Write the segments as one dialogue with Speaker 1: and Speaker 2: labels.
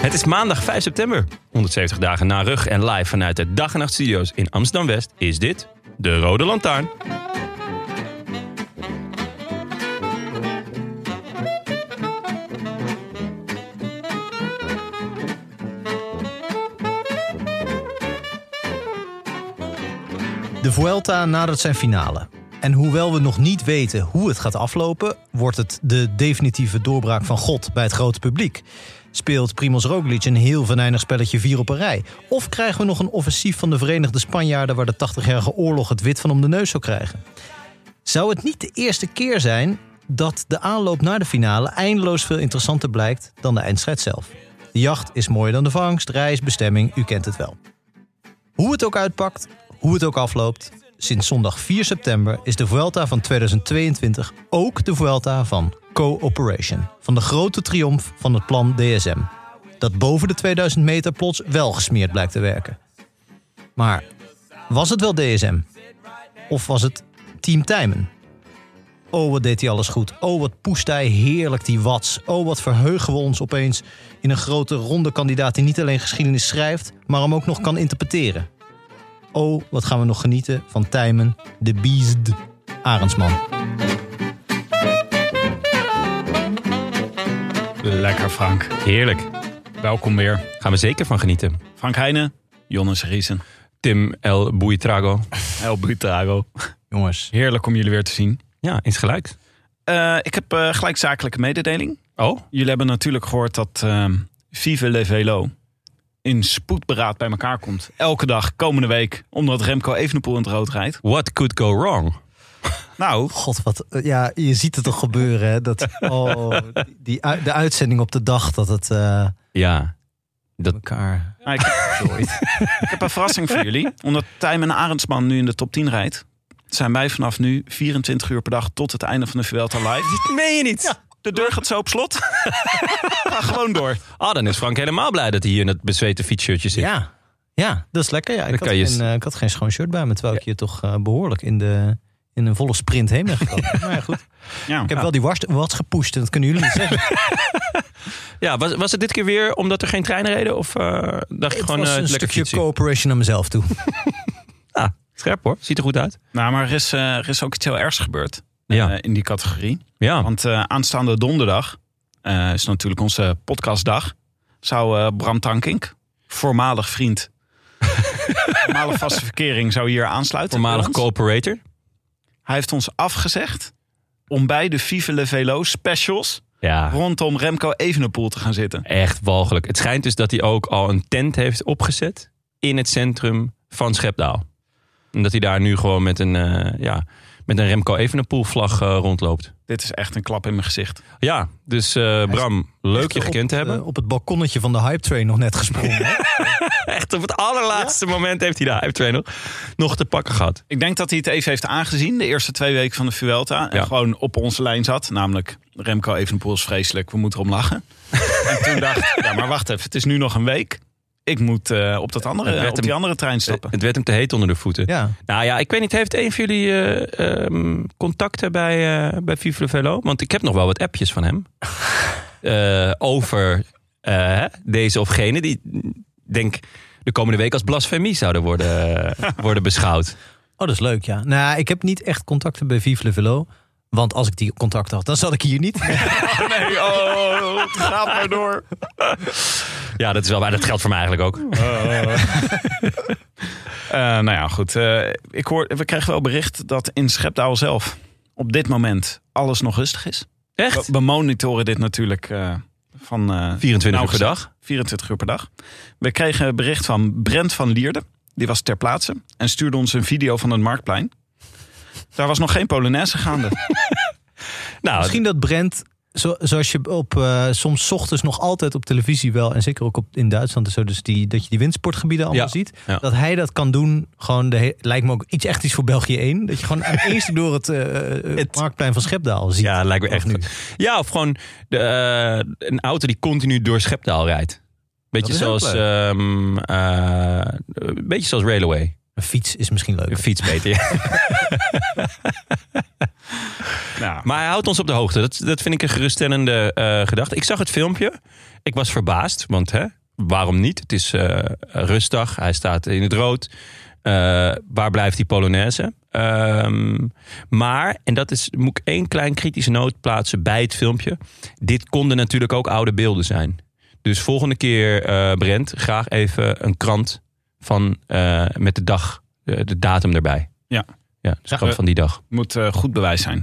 Speaker 1: Het is maandag 5 september. 170 dagen na rug en live vanuit de Dag en Nacht Studio's in Amsterdam-West is dit de Rode Lantaarn.
Speaker 2: De Vuelta nadert zijn finale. En hoewel we nog niet weten hoe het gaat aflopen, wordt het de definitieve doorbraak van God bij het grote publiek. Speelt Primoz Roglic een heel venijnig spelletje vier op een rij? Of krijgen we nog een offensief van de Verenigde Spanjaarden waar de 80-jarige oorlog het wit van om de neus zou krijgen? Zou het niet de eerste keer zijn dat de aanloop naar de finale eindeloos veel interessanter blijkt dan de eindstrijd zelf? De jacht is mooier dan de vangst, reis, bestemming, u kent het wel. Hoe het ook uitpakt, hoe het ook afloopt, sinds zondag 4 september is de Vuelta van 2022 ook de Vuelta van Cooperation. Van de grote triomf van het plan DSM. Dat boven de 2000 meter plots wel gesmeerd blijkt te werken. Maar was het wel DSM? Of was het Team Tijmen? Oh, wat deed hij alles goed. Oh, wat poest hij heerlijk die Wats. Oh, wat verheugen we ons opeens in een grote ronde kandidaat die niet alleen geschiedenis schrijft, maar hem ook nog kan interpreteren. Oh, wat gaan we nog genieten van Tijmen, de Beast, Arendsman.
Speaker 3: Lekker Frank.
Speaker 1: Heerlijk.
Speaker 3: Welkom weer.
Speaker 1: Gaan we zeker van genieten.
Speaker 3: Frank Heijnen, Jonas Riesen,
Speaker 1: Tim El Boeitrago.
Speaker 3: El Brutago.
Speaker 2: Jongens,
Speaker 3: Heerlijk om jullie weer te zien.
Speaker 1: Ja, in het geluid.
Speaker 3: Eh, ik heb eh, gelijk zakelijke mededeling.
Speaker 1: Oh,
Speaker 3: Jullie hebben natuurlijk gehoord dat ehm Vive Le Velo in spoedberaad bij elkaar komt. Elke dag, komende week, omdat Remco Evenepoel in het rood rijdt.
Speaker 1: what could go wrong?
Speaker 3: Nou,
Speaker 2: god, wat, eh, ja, je ziet het toch gebeuren, hè? Dat, oh, die, u- de uitzending op de dag dat het eh,
Speaker 1: Ja,
Speaker 2: elkaar...
Speaker 3: ik, ik heb een verrassing voor jullie. Omdat Tijm en Arendsman nu in de top 10 rijdt, zijn wij vanaf nu 24 uur per dag tot het einde van de Vuelta live.
Speaker 1: meen je niet?
Speaker 3: De deur gaat zo op slot. Ga gewoon door.
Speaker 1: Ah, dan is Frank helemaal blij dat hij hier in dat bezweten fietsshirtje zit.
Speaker 2: Ja, ja, dat is lekker. Ja. Ik,
Speaker 1: Dan
Speaker 2: had
Speaker 1: kan je
Speaker 2: geen,
Speaker 1: s-
Speaker 2: eh, ik had geen schoon shirt bij me, terwijl ik hier toch eh, behoorlijk in, de, in een volle sprint heen ben gekomen. Maar ja, goed.
Speaker 3: Ja.
Speaker 2: Ik heb wel die was, wat gepoest, en dat kunnen jullie niet zeggen.
Speaker 1: Ja, was, was het dit keer weer omdat er geen treinen reden? Of eh, dacht je
Speaker 2: Het
Speaker 1: gewoon
Speaker 2: was
Speaker 1: eh,
Speaker 2: een
Speaker 1: lekker
Speaker 2: stukje
Speaker 1: fietsen?
Speaker 2: cooperation aan mezelf toe.
Speaker 1: Ja, scherp hoor. Ziet er goed uit.
Speaker 3: Nou, maar er is, eh, er is ook iets heel ergs gebeurd
Speaker 1: Ja,
Speaker 3: eh, in die categorie.
Speaker 1: ja.
Speaker 3: Want eh, aanstaande donderdag eh, is natuurlijk onze podcastdag. Zou eh, Bram Tankink, voormalig vriend, voormalig vaste verkering, zou hier aansluiten.
Speaker 1: voormalig
Speaker 3: bij ons.
Speaker 1: cooperator.
Speaker 3: Hij heeft ons afgezegd om bij de Vive Le Velo specials
Speaker 1: Ja.
Speaker 3: rondom Remco Evenepoel te gaan zitten.
Speaker 1: Echt walgelijk. Het schijnt dus dat hij ook al een tent heeft opgezet in het centrum van Schepdaal. En dat hij daar nu gewoon met een, eh, ja, met een Remco Evenepoel vlag rondloopt.
Speaker 3: Dit is echt een klap in mijn gezicht.
Speaker 1: Ja, dus eh, Bram, leuk je
Speaker 2: Op,
Speaker 1: gekend te hebben.
Speaker 2: eh, op het balkonnetje van de hype train nog net gesprongen. hè?
Speaker 1: Echt op het allerlaatste moment heeft hij de hype train nog, nog te pakken gehad.
Speaker 3: Ik denk dat hij het even heeft aangezien, de eerste twee weken van de Vuelta. En
Speaker 1: Ja.
Speaker 3: gewoon op onze lijn zat. Namelijk, Remco Evenepoel is vreselijk, we moeten erom lachen. en toen dacht ik, ja, maar wacht even, het is nu nog een week. Ik moet eh, op, dat
Speaker 1: Het
Speaker 3: andere,
Speaker 1: werd
Speaker 3: op
Speaker 1: hem-
Speaker 3: die andere trein stappen.
Speaker 1: Het werd hem te heet onder de voeten.
Speaker 2: Ja.
Speaker 1: Nou ja, ik weet niet, heeft een van jullie eh, ehm, contacten bij, eh bij Vive Le Velo? Want ik heb nog wel wat appjes van hem. Eh, over eh, hè, deze of gene die, mm, denk de komende week als blasfemie zouden worden, worden beschouwd.
Speaker 2: Oh, dat is leuk, ja. Nou, ik heb niet echt contacten bij Vive Le Velo. Want als ik die contacten had, dan zat ik hier niet.
Speaker 3: Nee, oh, het gaat maar door.
Speaker 1: Ja, dat is wel waar. Dat geldt voor mij eigenlijk ook.
Speaker 3: Eh, nou ja, goed. Eh, ik hoor, we krijgen wel bericht dat in Schepdaal zelf op dit moment alles nog rustig is. We,
Speaker 1: Echt?
Speaker 3: we monitoren dit natuurlijk eh, van eh,
Speaker 1: 24 uur per
Speaker 2: Nou,
Speaker 3: nauwgezet.
Speaker 1: dag.
Speaker 3: 24 uur per dag. We kregen een bericht van Brent van Lierde. Die was ter plaatse en stuurde ons een video van het Marktplein. Daar was nog geen Polonaise gaande.
Speaker 1: Nou,
Speaker 2: Misschien dat Brent, zo, zoals je op eh, soms ochtends nog altijd op televisie wel, en zeker ook op, in Duitsland en zo, dus die, dat je die windsportgebieden allemaal
Speaker 1: Ja,
Speaker 2: ziet,
Speaker 1: ja.
Speaker 2: dat hij dat kan doen, gewoon de he- lijkt me ook iets echt iets voor België 1. Dat je gewoon aan het eerste door het, eh, eh,
Speaker 1: Het-
Speaker 2: marktplein van Schepdaal ziet.
Speaker 1: Ja, lijkt me
Speaker 2: Of
Speaker 1: echt
Speaker 2: nu.
Speaker 1: goed. Ja, of gewoon de, eh, een auto die continu door Schepdaal rijdt. Beetje
Speaker 2: is heel
Speaker 1: zoals, ehm, eh, een beetje zoals Railway.
Speaker 2: Een fiets is misschien leuk.
Speaker 1: Een fiets beter. ja.
Speaker 3: Nou,
Speaker 1: Maar hij houdt ons op de hoogte. Dat, dat vind ik een geruststellende eh, gedachte. Ik zag het filmpje. Ik was verbaasd. Want hè, waarom niet? Het is eh, rustdag. Hij staat in het rood. Eh, waar blijft die Polonaise? Ehm, maar, en dat is, moet ik één klein kritische noot plaatsen bij het filmpje. Dit konden natuurlijk ook oude beelden zijn. Dus volgende keer, eh, Brent, graag even een krant van, eh, met de dag, de, de datum erbij.
Speaker 3: Ja.
Speaker 1: ja dus
Speaker 3: Ja,
Speaker 1: krant
Speaker 3: eh,
Speaker 1: van die dag,
Speaker 3: moet eh, goed bewijs zijn.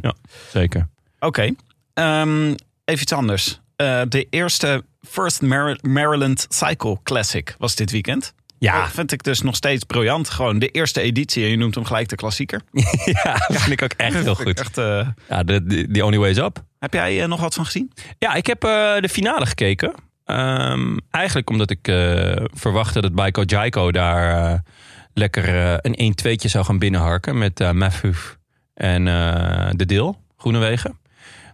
Speaker 1: zeker.
Speaker 3: Oké. Ehm, even iets anders. Eh, de eerste First Mar- Maryland Cycle Classic was dit weekend.
Speaker 1: Ja.
Speaker 3: Dat vind ik dus nog steeds briljant. Gewoon de eerste editie. En je noemt hem gelijk de klassieker.
Speaker 1: Ja, dat vind ik ook echt heel
Speaker 3: Vind ik
Speaker 1: goed.
Speaker 3: Echt, eh,
Speaker 1: Ja, de, de, the only way is up.
Speaker 3: heb jij eh, nog wat van gezien?
Speaker 1: Ja, ik heb eh, de finale gekeken. Ehm, eigenlijk omdat ik eh, verwachtte dat Baiko Jaiko daar eh, lekker eh, een 1-2'tje zou gaan binnenharken met eh Mafuf en eh, De Deel, Groenewegen.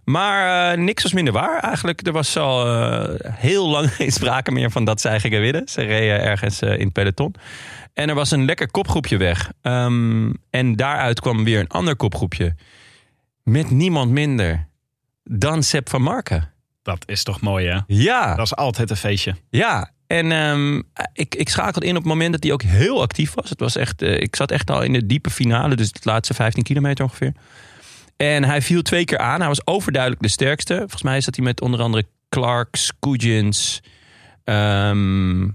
Speaker 1: Maar eh, niks was minder waar. Eigenlijk, er was al eh, heel lang geen sprake meer van dat zij gingen winnen. Ze reden ergens eh, in het peloton. En er was een lekker kopgroepje weg. Ehm, en daaruit kwam weer een ander kopgroepje. Met niemand minder dan Sepp van Marken.
Speaker 3: Dat is toch mooi, hè?
Speaker 1: Ja,
Speaker 3: Dat is altijd een feestje.
Speaker 1: ja. En ehm, ik, ik schakelde in op het moment dat hij ook heel actief was. Het was echt, eh, ik zat echt al in de diepe finale, dus de laatste 15 kilometer ongeveer. En hij viel twee keer aan. Hij was overduidelijk de sterkste. Volgens mij zat hij met onder andere Clarks, Cougins. ehm,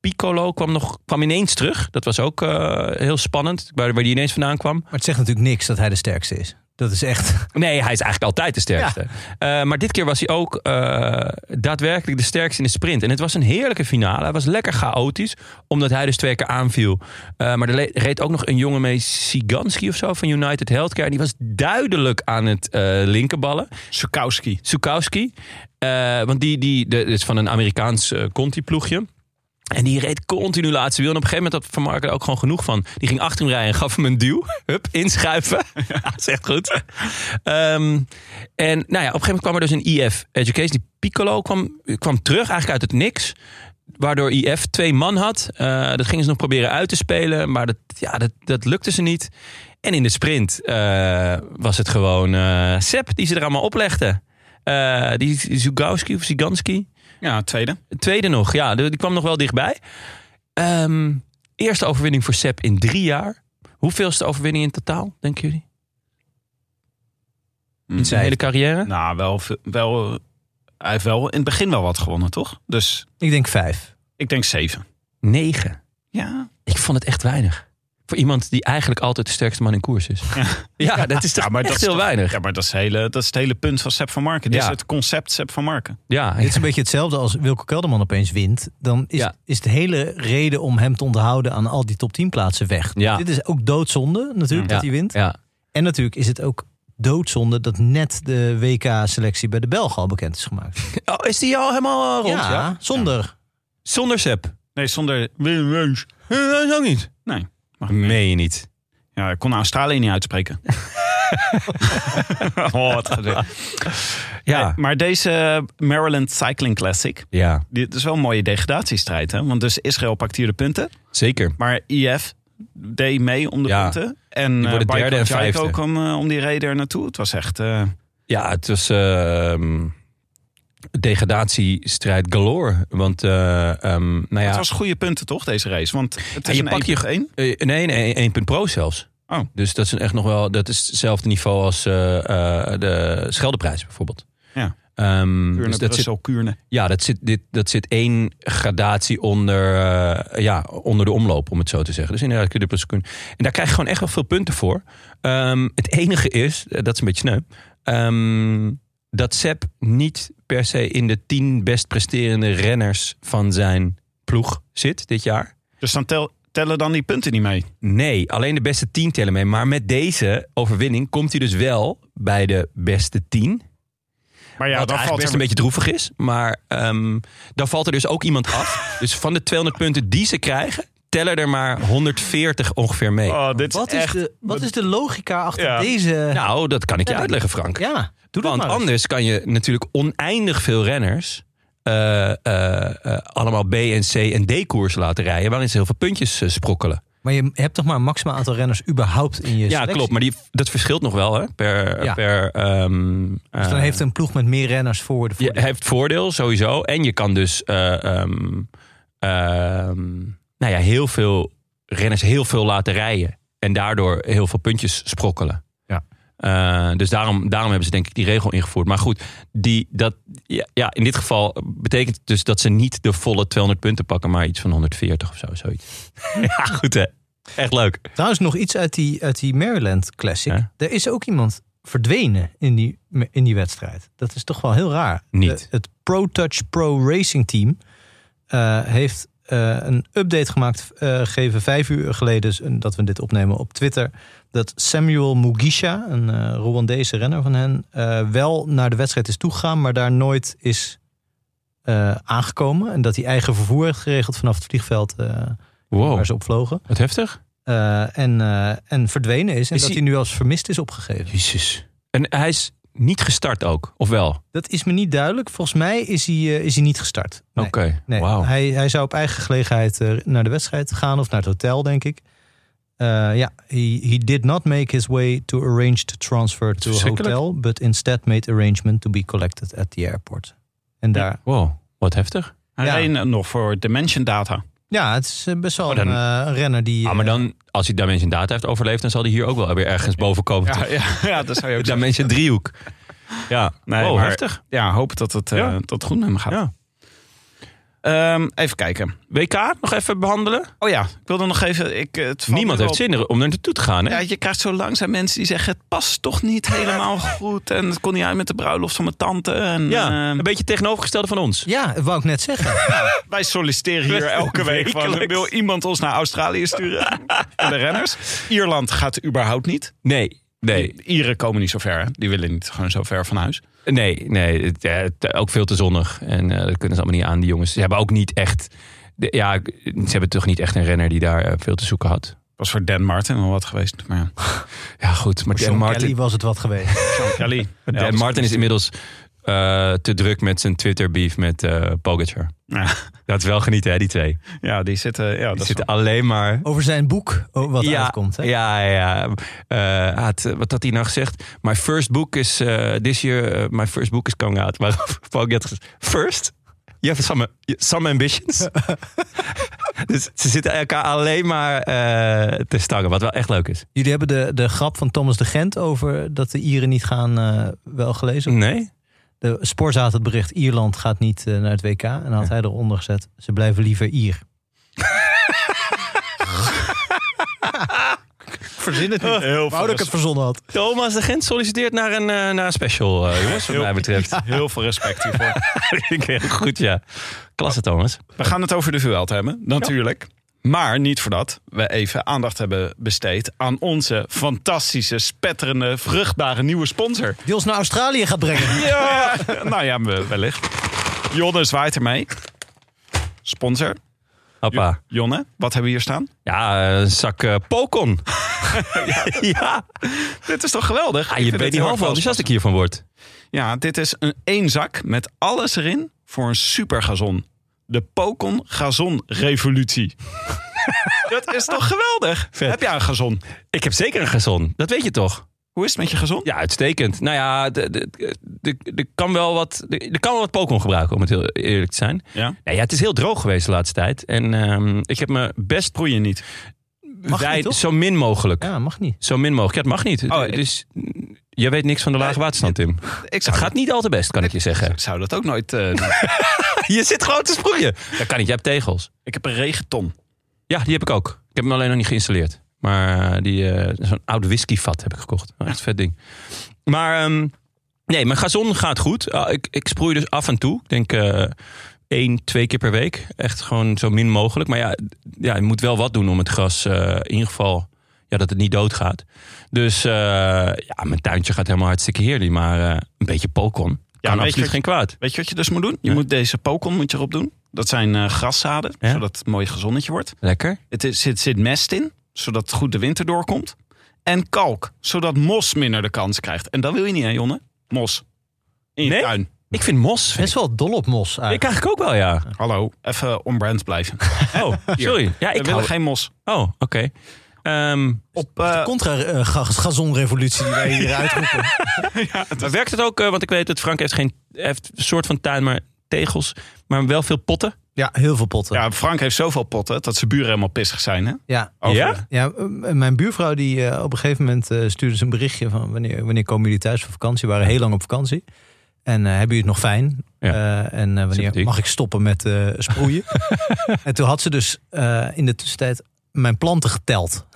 Speaker 1: Piccolo kwam, nog, kwam ineens terug. Dat was ook eh, heel spannend, waar, waar die ineens vandaan kwam.
Speaker 2: Maar het zegt natuurlijk niks dat hij de sterkste is. Dat is echt.
Speaker 1: Nee, hij is eigenlijk altijd de sterkste. Eh, maar dit keer was hij ook eh, daadwerkelijk de sterkste in de sprint. En het was een heerlijke finale. Hij was lekker chaotisch, omdat hij dus twee keer aanviel. Eh, maar er le- reed ook nog een jongen mee, Siganski of zo, van United Healthcare. En die was duidelijk aan het eh, linkerballen.
Speaker 3: Sukowski.
Speaker 1: Sukowski. Eh, want die, die de, is van een Amerikaans eh, Conti-ploegje. En die reed continu laatste wiel. En op een gegeven moment had Van Marken er ook gewoon genoeg van. Die ging achter hem rijden en gaf hem een duw. Hup, inschuiven. Ja, dat is echt goed. Ehm, en nou ja, op een gegeven moment kwam er dus een IF Education. Die Piccolo kwam, kwam terug eigenlijk uit het niks. Waardoor IF twee man had. Eh, dat gingen ze nog proberen uit te spelen. Maar dat, ja, dat, dat lukte ze niet. En in de sprint eh, was het gewoon eh Sepp die ze er allemaal oplegde. Eh, die Zugowski of Ziganski.
Speaker 3: Ja, tweede.
Speaker 1: Tweede nog, ja. Die die kwam nog wel dichtbij. Ehm, eerste overwinning voor Sepp in drie jaar. Hoeveelste overwinning in totaal, denken jullie? In zijn hele carrière?
Speaker 3: Nou, wel, ve- wel, eh, hij heeft wel in het begin wel wat gewonnen, toch? Dus
Speaker 2: Ik denk vijf.
Speaker 3: ik denk zeven.
Speaker 1: Negen.
Speaker 3: Ja,
Speaker 1: Ik vond het echt weinig. Voor iemand die eigenlijk altijd de sterkste man in koers is. Ja, dat is toch
Speaker 3: Ja, maar
Speaker 1: echt
Speaker 3: dat is
Speaker 1: heel
Speaker 3: toch-
Speaker 1: weinig.
Speaker 3: ja maar dat is, hele, dat is het hele punt van Sepp van Marken. Dit
Speaker 1: Ja.
Speaker 3: is het concept Sepp van Marken.
Speaker 1: Ah, Ja,
Speaker 2: Dit is een beetje hetzelfde als Wilco Kelderman opeens wint. Dan is,
Speaker 1: Ja.
Speaker 2: is de hele reden om hem te onthouden aan al die top 10 plaatsen weg.
Speaker 1: Ja.
Speaker 2: Dit is ook doodzonde natuurlijk
Speaker 1: ja,
Speaker 2: dat hij wint.
Speaker 1: Ja,
Speaker 2: En natuurlijk is het ook doodzonde dat net de WK-selectie bij de Belgen al bekend is gemaakt.
Speaker 1: Oh, is die al helemaal eh, rond? Ja.
Speaker 2: zonder.
Speaker 1: Zonder Sepp.
Speaker 3: Nee, zonder Willem Reus.
Speaker 1: Eh, Dat is ook niet.
Speaker 3: Nee. Mag niet.
Speaker 1: Meen je niet.
Speaker 3: Ja, ik kon Australië niet uitspreken. oh, wat gezicht.
Speaker 1: Ja.
Speaker 3: Maar deze Maryland Cycling Classic,
Speaker 1: Ja,
Speaker 3: dit is wel een mooie degradatiestrijd. Hè? Want dus Israël pakt hier de punten,
Speaker 1: zeker.
Speaker 3: maar IF deed mee om de
Speaker 1: Ja.
Speaker 3: punten. En
Speaker 1: Die worden
Speaker 3: eh, Baiko
Speaker 1: derde en
Speaker 3: Jaiko
Speaker 1: vijfde.
Speaker 3: kwam eh, om die reden er naartoe. Het was echt... eh,
Speaker 1: Ja, het was ehm, degradatiestrijd galore. Want, eh, ehm, nou ja,
Speaker 3: Het was goede punten toch, deze race? Want het
Speaker 1: Ja,
Speaker 3: is
Speaker 1: je
Speaker 3: een
Speaker 1: pakt je-
Speaker 3: 1.
Speaker 1: eh, nee, nee, 1.0 pro zelfs.
Speaker 3: Oh.
Speaker 1: Dus dat is een echt nog wel, dat is hetzelfde niveau als eh, eh, de Scheldeprijs bijvoorbeeld.
Speaker 3: Ja.
Speaker 1: Ehm,
Speaker 3: Kuurne,
Speaker 1: dus dat zit,
Speaker 3: Brussel, Kuurne.
Speaker 1: ja, dat zit, dit, dat zit één gradatie onder, eh, ja, onder de omloop, om het zo te zeggen. Dus inderdaad, kun je de plus kun- En daar krijg je gewoon echt wel veel punten voor. Ehm, het enige is, eh, dat is een beetje sneu, ehm, dat Sepp niet per se in de tien best presterende renners van zijn ploeg zit dit jaar.
Speaker 3: Dus dan tel- tellen dan die punten niet mee.
Speaker 1: Nee, alleen de beste 10 tellen mee. Maar met deze overwinning komt hij dus wel bij de beste 10.
Speaker 3: Maar ja,
Speaker 1: wat
Speaker 3: dan
Speaker 1: eigenlijk
Speaker 3: valt
Speaker 1: best
Speaker 3: er
Speaker 1: een beetje droevig is. Maar ehm, dan valt er dus ook iemand af. dus van de 200 punten die ze krijgen, tellen er maar 140 ongeveer mee.
Speaker 3: Oh, dit
Speaker 2: Wat,
Speaker 3: is
Speaker 2: is
Speaker 3: echt...
Speaker 2: de, wat is de logica achter
Speaker 3: Ja.
Speaker 2: deze...
Speaker 1: Nou, dat kan ik je
Speaker 2: Ja,
Speaker 1: uitleggen, Frank.
Speaker 2: ja, doe dat
Speaker 1: Want
Speaker 2: maar eens.
Speaker 1: anders kan je natuurlijk oneindig veel renners eh, eh, eh, allemaal B en C en D koers laten rijden, waarin ze heel veel puntjes eh, sprokkelen.
Speaker 2: Maar je hebt toch maar een maximaal aantal renners überhaupt in je
Speaker 1: Ja,
Speaker 2: selectie?
Speaker 1: klopt. Maar die, dat verschilt nog wel hè, per.
Speaker 2: Ja.
Speaker 1: per ehm,
Speaker 2: Dus dan
Speaker 1: eh,
Speaker 2: heeft een ploeg met meer renners voor de
Speaker 1: Je
Speaker 2: voordeel.
Speaker 1: hebt voordeel sowieso. En je kan dus eh, ehm, ehm, nou ja, heel veel renners heel veel laten rijden. En daardoor heel veel puntjes sprokkelen.
Speaker 2: Ja.
Speaker 1: Eh, dus daarom, daarom hebben ze denk ik die regel ingevoerd. Maar goed, die, dat, ja, ja, in dit geval betekent het dus dat ze niet de volle 200 punten pakken, maar iets van 140 of zo. Zoiets. ja, goed hè. Echt leuk.
Speaker 2: Trouwens nog iets uit die, uit die Maryland Classic.
Speaker 1: Ja.
Speaker 2: Er is ook iemand verdwenen in die, in die wedstrijd. Dat is toch wel heel raar.
Speaker 1: Niet.
Speaker 2: De- het Pro Touch Pro Racing Team eh, heeft eh, een update gemaakt, eh, gegeven vijf uur geleden, dus, eh, dat we dit opnemen op Twitter, dat Samuel Mugisha, een eh, Rwandese renner van hen, eh, wel naar de wedstrijd is toegegaan, maar daar nooit is eh, aangekomen. En dat hij eigen vervoer heeft geregeld vanaf het vliegveld eh,
Speaker 1: Wow,
Speaker 2: waar ze op vlogen.
Speaker 1: wat heftig.
Speaker 2: Eh, en, eh, en verdwenen is. En
Speaker 1: Is
Speaker 2: dat
Speaker 1: hij-
Speaker 2: hij nu als vermist is opgegeven.
Speaker 1: Jezus. En hij is niet gestart ook, of wel? Oké,
Speaker 2: Dat is me niet duidelijk. Volgens mij is hij, eh, is hij niet gestart. Nee, nee.
Speaker 1: wauw.
Speaker 2: Hij, hij zou op eigen gelegenheid eh, naar de wedstrijd gaan of naar het hotel, denk ik. Eh, ja, he, he did not make his way to arrange the transfer to a
Speaker 1: verschrikkelijk.
Speaker 2: hotel, but instead made arrangement to be collected at the airport. En daar,
Speaker 1: Wow, wat heftig.
Speaker 2: Ja.
Speaker 3: Alleen eh, nog voor Dimension Data.
Speaker 2: ja, het is eh, best wel
Speaker 1: Oh, dan-
Speaker 2: een eh, renner die.
Speaker 1: Ah, maar dan, als hij Dimension Data heeft overleefd, dan zal hij hier ook wel weer ergens boven komen.
Speaker 3: Ja, ja, ja, dat zou je ook zeggen.
Speaker 1: Dimension driehoek. Ja,
Speaker 3: Nee,
Speaker 1: wow,
Speaker 3: maar-
Speaker 1: heftig.
Speaker 3: Ja, hoop dat het, eh,
Speaker 1: Ja.
Speaker 3: dat het goed met hem gaat.
Speaker 1: Ja.
Speaker 3: Ehm, even kijken.
Speaker 1: WK nog even behandelen.
Speaker 3: Oh ja, ik wilde nog even... Ik, eh, het valt
Speaker 1: Niemand
Speaker 3: nu
Speaker 1: heeft
Speaker 3: op.
Speaker 1: zin er- om er naartoe te gaan. Hè?
Speaker 3: Ja, je krijgt zo langzaam mensen die zeggen... het past toch niet helemaal goed. En het kon niet uit met de bruiloft van mijn tante. En,
Speaker 1: Ja,
Speaker 3: eh,
Speaker 1: een beetje tegenovergestelde van ons.
Speaker 2: Ja, dat wou ik net zeggen.
Speaker 3: wij solliciteren hier elke week van...
Speaker 1: Wekelijks.
Speaker 3: wil iemand ons naar Australië sturen? en de renners. Ierland gaat überhaupt niet.
Speaker 1: Nee, nee,
Speaker 3: Die Ieren komen niet zo ver. hè. Die willen niet gewoon zo ver van huis.
Speaker 1: nee, nee. Het, eh, het- ook veel te zonnig. En eh, dat kunnen ze allemaal niet aan, die jongens. Ze hebben ook niet echt... de- ja, ze hebben toch niet echt een renner die daar eh, veel te zoeken had.
Speaker 3: was voor Dan Martin wel wat geweest. Maar ja.
Speaker 1: Ja, goed. Maar Dan
Speaker 2: John
Speaker 1: Martin,
Speaker 2: Kelly was het wat geweest.
Speaker 3: Kelly.
Speaker 1: Dan Martin is inmiddels eh, te druk met zijn Twitter-beef met eh Pogacar.
Speaker 3: Ja,
Speaker 1: Dat is wel genieten, hè, die twee.
Speaker 3: ja, die zitten... Ja, dat
Speaker 1: Die
Speaker 3: is
Speaker 1: zitten alleen maar...
Speaker 2: Over zijn boek, oh, wat
Speaker 1: ja,
Speaker 2: uitkomt. Hè?
Speaker 1: Ja, ja. Eh, hij had, eh, wat had hij nou gezegd? My first book is eh, this year. eh, my first book is coming out. Waarop Paul had gezegd: First? You have some, some ambitions. dus ze zitten elkaar alleen maar eh, te stangen. Wat wel echt leuk is.
Speaker 2: Jullie hebben de, de grap van Thomas de Gent over dat de Ieren niet gaan eh, wel gelezen.
Speaker 1: Nee?
Speaker 2: De Spoor had het bericht Ierland gaat niet eh, naar het WK. En dan had hij eronder gezet, ze blijven liever Ier. Verzin het niet.
Speaker 3: heel
Speaker 2: Wou dat ik het verzonnen had.
Speaker 1: Thomas de Gent solliciteert naar een, eh, naar een special, eh, jongens, wat mij betreft.
Speaker 3: Heel veel respect hiervoor.
Speaker 1: Ik vind het Goed, ja. Klasse, Thomas.
Speaker 3: We gaan het over de Vuelta hebben, natuurlijk. Maar niet voordat we even aandacht hebben besteed aan onze fantastische, spetterende, vruchtbare nieuwe sponsor.
Speaker 2: Die ons naar Australië gaat brengen.
Speaker 3: Ja, nou ja, we- wellicht. Jonne zwaait ermee. Sponsor.
Speaker 1: Hoppa.
Speaker 3: Jonne, wat hebben we hier staan?
Speaker 1: Ja, een zak eh, pokon. ja.
Speaker 3: Dit is toch geweldig?
Speaker 1: Ah, je
Speaker 3: Ik vind
Speaker 1: weet
Speaker 3: dit
Speaker 1: niet
Speaker 3: heel
Speaker 1: half
Speaker 3: erg
Speaker 1: hoe enthousiast ik hiervan word.
Speaker 3: Ja, dit is een één zak met alles erin voor een supergazon. De Pokon Gazon Revolutie. Dat is toch geweldig?
Speaker 1: Vet.
Speaker 3: Heb jij een gazon?
Speaker 1: Ik heb zeker een gazon. Dat weet je toch?
Speaker 3: Hoe is het met je gazon?
Speaker 1: Ja, uitstekend. Nou ja, de- de- de- de kan wel wat, de- de kan wel wat pokon gebruiken, om het heel eerlijk te zijn.
Speaker 3: Ja.
Speaker 1: Nou ja, het is heel droog geweest de laatste tijd. En ehm, ik heb me best
Speaker 3: Proeien niet.
Speaker 2: niet,
Speaker 1: wijd-
Speaker 2: toch?
Speaker 1: zo min mogelijk.
Speaker 2: Ja, mag niet.
Speaker 1: Zo min mogelijk. Ja, het mag niet.
Speaker 3: Oh, ik-
Speaker 1: dus Je weet niks van de lage waterstand, Tim.
Speaker 3: Ik
Speaker 1: Het
Speaker 3: zou,
Speaker 1: gaat niet al te best, kan ik je zeggen.
Speaker 3: zou dat ook nooit eh, doen.
Speaker 1: Je zit gewoon te sproeien. Dat kan niet, je hebt tegels.
Speaker 3: Ik heb een regenton.
Speaker 1: Ja, die heb ik ook. Ik heb hem alleen nog niet geïnstalleerd. Maar eh, die, eh, zo'n oud whiskyvat heb ik gekocht. Echt een vet ding. Maar ehm, nee, mijn gazon gaat goed. Ah, ik, ik sproei dus af en toe. Ik denk eh één, twee keer per week. Echt gewoon zo min mogelijk. Maar ja, ja je moet wel wat doen om het gras eh, in ieder geval... Ja, dat het niet doodgaat. Dus eh, ja, mijn tuintje gaat helemaal hartstikke heerlijk. Maar eh, een beetje pokon kan
Speaker 3: weet je
Speaker 1: absoluut
Speaker 3: wat-
Speaker 1: geen kwaad.
Speaker 3: Weet je wat je dus moet doen? Je
Speaker 1: Ja.
Speaker 3: moet deze pokon moet je erop doen. Dat zijn eh, graszaden,
Speaker 1: Ja.
Speaker 3: zodat het mooi gezonnetje wordt.
Speaker 1: Lekker.
Speaker 3: Het is, zit, zit mest in, zodat het goed de winter doorkomt. En kalk, zodat mos minder de kans krijgt. En dat wil je niet, hè, Jonne? Mos. In je
Speaker 1: Nee?
Speaker 3: tuin.
Speaker 1: Ik vind mos.
Speaker 2: Best wel dol op mos
Speaker 1: Ik
Speaker 2: eigenlijk.
Speaker 1: eigenlijk ook wel, ja.
Speaker 3: Hallo, even on-brand blijven.
Speaker 1: Oh, sorry. Ja,
Speaker 3: Ik
Speaker 1: ik
Speaker 3: wil
Speaker 1: hou...
Speaker 3: geen mos.
Speaker 1: Oh, oké. Ehm,
Speaker 3: Op, eh,
Speaker 2: Contra eh, ga- gazonrevolutie die wij hier uitroepen.
Speaker 1: maar werkt het ook, eh, want ik weet dat Frank heeft geen heeft een soort van tuin, maar tegels, maar wel veel potten.
Speaker 2: Ja, heel veel potten.
Speaker 3: ja, Frank heeft zoveel potten dat zijn buren helemaal pissig zijn. Hè?
Speaker 2: ja.
Speaker 3: Over-
Speaker 1: Ja?
Speaker 2: Ja, m- mijn buurvrouw die eh, op een gegeven moment eh, stuurde ze een berichtje van wanneer, wanneer komen jullie thuis van vakantie? We waren heel lang op vakantie. En eh, hebben jullie het nog fijn?
Speaker 1: Ja.
Speaker 2: Eh, en eh, wanneer
Speaker 1: Sympathiek.
Speaker 2: mag ik stoppen met eh, sproeien? en toen had ze dus eh, in de tussentijd mijn planten geteld.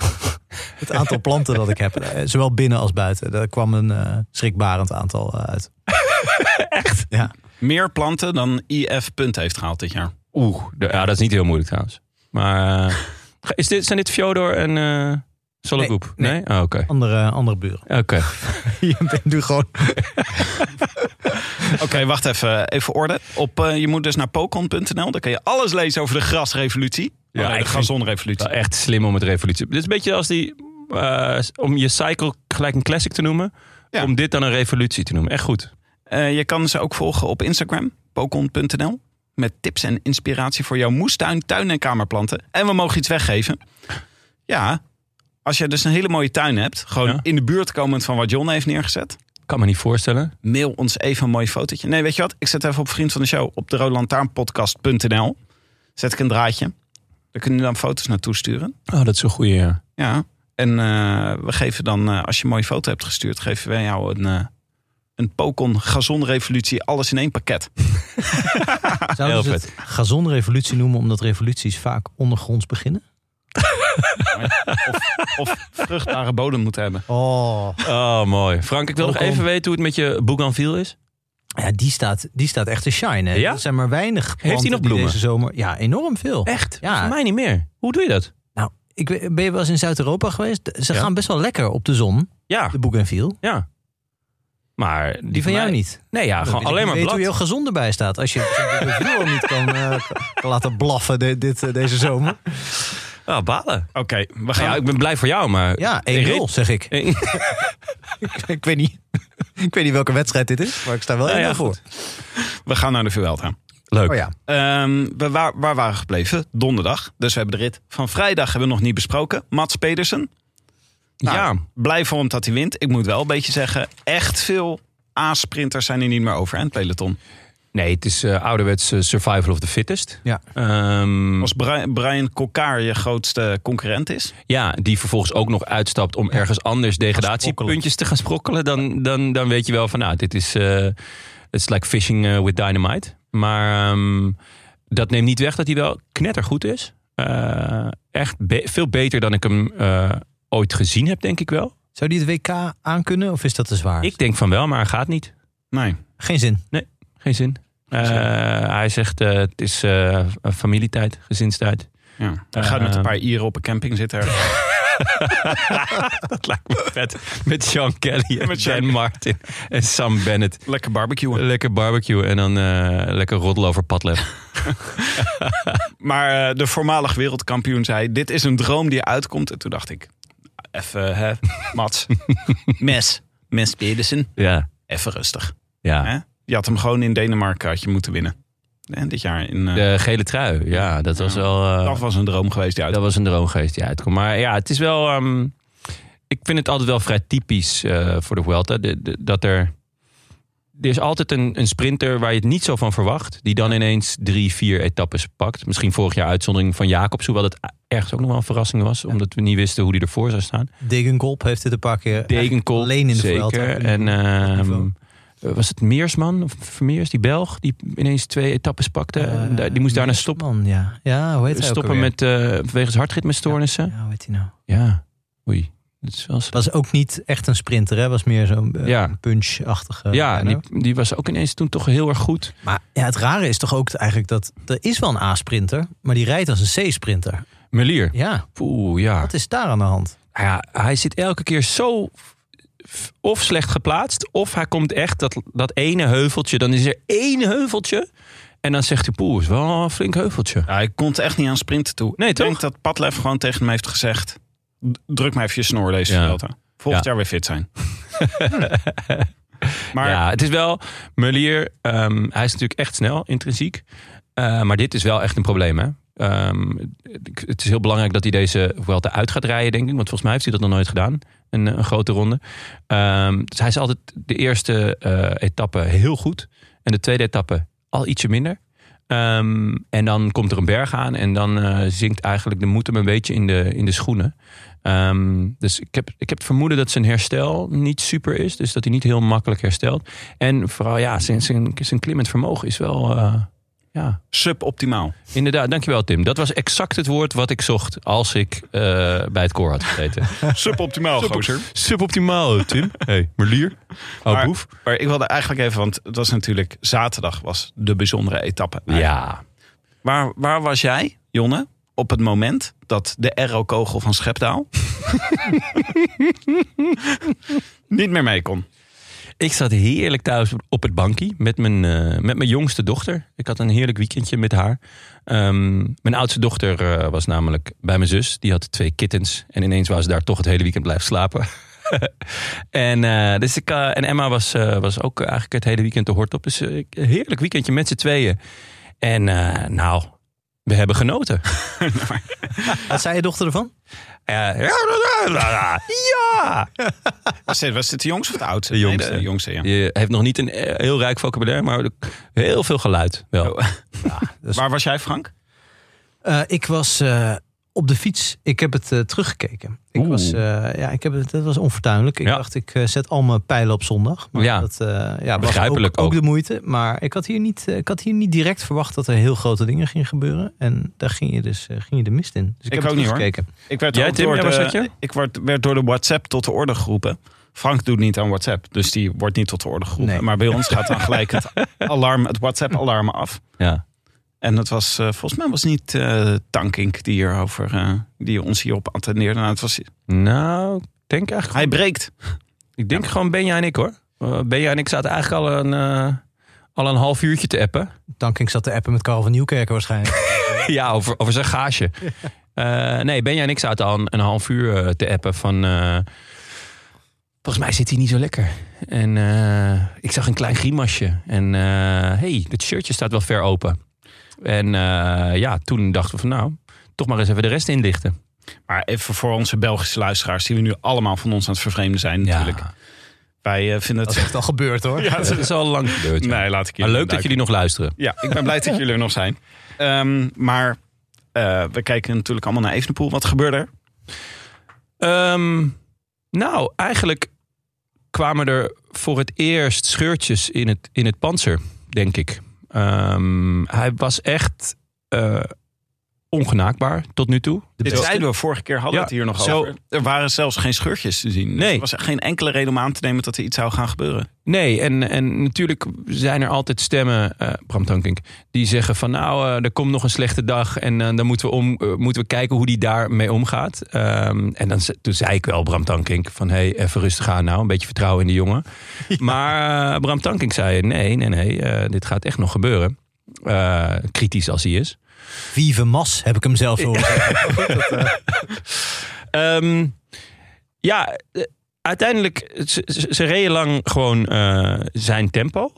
Speaker 2: het aantal planten dat ik heb, eh, zowel binnen als buiten. Daar kwam een eh, schrikbarend aantal eh, uit. Echt? Ja.
Speaker 3: Meer planten dan IF punt heeft gehaald dit jaar.
Speaker 1: Oeh, de- ja, dat is niet heel moeilijk trouwens. Maar eh, is dit, zijn dit Fjodor en eh Sologroep?
Speaker 2: Nee,
Speaker 1: Nee?
Speaker 2: nee.
Speaker 1: Oh, oké.
Speaker 2: Andere, andere buren.
Speaker 1: Oké.
Speaker 2: Je bent nu gewoon
Speaker 3: Oké, wacht even. Even orde. Op, eh, je moet dus naar pokon.nl. Daar kun je alles lezen over de grasrevolutie.
Speaker 1: Ja,
Speaker 3: Ja, de
Speaker 1: ik vind-
Speaker 3: gazonrevolutie.
Speaker 1: Wel echt slim om het revolutie. Dit is een beetje als die, eh, om je cycle gelijk een classic te noemen,
Speaker 3: Ja.
Speaker 1: om dit dan een revolutie te noemen. Echt goed.
Speaker 3: Eh, je kan ze ook volgen op Instagram, pokon.nl. Met tips en inspiratie voor jouw moestuin, tuin en kamerplanten. En we mogen iets weggeven. Ja, als je dus een hele mooie tuin hebt, gewoon
Speaker 1: Ja.
Speaker 3: in de buurt komend van wat John heeft neergezet.
Speaker 1: Kan me niet voorstellen.
Speaker 3: Mail ons even een mooi fotootje. Nee, weet je wat? Ik zet even op vriend van de show op de roodlantaarnpodcast.nl. Zet ik een draadje. Daar kunnen jullie dan foto's naartoe sturen.
Speaker 1: Oh, dat is een goede. ja.
Speaker 3: Ja, en eh, we geven dan, eh, als je een mooie foto hebt gestuurd, geven wij jou een, eh, een Pokon gazonrevolutie alles in één pakket.
Speaker 2: Zouden ze
Speaker 1: Heel
Speaker 2: het gazonrevolutie noemen omdat revoluties vaak ondergronds beginnen?
Speaker 3: of vruchtbare bodem moeten hebben.
Speaker 2: Oh.
Speaker 1: Oh, mooi. Frank, ik wil nog
Speaker 2: Welkom.
Speaker 1: even weten hoe het met je Bougainville is.
Speaker 2: Ja, die staat, die staat echt te shine. Hè?
Speaker 1: Ja?
Speaker 2: Er zijn maar weinig planten
Speaker 1: hij nog
Speaker 2: die
Speaker 1: bloemen?
Speaker 2: deze zomer. Ja, enorm veel.
Speaker 1: Echt?
Speaker 2: Ja.
Speaker 1: Voor mij niet meer. Hoe doe je dat?
Speaker 2: Nou, ik, weet- ben je wel eens in Zuid-Europa geweest? Ze
Speaker 1: Ja.
Speaker 2: gaan best wel lekker op de zon,
Speaker 1: Ja,
Speaker 2: de Bougainville.
Speaker 1: ja. Maar die,
Speaker 2: Die van jou
Speaker 1: mij-
Speaker 2: niet.
Speaker 1: Nee, ja, gewoon alleen maar
Speaker 2: weet
Speaker 1: blad.
Speaker 2: hoe je heel gezond erbij staat als je de Bougainville al niet kan, eh, kan laten blaffen de- dit, eh, deze zomer.
Speaker 1: Ah, balen.
Speaker 3: Oké, we
Speaker 1: Nou
Speaker 3: gaan.
Speaker 1: ja, ik ben blij voor jou, maar...
Speaker 2: Ja,
Speaker 1: Ik
Speaker 2: 1-0
Speaker 1: reed-
Speaker 2: zeg ik. ik, weet niet, ik weet niet welke wedstrijd dit is, maar ik sta wel
Speaker 1: Nou ja,
Speaker 2: 1-0 voor.
Speaker 3: We gaan naar de Vuelta.
Speaker 1: Leuk.
Speaker 2: Oh ja.
Speaker 3: Ehm, we, waar, waar waren we gebleven? Donderdag. Dus we hebben de rit van vrijdag hebben we nog niet besproken. Mats Pedersen. Nou,
Speaker 1: Ja.
Speaker 3: Blij voor hem dat hij wint. Ik moet wel een beetje zeggen, echt veel A-sprinters zijn er niet meer over. En het peloton.
Speaker 1: Nee, het is eh, ouderwets eh, survival of the fittest.
Speaker 2: Ja.
Speaker 1: Ehm,
Speaker 3: Als Brian, Brian Kokar je grootste concurrent is.
Speaker 1: ja, die vervolgens ook nog uitstapt om ergens anders degradatiepuntjes te gaan sprokkelen. Dan, dan, dan weet je wel van, nou, dit is... eh it's like fishing eh, with dynamite. Maar ehm, dat neemt niet weg dat hij wel knettergoed is. Eh, echt be- veel beter dan ik hem eh, ooit gezien heb, denk ik wel.
Speaker 2: Zou die het WK aankunnen of is dat te zwaar?
Speaker 1: Ik denk van wel, maar hij gaat niet.
Speaker 3: Nee.
Speaker 2: Geen zin.
Speaker 1: Geen zin. Eh, hij zegt, eh, het is eh, familietijd, gezinstijd.
Speaker 3: Ja. Hij gaat met een paar Ieren op een camping zitten. ergens.
Speaker 1: Dat lijkt me vet. Met Sean Kelly en
Speaker 3: Met Sean-
Speaker 1: Dan Martin en Sam Bennett.
Speaker 3: Lekker barbecuen.
Speaker 1: Lekker barbecue en dan eh, lekker roddel over padlef.
Speaker 3: Maar eh, de voormalig wereldkampioen zei: Dit is een droom die uitkomt. En toen dacht ik: Even, hè, Mats. Mes. Mes Pedersen.
Speaker 1: Ja,
Speaker 3: Even rustig.
Speaker 1: ja.
Speaker 3: Hè? Je had hem gewoon in Denemarken had je moeten winnen. En dit jaar in. eh,
Speaker 1: De gele trui, ja, dat was wel... eh,
Speaker 3: Dat was een droom geweest.
Speaker 1: dat
Speaker 3: Die uitkomt.
Speaker 1: was een droomgeest die uitkomt. Maar ja, het is wel... ehm, ik vind het altijd wel vrij typisch eh, voor de Vuelta. de- de- dat er er is altijd een, een sprinter waar je het niet zo van verwacht. Die dan ineens drie, vier etappes pakt. Misschien vorig jaar uitzondering van Jacobs. Hoewel dat e-, ergens ook nog wel een verrassing was. Omdat we niet wisten hoe die ervoor zou staan.
Speaker 2: Degenkolb heeft dit een paar keer
Speaker 1: Degenkolb
Speaker 2: alleen in de Vuelta.
Speaker 1: zeker. En ehm,
Speaker 2: niveau.
Speaker 1: was het Meersman of Vermeers, die Belg, die ineens twee etappes pakte.
Speaker 2: Eh,
Speaker 1: En da- eh, die moest daarna stoppen,
Speaker 2: Man, ja. ja, hoe heet hij ook
Speaker 1: stoppen
Speaker 2: alweer?
Speaker 1: met, eh wegens hartritmestoornissen. Ja.
Speaker 2: Ja, hoe heet hij nou?
Speaker 1: Oei, dat is wel slecht.
Speaker 2: Was ook niet echt een sprinter, hè? Was meer zo'n eh,
Speaker 1: Ja.
Speaker 2: punch-achtige.
Speaker 1: Ja,
Speaker 2: renner.
Speaker 1: die, die was ook ineens toen toch heel erg goed.
Speaker 2: Maar ja, het rare is toch ook eigenlijk dat er is wel een A-sprinter, maar die rijdt als een C-sprinter.
Speaker 1: Melier.
Speaker 2: Ja,
Speaker 1: Oeh, ja.
Speaker 2: wat is daar aan de hand?
Speaker 1: Nou ja. Hij zit elke keer zo f- of slecht geplaatst, of hij komt echt dat, dat ene heuveltje. Dan is er één heuveltje. En dan zegt hij, poeh, is wel een flink heuveltje.
Speaker 3: Ja, ik kon het echt niet aan sprinten toe.
Speaker 1: Nee,
Speaker 3: ik
Speaker 1: toch?
Speaker 3: denk dat Padlef gewoon tegen hem heeft gezegd... "D- druk maar even je snor deze
Speaker 1: Ja.
Speaker 3: Vuelta. Volgend
Speaker 1: Ja.
Speaker 3: jaar weer fit zijn. maar
Speaker 1: ja, het is wel. Melier, ehm, hij is natuurlijk echt snel, intrinsiek. Eh, maar dit is wel echt een probleem, hè? Ehm, het- het is heel belangrijk dat hij deze Vuelta uit gaat rijden, denk ik. Want volgens mij heeft hij dat nog nooit gedaan. Een, eh, een grote ronde. Ehm, dus hij is altijd de eerste eh, etappe heel goed. En de tweede etappe al ietsje minder. Ehm, en dan komt er een berg aan. En dan eh, zinkt eigenlijk de moed hem een beetje in de, in de schoenen. Ehm, dus ik heb, ik heb het vermoeden dat zijn herstel niet super is. Dus dat hij niet heel makkelijk herstelt. En vooral, ja, zijn, zijn, zijn klimmend vermogen is wel. eh, ja,
Speaker 3: suboptimaal.
Speaker 1: inderdaad. Dankjewel, Tim. Dat was exact het woord wat ik zocht. als ik eh, bij het koor had gezeten.
Speaker 3: Suboptimaal, gozer.
Speaker 1: Suboptimaal, Tim. Hey, Merlier. Oh,
Speaker 3: Maar- Maar ik wilde eigenlijk even, want het was natuurlijk zaterdag was de bijzondere etappe.
Speaker 1: Ja.
Speaker 3: Waar, waar was jij, Jonne, op het moment dat de aero-kogel van Schepdaal niet meer mee kon?
Speaker 1: Ik zat heerlijk thuis op het bankje met mijn, eh, met mijn jongste dochter. Ik had een heerlijk weekendje met haar. Ehm, mijn oudste dochter eh, was namelijk bij mijn zus. Die had twee kittens. En ineens was ze daar toch het hele weekend blijven slapen. en, eh, dus ik, eh, en Emma was, eh, was ook eigenlijk het hele weekend de hort op. Dus eh, ik- een heerlijk weekendje met z'n tweeën. En eh, nou, we hebben genoten.
Speaker 2: Wat zei je dochter ervan?
Speaker 1: Eh, ja!
Speaker 3: Was dit, was dit de jongste of de oudste?
Speaker 1: De
Speaker 3: Nee,
Speaker 1: jongste.
Speaker 3: de jongste, ja.
Speaker 1: Je heeft nog niet een eh, heel rijk vocabulaire, maar heel veel geluid wel.
Speaker 3: Waar was jij, Frank?
Speaker 2: Eh, ik was eh, op de fiets. Ik heb het eh, teruggekeken. Ik
Speaker 1: Oeh.
Speaker 2: was, eh, ja, ik heb het, dat was onfortuinlijk. Ik
Speaker 1: Ja.
Speaker 2: dacht, ik eh, zet al mijn pijlen op zondag. Maar
Speaker 1: Ja.
Speaker 2: dat eh, ja, was ook,
Speaker 1: Begrijpelijk
Speaker 2: ook
Speaker 1: ook.
Speaker 2: de moeite. Maar ik had, hier niet, eh, ik had hier niet direct verwacht dat er heel grote dingen gingen gebeuren. En daar ging je dus eh, ging je de mist in. Dus ik,
Speaker 3: Ik
Speaker 2: heb
Speaker 3: ook
Speaker 2: het
Speaker 3: niet, hoor.
Speaker 2: teruggekeken.
Speaker 3: Ik werd,
Speaker 1: Jij,
Speaker 3: ook
Speaker 1: Tim,
Speaker 3: door
Speaker 1: ja, waar zat
Speaker 3: de,
Speaker 1: je?
Speaker 3: ik werd, werd door de WhatsApp tot de orde geroepen. Frank doet niet aan WhatsApp, dus die wordt niet tot de orde geroepen.
Speaker 2: Nee.
Speaker 3: Maar bij ons gaat dan gelijk het, alarm, het WhatsApp-alarm af.
Speaker 1: Ja.
Speaker 3: En dat was, eh, volgens mij was het niet eh Tankink die, hierover, eh, die ons hierop attendeerde. Nou, het was,
Speaker 1: Nou, ik denk eigenlijk.
Speaker 3: hij breekt.
Speaker 1: Ik denk gewoon Benja en ik hoor. Eh, Benja en ik zaten eigenlijk al een, eh, al een half uurtje te appen.
Speaker 2: Dankink zat te appen met Karel van Nieuwkerken waarschijnlijk.
Speaker 1: ja, over, over zijn gaasje. Eh, nee, Benja en ik zaten al een, een half uur eh, te appen van. eh, Volgens mij zit hij niet zo lekker. En eh, ik zag een klein grimasje. En eh, hey, dit shirtje staat wel ver open. En eh, ja, toen dachten we van nou, toch maar eens even de rest inlichten.
Speaker 3: Maar even voor onze Belgische luisteraars, die we nu allemaal van ons aan het vervreemden zijn natuurlijk.
Speaker 1: Ja,
Speaker 3: Wij eh, vinden
Speaker 2: Dat
Speaker 3: het...
Speaker 2: is echt al gebeurd hoor.
Speaker 3: Ja,
Speaker 1: dat is al lang gebeurd. ja.
Speaker 3: nee, laat ik
Speaker 1: maar
Speaker 3: jullie
Speaker 1: leuk dat jullie nog luisteren.
Speaker 3: Ja, ik ben blij dat jullie er nog zijn. Ehm, maar eh, we kijken natuurlijk allemaal naar Evenepoel. Wat gebeurde er?
Speaker 1: Ehm, nou, eigenlijk kwamen er voor het eerst scheurtjes in het, in het panzer, denk ik. Ehm, hij was echt eh, ongenaakbaar tot nu toe.
Speaker 3: Dit zeiden we vorige keer, hadden we
Speaker 1: Ja,
Speaker 3: het hier nog
Speaker 1: zo-
Speaker 3: over. Er waren zelfs geen scheurtjes te zien. Dus
Speaker 1: Nee.
Speaker 3: Er was geen enkele reden om aan te nemen dat er iets zou gaan gebeuren.
Speaker 1: Nee, en, en natuurlijk zijn er altijd stemmen, eh, Bram Tankink, die zeggen van nou, eh, er komt nog een slechte dag en eh, dan moeten we, om, eh, moeten we kijken hoe die daarmee omgaat. Ehm, en dan, ze- toen zei ik wel, Bram Tankink, van hé, hey, even rustig aan nou, een beetje vertrouwen in de jongen. Maar eh, Bram Tankink zei nee, nee, nee, eh, dit gaat echt nog gebeuren. Eh, kritisch als hij is.
Speaker 2: Vive Mas heb ik hem zelf horen. zeggen.
Speaker 1: Ehm, ja, eh, uiteindelijk, ze, ze ze reden lang gewoon eh, zijn tempo.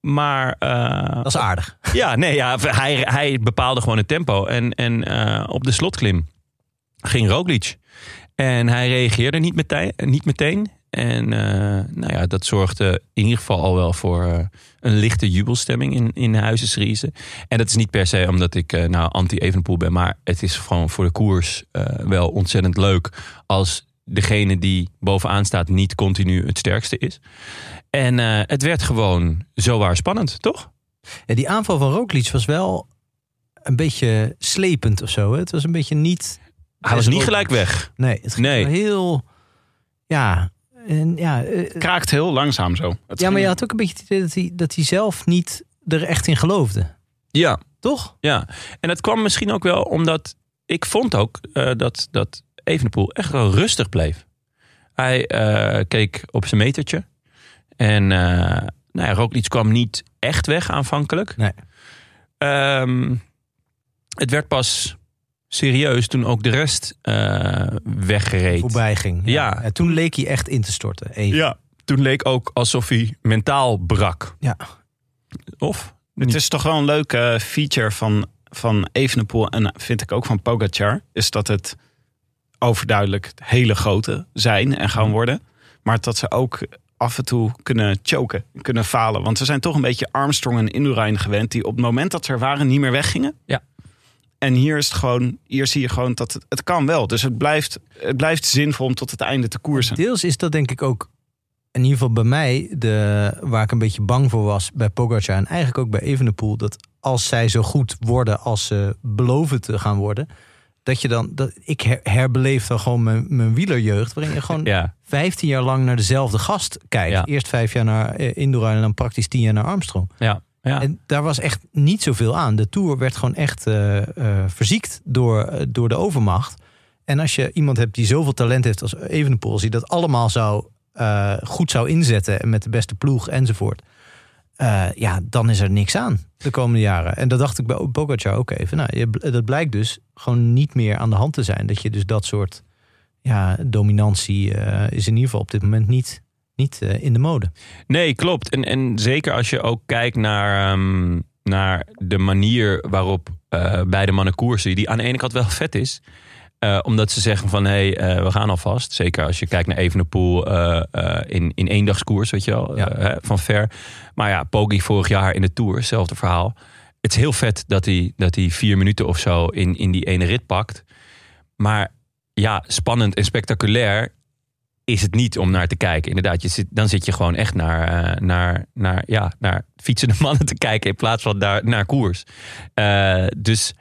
Speaker 1: Maar eh,
Speaker 2: Dat is aardig.
Speaker 1: ja, nee, ja, hij, hij bepaalde gewoon het tempo. En, en eh, op de slotklim ging Roglic. En hij reageerde niet meteen. Niet meteen. Eh, En eh, nou ja, dat zorgde in ieder geval al wel voor eh, een lichte jubelstemming in, in Huizes Riese. En dat is niet per se omdat ik eh, nou anti-Evenpoel ben. Maar het is gewoon voor de koers eh, wel ontzettend leuk als degene die bovenaan staat niet continu het sterkste is. En eh, het werd gewoon zowaar spannend, toch?
Speaker 2: Ja, die aanval van Roglic was wel een beetje slepend of zo. Hè? Het was een beetje niet...
Speaker 1: Hij was niet gelijk weg.
Speaker 2: Nee, het ging
Speaker 1: Nee.
Speaker 2: heel... Ja, en ja, eh,
Speaker 3: Kraakt heel langzaam zo. Het
Speaker 2: ja, maar
Speaker 3: ging-
Speaker 2: je had ook een beetje het idee dat hij, dat hij zelf niet er echt in geloofde.
Speaker 1: Ja,
Speaker 2: Toch?
Speaker 1: Ja, en dat kwam misschien ook wel omdat ik vond ook eh, dat, dat Evenepoel echt wel rustig bleef. Hij eh, keek op zijn metertje. En eh nou ja, Roglic kwam niet echt weg aanvankelijk.
Speaker 2: Nee.
Speaker 1: Ehm, het werd pas serieus toen ook de rest eh, weggereed.
Speaker 2: Voorbij ging.
Speaker 1: Ja.
Speaker 2: En toen leek hij echt in te storten. Even.
Speaker 1: Ja, toen leek ook alsof hij mentaal brak.
Speaker 2: Ja.
Speaker 1: Of?
Speaker 3: Het is toch wel een leuke eh, feature van, van Evenepoel en eh, vind ik ook van Pogacar. Is dat het overduidelijk hele grote zijn en gaan worden. Maar dat ze ook af en toe kunnen choken, kunnen falen. Want we zijn toch een beetje Armstrong en Indurain gewend... die op het moment dat ze er waren niet meer weggingen.
Speaker 1: Ja.
Speaker 3: En hier, is het gewoon, hier zie je gewoon dat het, het kan wel. Dus het blijft, het blijft zinvol om tot het einde te koersen.
Speaker 2: Deels is dat denk ik ook, in ieder geval bij mij, de, waar ik een beetje bang voor was bij Pogacar en eigenlijk ook bij Evenepoel, dat als zij zo goed worden als ze beloven te gaan worden, dat je dan, dat, ik her- herbeleef dan gewoon mijn, mijn wielerjeugd, waarin je gewoon
Speaker 1: Ja,
Speaker 2: 15 jaar lang naar dezelfde gast kijkt.
Speaker 1: Ja.
Speaker 2: Eerst vijf jaar naar eh, Indurain en dan praktisch tien jaar naar Armstrong.
Speaker 1: ja, ja.
Speaker 2: En daar was echt niet zoveel aan. De Tour werd gewoon echt eh, eh, verziekt door, eh, door de overmacht. En als je iemand hebt die zoveel talent heeft als Evenepoel... die dat allemaal zou, eh, goed zou inzetten en met de beste ploeg enzovoort... eh, ja, dan is er niks aan de komende jaren. En dat dacht ik bij Pogacar ook even. Nou, je, bl- dat blijkt dus gewoon niet meer aan de hand te zijn. Dat je dus dat soort ja, dominantie eh, is in ieder geval op dit moment niet, niet eh, in de mode.
Speaker 1: Nee, klopt. En, en zeker als je ook kijkt naar, ehm, naar de manier waarop eh, beide mannen koersen. Die aan de ene kant wel vet is. eh, omdat ze zeggen van, hé, hey, eh, we gaan alvast. Zeker als je kijkt naar Evenepoel eh eh in, in eendagskoers, weet je wel.
Speaker 2: Ja.
Speaker 1: eh, hè, van ver. Maar ja, Poggi vorig jaar in de Tour, hetzelfde verhaal. Het is heel vet dat hij, dat hij vier minuten of zo in, in die ene rit pakt. Maar ja, spannend en spectaculair is het niet om naar te kijken. Inderdaad, je zit, dan zit je gewoon echt naar, eh, naar, naar, ja, naar fietsende mannen te kijken in plaats van daar, naar koers. Eh, dus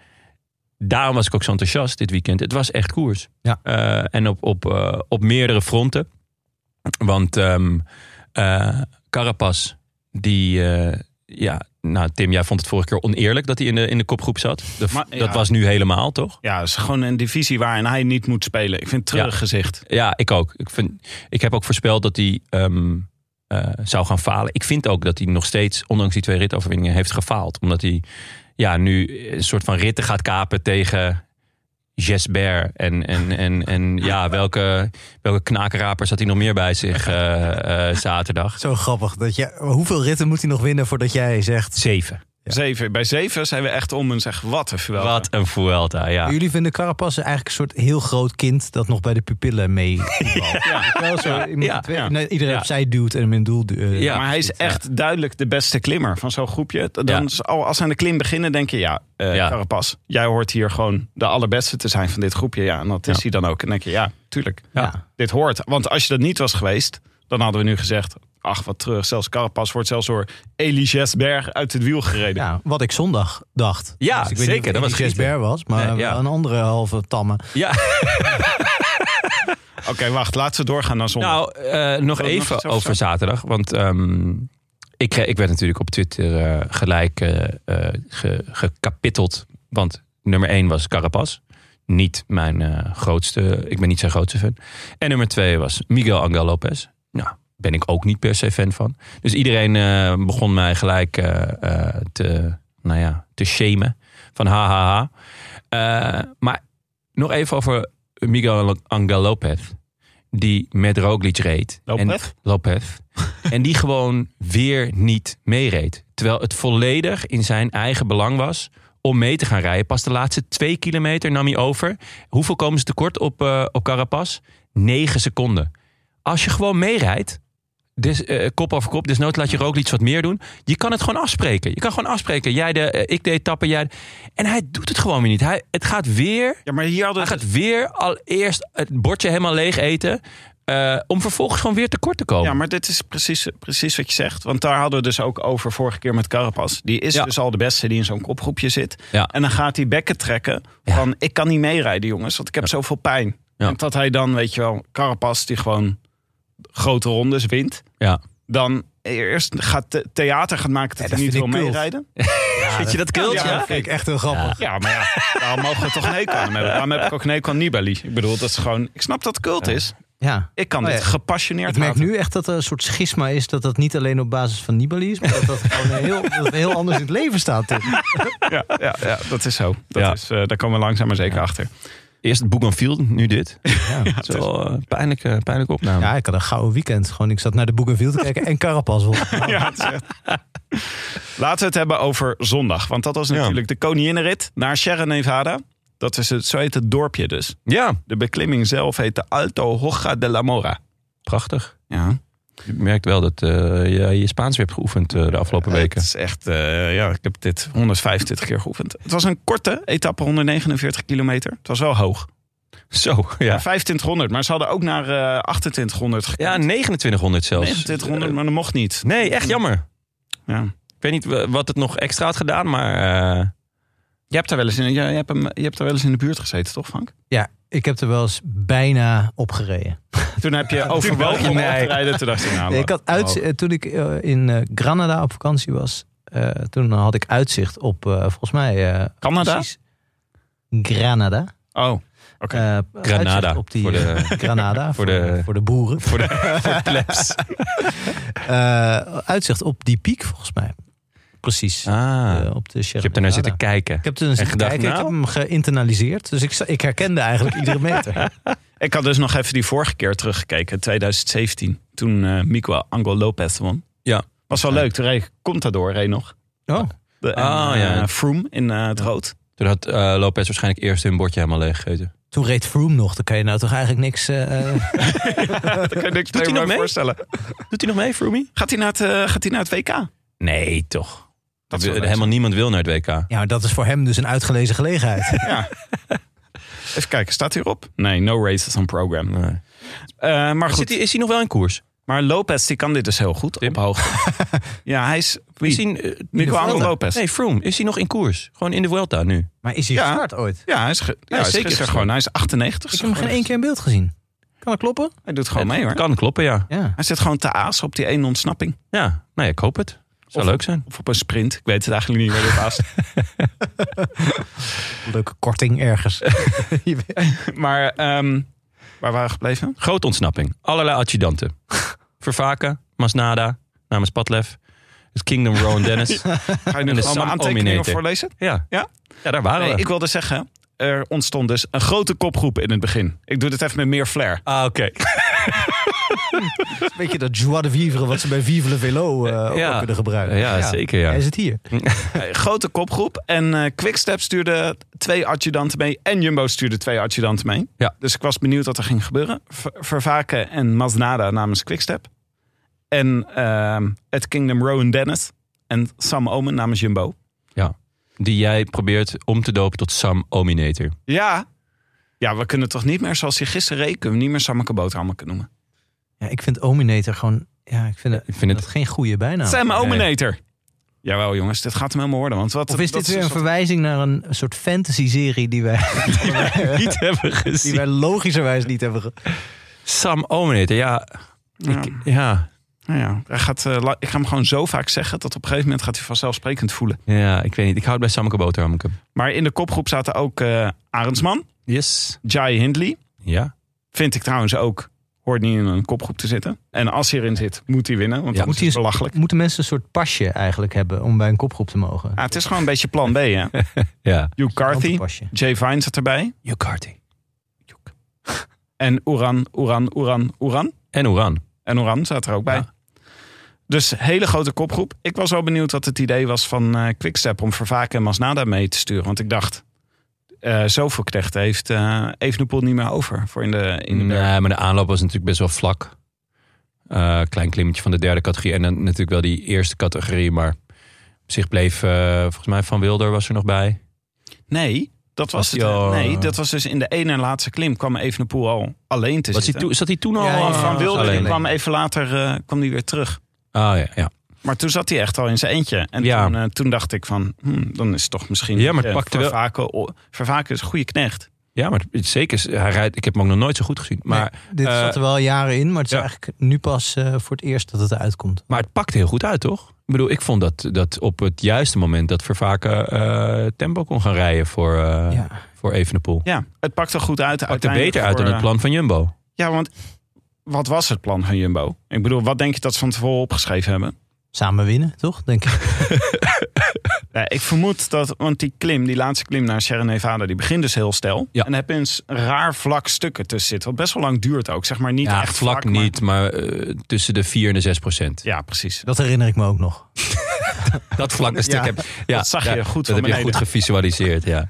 Speaker 1: daarom was ik ook zo enthousiast dit weekend. Het was echt koers.
Speaker 2: Ja.
Speaker 1: Eh, en op, op, eh, op meerdere fronten. Want ehm eh, Carapaz, die. eh, ja, nou, Tim, jij vond het vorige keer oneerlijk dat hij in de, in de kopgroep zat. Dat-
Speaker 3: Maar, ja.
Speaker 1: Dat was nu helemaal, toch?
Speaker 3: Ja, het is gewoon een divisie waarin hij niet moet spelen. Ik vind het treurig gezicht.
Speaker 1: Ja, ik ook. Ik, vind, ik heb ook voorspeld dat hij ehm, eh, zou gaan falen. Ik vind ook dat hij nog steeds, ondanks die twee ritoverwinningen, heeft gefaald. Omdat hij ja, nu een soort van ritten gaat kapen tegen Jesbert. En, en, en, en ja, welke, welke knakenrapers had hij nog meer bij zich eh, eh, zaterdag?
Speaker 2: Zo grappig. Dat jij, hoeveel ritten moet hij nog winnen voordat jij zegt...
Speaker 1: Zeven.
Speaker 3: Zeven. Bij zeven zijn we echt om en zeggen, wat een verwelking.
Speaker 1: Wat een Vuelta, ja.
Speaker 2: Maar Jullie vinden Carapace eigenlijk een soort heel groot kind dat nog bij de pupillen mee. Wel zo, iemand
Speaker 1: ja,
Speaker 2: twee-
Speaker 3: ja.
Speaker 2: nee, Iedereen
Speaker 1: Ja.
Speaker 2: opzij duwt en hem in doel duwt. Eh,
Speaker 1: Ja.
Speaker 3: maar hij is echt duidelijk de beste klimmer van zo'n groepje. Dan
Speaker 1: Ja.
Speaker 3: is al, als ze aan de klim beginnen, denk je, ja, eh
Speaker 1: Ja.
Speaker 3: Carapaz, jij hoort hier gewoon de allerbeste te zijn van dit groepje. Ja, en dat is
Speaker 1: Ja.
Speaker 3: hij dan ook. En denk je, ja, tuurlijk,
Speaker 2: Ja.
Speaker 3: dit hoort. Want als je dat niet was geweest, dan hadden we nu gezegd, ach, wat terug. Zelfs Carapaz wordt zelfs door Elias Berg uit het wiel gereden.
Speaker 2: Ja, wat ik zondag dacht. Dus
Speaker 1: Ja, zeker, dat was
Speaker 2: Chris
Speaker 1: genieten.
Speaker 2: Ber was, maar
Speaker 1: Nee, ja.
Speaker 2: een andere halve tamme.
Speaker 1: ja.
Speaker 3: Oké, wacht, laten ze doorgaan naar zondag.
Speaker 1: Nou, eh, nog
Speaker 3: Zullen we nog
Speaker 1: even
Speaker 3: iets over
Speaker 1: over zaterdag. Want ehm, ik, kreeg- ik werd natuurlijk op Twitter eh, gelijk eh eh, ge- gekapiteld. Want nummer 1 was Carapaz. Niet mijn eh, grootste, ik ben niet zijn grootste fan. En nummer 2 was Miguel Angel Lopez. Nou, ben ik ook niet per se fan van. Dus iedereen eh, begon mij gelijk eh, eh, te, nou ja, te shamen. Van ha ha ha. Eh, maar nog even over Miguel Angel Lopez die met Roglic reed.
Speaker 3: Lopez?
Speaker 1: En, Lopez. en die gewoon weer niet meereed. Terwijl het volledig in zijn eigen belang was om mee te gaan rijden. Pas de laatste twee kilometer nam hij over. Hoeveel komen ze tekort op, eh op Carapaz? Negen seconden. als je gewoon meerijdt, dus, eh, kop over kop, dus laat je Roglic wat meer doen. Je kan het gewoon afspreken. Je kan gewoon afspreken. Jij de, eh, ik de etappe, jij de- En hij doet het gewoon weer niet. Hij, het gaat weer,
Speaker 3: Ja, maar hier hadden
Speaker 1: hij
Speaker 3: we het-
Speaker 1: gaat weer al eerst het bordje helemaal leeg eten. eh, om vervolgens gewoon weer tekort te komen.
Speaker 3: Ja, maar dit is precies, precies wat je zegt. Want daar hadden we dus ook over vorige keer met Carapas. Die is
Speaker 1: Ja.
Speaker 3: dus al de beste die in zo'n kopgroepje zit.
Speaker 1: Ja.
Speaker 3: En dan gaat hij bekken trekken van... ik kan niet meerijden, jongens, want ik heb zoveel pijn.
Speaker 1: Ja.
Speaker 3: En dat hij dan, weet je wel, Carapas die gewoon grote rondes wint...
Speaker 1: Ja.
Speaker 3: dan eerst gaat the- theater gaat maken dat
Speaker 2: Ja, dat
Speaker 3: hij niet
Speaker 2: vind
Speaker 3: wil
Speaker 2: ik kult.
Speaker 3: meerijden.
Speaker 1: Vind je dat kilt?
Speaker 3: Ja,
Speaker 1: ja?
Speaker 2: Dat vind ik echt heel grappig.
Speaker 3: Ja, maar ja, daarom mogen we toch Neko aan hem hebben. Daarom heb ik ook Neko aan Nibali. Ik bedoel, dat is gewoon... Ik snap dat het kult is.
Speaker 2: Ja.
Speaker 3: Ik kan
Speaker 2: Oh ja.
Speaker 3: dit gepassioneerd
Speaker 2: Ik merk
Speaker 3: haten.
Speaker 2: nu echt dat er een soort schisma is dat dat niet alleen op basis van Nibali is, maar dat dat gewoon heel, dat we heel anders in het leven staat. Tim.
Speaker 3: Ja, ja, ja, dat is zo. Dat
Speaker 1: Ja.
Speaker 3: is, eh, daar komen we langzaam maar zeker achter.
Speaker 1: Eerst het boek van Field, nu dit.
Speaker 2: Ja.
Speaker 1: Het is wel eh, pijnlijke, pijnlijke opname.
Speaker 2: Ja, ik had een gouden weekend. Gewoon, ik zat naar de Book Field te kijken en Carapas won.
Speaker 3: Ja, het is echt- Laten we het hebben over zondag. Want dat was natuurlijk de koninginrit naar Sierra Nevada. Dat is het, zo heet het dorpje dus.
Speaker 1: ja,
Speaker 3: De beklimming zelf heet de Alto Hoja de la Mora.
Speaker 1: prachtig.
Speaker 3: Ja,
Speaker 1: Je merkt wel dat eh, je, je Spaans weer hebt geoefend eh, de afgelopen
Speaker 3: het
Speaker 1: weken.
Speaker 3: is echt... eh, ja, ik heb dit 125 keer geoefend. Het was een korte etappe, 149 kilometer. Het was wel hoog.
Speaker 1: Zo, ja.
Speaker 3: 2500, maar ze hadden ook naar eh, 2800 gekund.
Speaker 1: Ja, 2900 zelfs.
Speaker 3: 2900, maar dat mocht niet.
Speaker 1: Nee, echt jammer.
Speaker 3: Ja.
Speaker 1: Ik weet niet wa- wat het nog extra had gedaan, maar... eh,
Speaker 3: Je hebt, daar wel eens in, je, hebt hem, je hebt daar wel eens in de buurt gezeten, toch Frank?
Speaker 2: Ja, ik heb er wel eens bijna op gereden.
Speaker 3: Toen heb je overwogen om
Speaker 1: Nee.
Speaker 3: af te rijden. Toen dacht je, nou,
Speaker 2: Nee, ik had uit,
Speaker 3: oh.
Speaker 2: eh, toen ik eh, in eh, Granada op vakantie was, eh, toen had ik uitzicht op, eh, volgens mij... eh,
Speaker 3: Canada?
Speaker 2: precies Granada.
Speaker 3: Oh, Oké.
Speaker 2: Eh,
Speaker 1: Granada,
Speaker 2: uitzicht Op die,
Speaker 1: voor de-
Speaker 2: eh, Granada, voor,
Speaker 1: de-
Speaker 2: de, voor de boeren.
Speaker 1: voor de, voor de plebs.
Speaker 2: Eh, uitzicht op die piek, volgens mij. Precies.
Speaker 1: Ah,
Speaker 2: Eh, op de
Speaker 1: je hebt ernaar zitten kijken.
Speaker 2: Ik heb toen eens
Speaker 1: en gedacht, nou?
Speaker 2: gekeken, ik heb hem geïnternaliseerd. Dus ik, sta- ik herkende eigenlijk iedere meter.
Speaker 3: ik had dus nog even die vorige keer teruggekeken, 2017. Toen eh Mico Angel Lopez won.
Speaker 1: Ja.
Speaker 3: Was wel leuk, toen reed Contador reed nog.
Speaker 2: Oh,
Speaker 3: De, en,
Speaker 1: Ah,
Speaker 3: eh,
Speaker 1: ja.
Speaker 3: Froome in eh, het rood.
Speaker 1: Toen had eh, Lopez waarschijnlijk eerst hun bordje helemaal leeg gegeten.
Speaker 2: toen reed Froome nog. Dan kan je nou toch eigenlijk niks... eh, eh,
Speaker 3: Dat kan je niks
Speaker 1: hij
Speaker 3: meer
Speaker 1: nog mee?
Speaker 3: voorstellen.
Speaker 1: Doet hij nog mee, Froomey?
Speaker 3: Gaat hij naar het, eh, gaat hij naar het WK?
Speaker 1: Nee, toch.
Speaker 3: Dat
Speaker 1: Wil-
Speaker 3: zou leuk
Speaker 1: helemaal niemand wil naar het WK.
Speaker 2: ja, maar dat is voor hem dus een uitgelezen gelegenheid.
Speaker 3: Ja. Even kijken, staat hij erop? Nee, no races on program.
Speaker 1: Nee.
Speaker 3: Eh, maar
Speaker 1: Zit
Speaker 3: goed,
Speaker 1: hij, is hij nog wel in koers?
Speaker 3: maar Lopez die kan dit dus heel goed
Speaker 1: Tim?
Speaker 3: op hoogte. ja, hij is...
Speaker 1: Is
Speaker 3: Wie?
Speaker 1: hij, eh,
Speaker 3: Miguel
Speaker 1: in de
Speaker 3: Angel
Speaker 1: Vuelta?
Speaker 3: Lopez.
Speaker 1: Nee, Froome. Is hij nog in koers? Gewoon in de Vuelta nu.
Speaker 2: Maar is hij
Speaker 3: Ja.
Speaker 2: gestart ooit?
Speaker 3: Ja, hij is, ge- ja, hij is
Speaker 1: zeker
Speaker 3: gisteren
Speaker 1: gestart.
Speaker 3: gewoon. Hij is 98.
Speaker 2: Ik heb hem geen één keer in beeld gezien. Kan dat kloppen?
Speaker 3: Hij doet gewoon
Speaker 1: Het
Speaker 3: mee hoor.
Speaker 1: Kan kloppen, ja.
Speaker 2: Ja.
Speaker 3: Hij zit gewoon te aas op die één ontsnapping.
Speaker 1: Ja, nou ja, ik hoop het. Zou
Speaker 3: Of-
Speaker 1: leuk zijn.
Speaker 3: Of op een sprint. Ik weet het eigenlijk niet meer. dit aast.
Speaker 2: Leuke korting ergens. Je weet-
Speaker 3: maar ehm, waar waren we gebleven?
Speaker 1: Grote ontsnapping. Allerlei adjudanten. Vervaken, Masnada, namens Padlef. Het Kingdom Row en Dennis.
Speaker 3: Ga je nu
Speaker 1: En de
Speaker 3: allemaal
Speaker 1: Sam
Speaker 3: aantekeningen
Speaker 1: Ominator.
Speaker 3: voorlezen?
Speaker 1: Ja.
Speaker 3: Ja?
Speaker 1: ja, daar waren
Speaker 3: Nee,
Speaker 1: we.
Speaker 3: ik wilde zeggen... Er ontstond dus een grote kopgroep in het begin. Ik doe dit even met meer flair.
Speaker 1: Ah, oké.
Speaker 2: Een beetje dat joie de vivre wat ze bij Vive le Velo eh, ook
Speaker 1: Ja.
Speaker 2: al kunnen gebruiken.
Speaker 1: Ja, zeker, ja.
Speaker 2: Hij zit hier.
Speaker 3: Eh, grote kopgroep. En eh Quickstep stuurde twee adjudanten mee. En Jumbo stuurde twee adjudanten mee.
Speaker 1: Ja.
Speaker 3: Dus ik was benieuwd wat er ging gebeuren. Ver- Vervaken en Masnada namens Quickstep. En ehm, het Kingdom Rowan Dennis. En Sam Omen namens Jumbo.
Speaker 1: Die jij probeert om te dopen tot Sam Ominator.
Speaker 3: Ja. Ja, we kunnen toch niet meer zoals hij gisteren reed. Kunnen we niet meer Sammeke Boterhammen noemen.
Speaker 2: Ja, ik vind Ominator gewoon... Ja, ik vind, het,
Speaker 1: Ik vind
Speaker 2: dat
Speaker 1: het...
Speaker 2: geen goede bijnaam.
Speaker 3: Sam
Speaker 1: nee.
Speaker 3: Omenator. Jawel jongens, dit gaat hem helemaal worden. Want wat,
Speaker 2: Of is
Speaker 3: dat
Speaker 2: dit weer een
Speaker 3: soort-
Speaker 2: verwijzing naar een soort fantasy-serie die wij,
Speaker 1: Niet hebben
Speaker 2: die
Speaker 1: gezien.
Speaker 2: wij logischerwijs niet hebben ge-
Speaker 1: Sam Ominator, ja.
Speaker 3: Ja.
Speaker 1: Ik, ja.
Speaker 3: Nou ja, hij gaat, eh, la- ik ga hem gewoon zo vaak zeggen... dat op een gegeven moment gaat hij vanzelfsprekend voelen.
Speaker 1: Ja, ik weet niet. Ik houd bij Samke Boterhamke.
Speaker 3: Maar in de kopgroep zaten ook eh Arendsman,
Speaker 1: Yes.
Speaker 3: Jai Hindley.
Speaker 1: Ja.
Speaker 3: Vind ik trouwens ook, hoort niet in een kopgroep te zitten. En als hij erin zit, moet hij winnen, want
Speaker 1: Ja.
Speaker 3: dan
Speaker 2: Moet
Speaker 3: is
Speaker 2: hij
Speaker 3: het
Speaker 2: eens-
Speaker 3: belachelijk.
Speaker 2: Moeten mensen een soort pasje eigenlijk hebben om bij een kopgroep te mogen?
Speaker 3: Ah, het is gewoon een beetje plan B, hè.
Speaker 1: Ja.
Speaker 3: Hugh Carthy,
Speaker 2: Pasje.
Speaker 3: Jay Vine zat erbij.
Speaker 1: Jokarty.
Speaker 3: En Oeran, Oeran, Oeran, Oeran.
Speaker 1: En Oeran.
Speaker 3: En Oeran zat er ook bij.
Speaker 1: Ja.
Speaker 3: Dus hele grote kopgroep. Ik was wel benieuwd wat het idee was van eh, Quickstep... om Vervaken en Masnada mee te sturen. Want ik dacht, eh zoveel knechten heeft eh Evenepoel niet meer over voor in de, in de berg.
Speaker 1: Nee, maar de aanloop was natuurlijk best wel vlak. Eh, klein klimmetje van de derde categorie. En dan natuurlijk wel die eerste categorie. Maar op zich bleef, eh, volgens mij Van Wilder was er nog bij.
Speaker 3: Nee, dat was,
Speaker 1: Was die
Speaker 3: het.
Speaker 1: al-
Speaker 3: Nee, dat was dus in de ene en laatste klim kwam Evenepoel al alleen te
Speaker 1: Was hij
Speaker 3: zitten.
Speaker 1: toen, zat hij toen al?
Speaker 2: Ja, ja,
Speaker 1: eh,
Speaker 2: ja.
Speaker 3: Van Wilder die
Speaker 1: alleen?
Speaker 3: kwam even later eh, kwam die weer terug.
Speaker 1: Ah ja, ja.
Speaker 3: Maar toen zat hij echt al in zijn eentje. En
Speaker 1: Ja.
Speaker 3: toen, eh, toen dacht ik van, hmm, dan is het toch misschien...
Speaker 1: Ja, maar het
Speaker 3: eh,
Speaker 1: pakte wel-
Speaker 3: Vervaken, o- Vervaken is een goede knecht.
Speaker 1: ja, maar het- zeker. Hij rijdt, ik heb hem ook nog nooit zo goed gezien. Maar,
Speaker 2: Nee, dit
Speaker 1: eh,
Speaker 2: zat er wel jaren in, maar het is
Speaker 1: ja.
Speaker 2: eigenlijk nu pas eh, voor het eerst dat het uitkomt.
Speaker 1: maar het pakt heel goed uit, toch? Ik bedoel, ik vond dat, dat op het juiste moment dat Vervaken eh, tempo kon gaan rijden voor, eh
Speaker 2: Ja.
Speaker 1: voor Evenepoel.
Speaker 3: Ja, het pakt er goed uit.
Speaker 1: Pakt er beter uit
Speaker 3: uiteindelijk
Speaker 1: dan het
Speaker 3: voor,
Speaker 1: plan van Jumbo.
Speaker 3: eh, Ja, want wat was het plan van Jumbo? Ik bedoel, wat denk je dat ze van tevoren opgeschreven hebben?
Speaker 2: Samen winnen, toch? Denk ik.
Speaker 3: Ja, ik vermoed dat, want die klim, die laatste klim naar Sierra Nevada, die begint dus heel stijl.
Speaker 1: Ja.
Speaker 3: En daar heb je eens raar vlak stukken tussen zitten. Wat best wel lang duurt ook, zeg maar. Niet
Speaker 1: ja,
Speaker 3: echt
Speaker 1: vlak
Speaker 3: maar-
Speaker 1: niet, maar eh, tussen de 4 en de 6 procent.
Speaker 3: Ja, precies.
Speaker 2: Dat herinner ik me ook nog.
Speaker 1: Dat vlakke stuk
Speaker 3: Ja,
Speaker 1: heb ja,
Speaker 3: dat zag je
Speaker 1: ja,
Speaker 3: goed van
Speaker 1: Dat heb je
Speaker 3: beneden.
Speaker 1: goed gevisualiseerd, ja.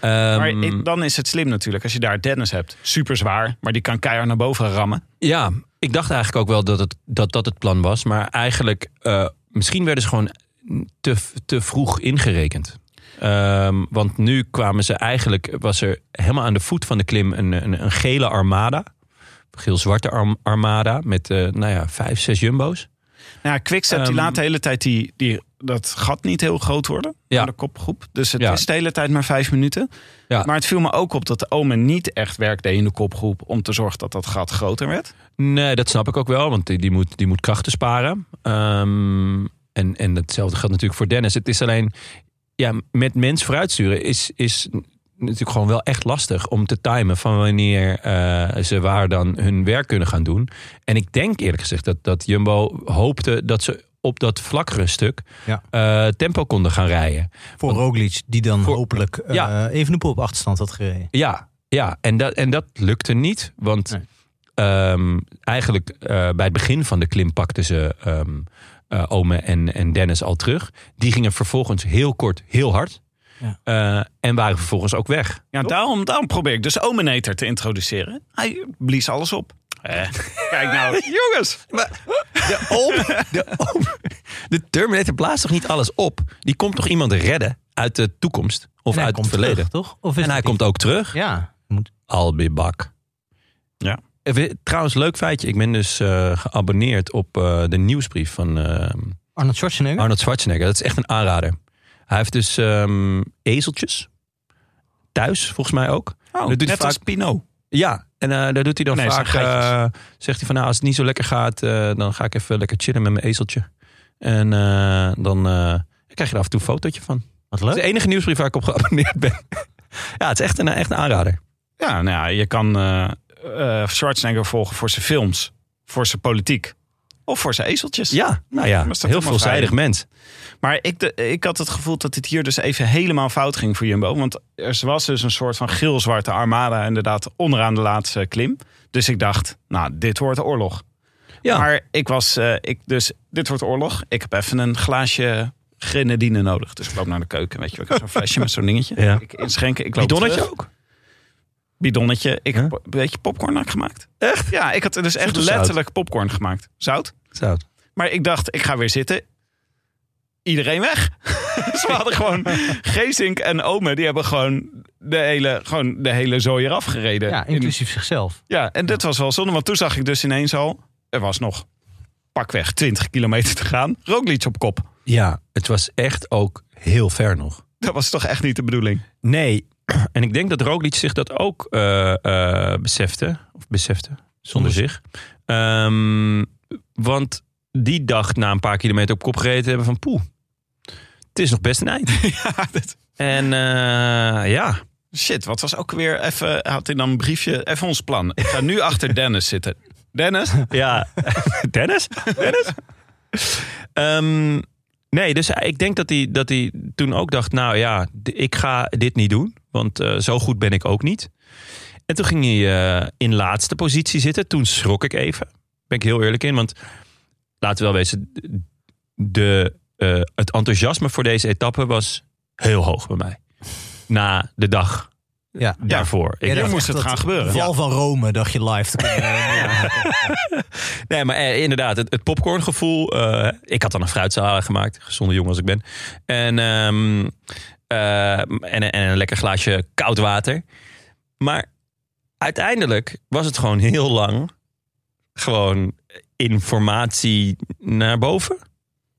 Speaker 1: Ehm,
Speaker 3: Maar ik- dan is het slim natuurlijk als je daar Dennis hebt. Super zwaar, maar die kan keihard naar boven rammen.
Speaker 1: Ja, ik dacht eigenlijk ook wel dat het, dat, dat het plan was. Maar eigenlijk, eh, misschien werden ze gewoon te, te vroeg ingerekend. Ehm, want nu kwamen ze eigenlijk, was er helemaal aan de voet van de klim een, een, een gele armada. Geel-zwarte arm- armada met, eh, nou ja, vijf, zes jumbo's.
Speaker 3: Nou ja, Quickstep die
Speaker 1: Ehm,
Speaker 3: laat de hele tijd die, die, dat gat niet heel groot worden.
Speaker 1: Ja.
Speaker 3: Ja. de kopgroep. Dus het
Speaker 1: Ja.
Speaker 3: is de hele tijd maar vijf minuten.
Speaker 1: Ja.
Speaker 3: Maar het viel me ook op dat de Omen niet echt werk deed in de kopgroep. Om te zorgen dat dat gat groter werd.
Speaker 1: Nee, dat snap ik ook wel, want die, die, moet, die moet krachten sparen. Ehm, en, en datzelfde geldt natuurlijk voor Dennis. Het is alleen, ja, met mens vooruitsturen is, is natuurlijk gewoon wel echt lastig om te timen van wanneer eh, ze waar dan hun werk kunnen gaan doen. En ik denk eerlijk gezegd dat, dat Jumbo hoopte dat ze op dat vlakkere stuk
Speaker 2: Ja.
Speaker 1: eh, tempo konden gaan rijden.
Speaker 2: Voor Roglic, die dan
Speaker 1: Voor-
Speaker 2: hopelijk eh
Speaker 1: Ja.
Speaker 2: even een op achterstand had gereden.
Speaker 1: Ja, ja en, dat, en dat lukte niet. Want ehm, eigenlijk eh, bij het begin van de klim pakten ze ehm eh, Ome en, en Dennis al terug. Die gingen vervolgens heel kort heel hard.
Speaker 2: Ja.
Speaker 1: Eh, en waren vervolgens ook weg.
Speaker 3: Ja, daarom, daarom probeer ik dus Omenator te introduceren. Hij blies alles op. Eh, Kijk nou, jongens.
Speaker 1: De Ome, de Terminator blaast toch niet alles op? Die komt toch iemand redden uit de toekomst? Of
Speaker 2: En hij
Speaker 1: uit het
Speaker 2: komt
Speaker 1: verleden?
Speaker 2: terug, Dus toch? Of is
Speaker 1: En hij
Speaker 2: dat
Speaker 1: komt ook terug.
Speaker 2: niet? Ja, moet...
Speaker 1: Albibak.
Speaker 3: Ja.
Speaker 1: Even- Eh, Trouwens, leuk feitje. Ik ben dus eh, geabonneerd op eh, de nieuwsbrief van eh,
Speaker 2: Arnold Schwarzenegger?
Speaker 1: Arnold Schwarzenegger. Dat is echt een aanrader. Hij heeft dus ehm, ezeltjes. Thuis, volgens mij ook.
Speaker 3: Oh,
Speaker 1: doet hij
Speaker 3: net
Speaker 1: vaak-
Speaker 3: als Pinot.
Speaker 1: Ja, en eh, daar doet hij dan
Speaker 3: Nee,
Speaker 1: vaak...
Speaker 3: zijn geitjes.
Speaker 1: eh, zegt hij van, nou, als het niet zo lekker gaat... eh, dan ga ik even lekker chillen met mijn ezeltje. En eh, dan eh, krijg je er af en toe een fotootje van.
Speaker 2: Wat
Speaker 1: Dat is
Speaker 2: leuk.
Speaker 1: de enige nieuwsbrief waar ik op geabonneerd ben. ja, het is echt een, echt een aanrader.
Speaker 3: Ja, nou ja, je kan eh eh, Schwarzenegger volgen voor zijn films. Voor zijn politiek. Of voor zijn ezeltjes.
Speaker 1: Ja, nou ja,
Speaker 3: Maar is dat
Speaker 1: heel
Speaker 3: helemaal
Speaker 1: veelzijdig mens.
Speaker 3: Maar ik, de- ik had het gevoel dat dit hier dus even helemaal fout ging voor Jumbo. Want er was dus een soort van geel-zwarte armada inderdaad onderaan de laatste klim. Dus ik dacht, nou, dit wordt oorlog.
Speaker 1: Ja.
Speaker 3: Maar ik was, eh, ik dus, dit wordt oorlog. Ik heb even een glaasje grenadine nodig. Dus ik loop naar de keuken, weet je wel. Ik heb zo'n flesje met zo'n dingetje.
Speaker 1: Ja.
Speaker 3: Ik inschenken, ik loop
Speaker 1: Bidonnetje
Speaker 3: terug.
Speaker 1: ook?
Speaker 3: Bidonnetje. Ik
Speaker 1: Ja.
Speaker 3: heb een beetje popcorn had ik gemaakt. Echt? Ja, ik had er dus echt
Speaker 1: of zout?
Speaker 3: letterlijk popcorn gemaakt. Zout.
Speaker 1: Zout.
Speaker 3: Maar ik dacht, ik ga weer zitten. Iedereen weg. Ze hadden gewoon Geesink en Ome, die hebben gewoon de hele, gewoon de hele zooi eraf gereden.
Speaker 2: Ja,
Speaker 1: eh,
Speaker 3: In-
Speaker 2: inclusief zichzelf.
Speaker 3: ja, en dit was wel zonde, want toen zag ik dus ineens al, er was nog pakweg 20 kilometer te gaan. Roglic op kop.
Speaker 1: Ja, het was echt ook heel ver nog.
Speaker 3: Dat was toch echt niet de bedoeling.
Speaker 1: Nee. En ik denk dat Roglic zich dat ook eh, eh, besefte. Of besefte, zonder zich. Ehm, want die dacht na een paar kilometer op kop gereden te hebben van... Poeh, het is nog best een eind.
Speaker 3: Ja, dat-
Speaker 1: en eh, ja,
Speaker 3: shit, wat was ook weer even, had hij dan een briefje, even ons plan. Ik ga nu achter Dennis zitten. Dennis?
Speaker 1: Ja, Dennis? Dennis? Ehm, nee, dus ik denk dat hij, dat hij toen ook dacht... nou ja, d- ik ga dit niet doen, want eh, zo goed ben ik ook niet. En toen ging hij eh, in laatste positie zitten. Toen schrok ik even. Ben ik heel eerlijk in, want laten we wel wezen... d- De, eh, het enthousiasme voor deze etappe was heel hoog bij mij. Na de dag
Speaker 2: Ja.
Speaker 1: daarvoor. Ik-
Speaker 2: Ja, dat
Speaker 3: Hier
Speaker 2: is
Speaker 3: moest
Speaker 2: echt
Speaker 3: het
Speaker 2: dat
Speaker 3: gaan gebeuren.
Speaker 2: Val van Rome dacht je live te kunnen.
Speaker 1: Nee, maar eh, inderdaad, het, het popcorngevoel. eh, ik had dan een fruitsalade gemaakt, gezonde jongen als ik ben. En, ehm, eh, en, en een lekker glaasje koud water. Maar uiteindelijk was het gewoon heel lang gewoon informatie naar boven.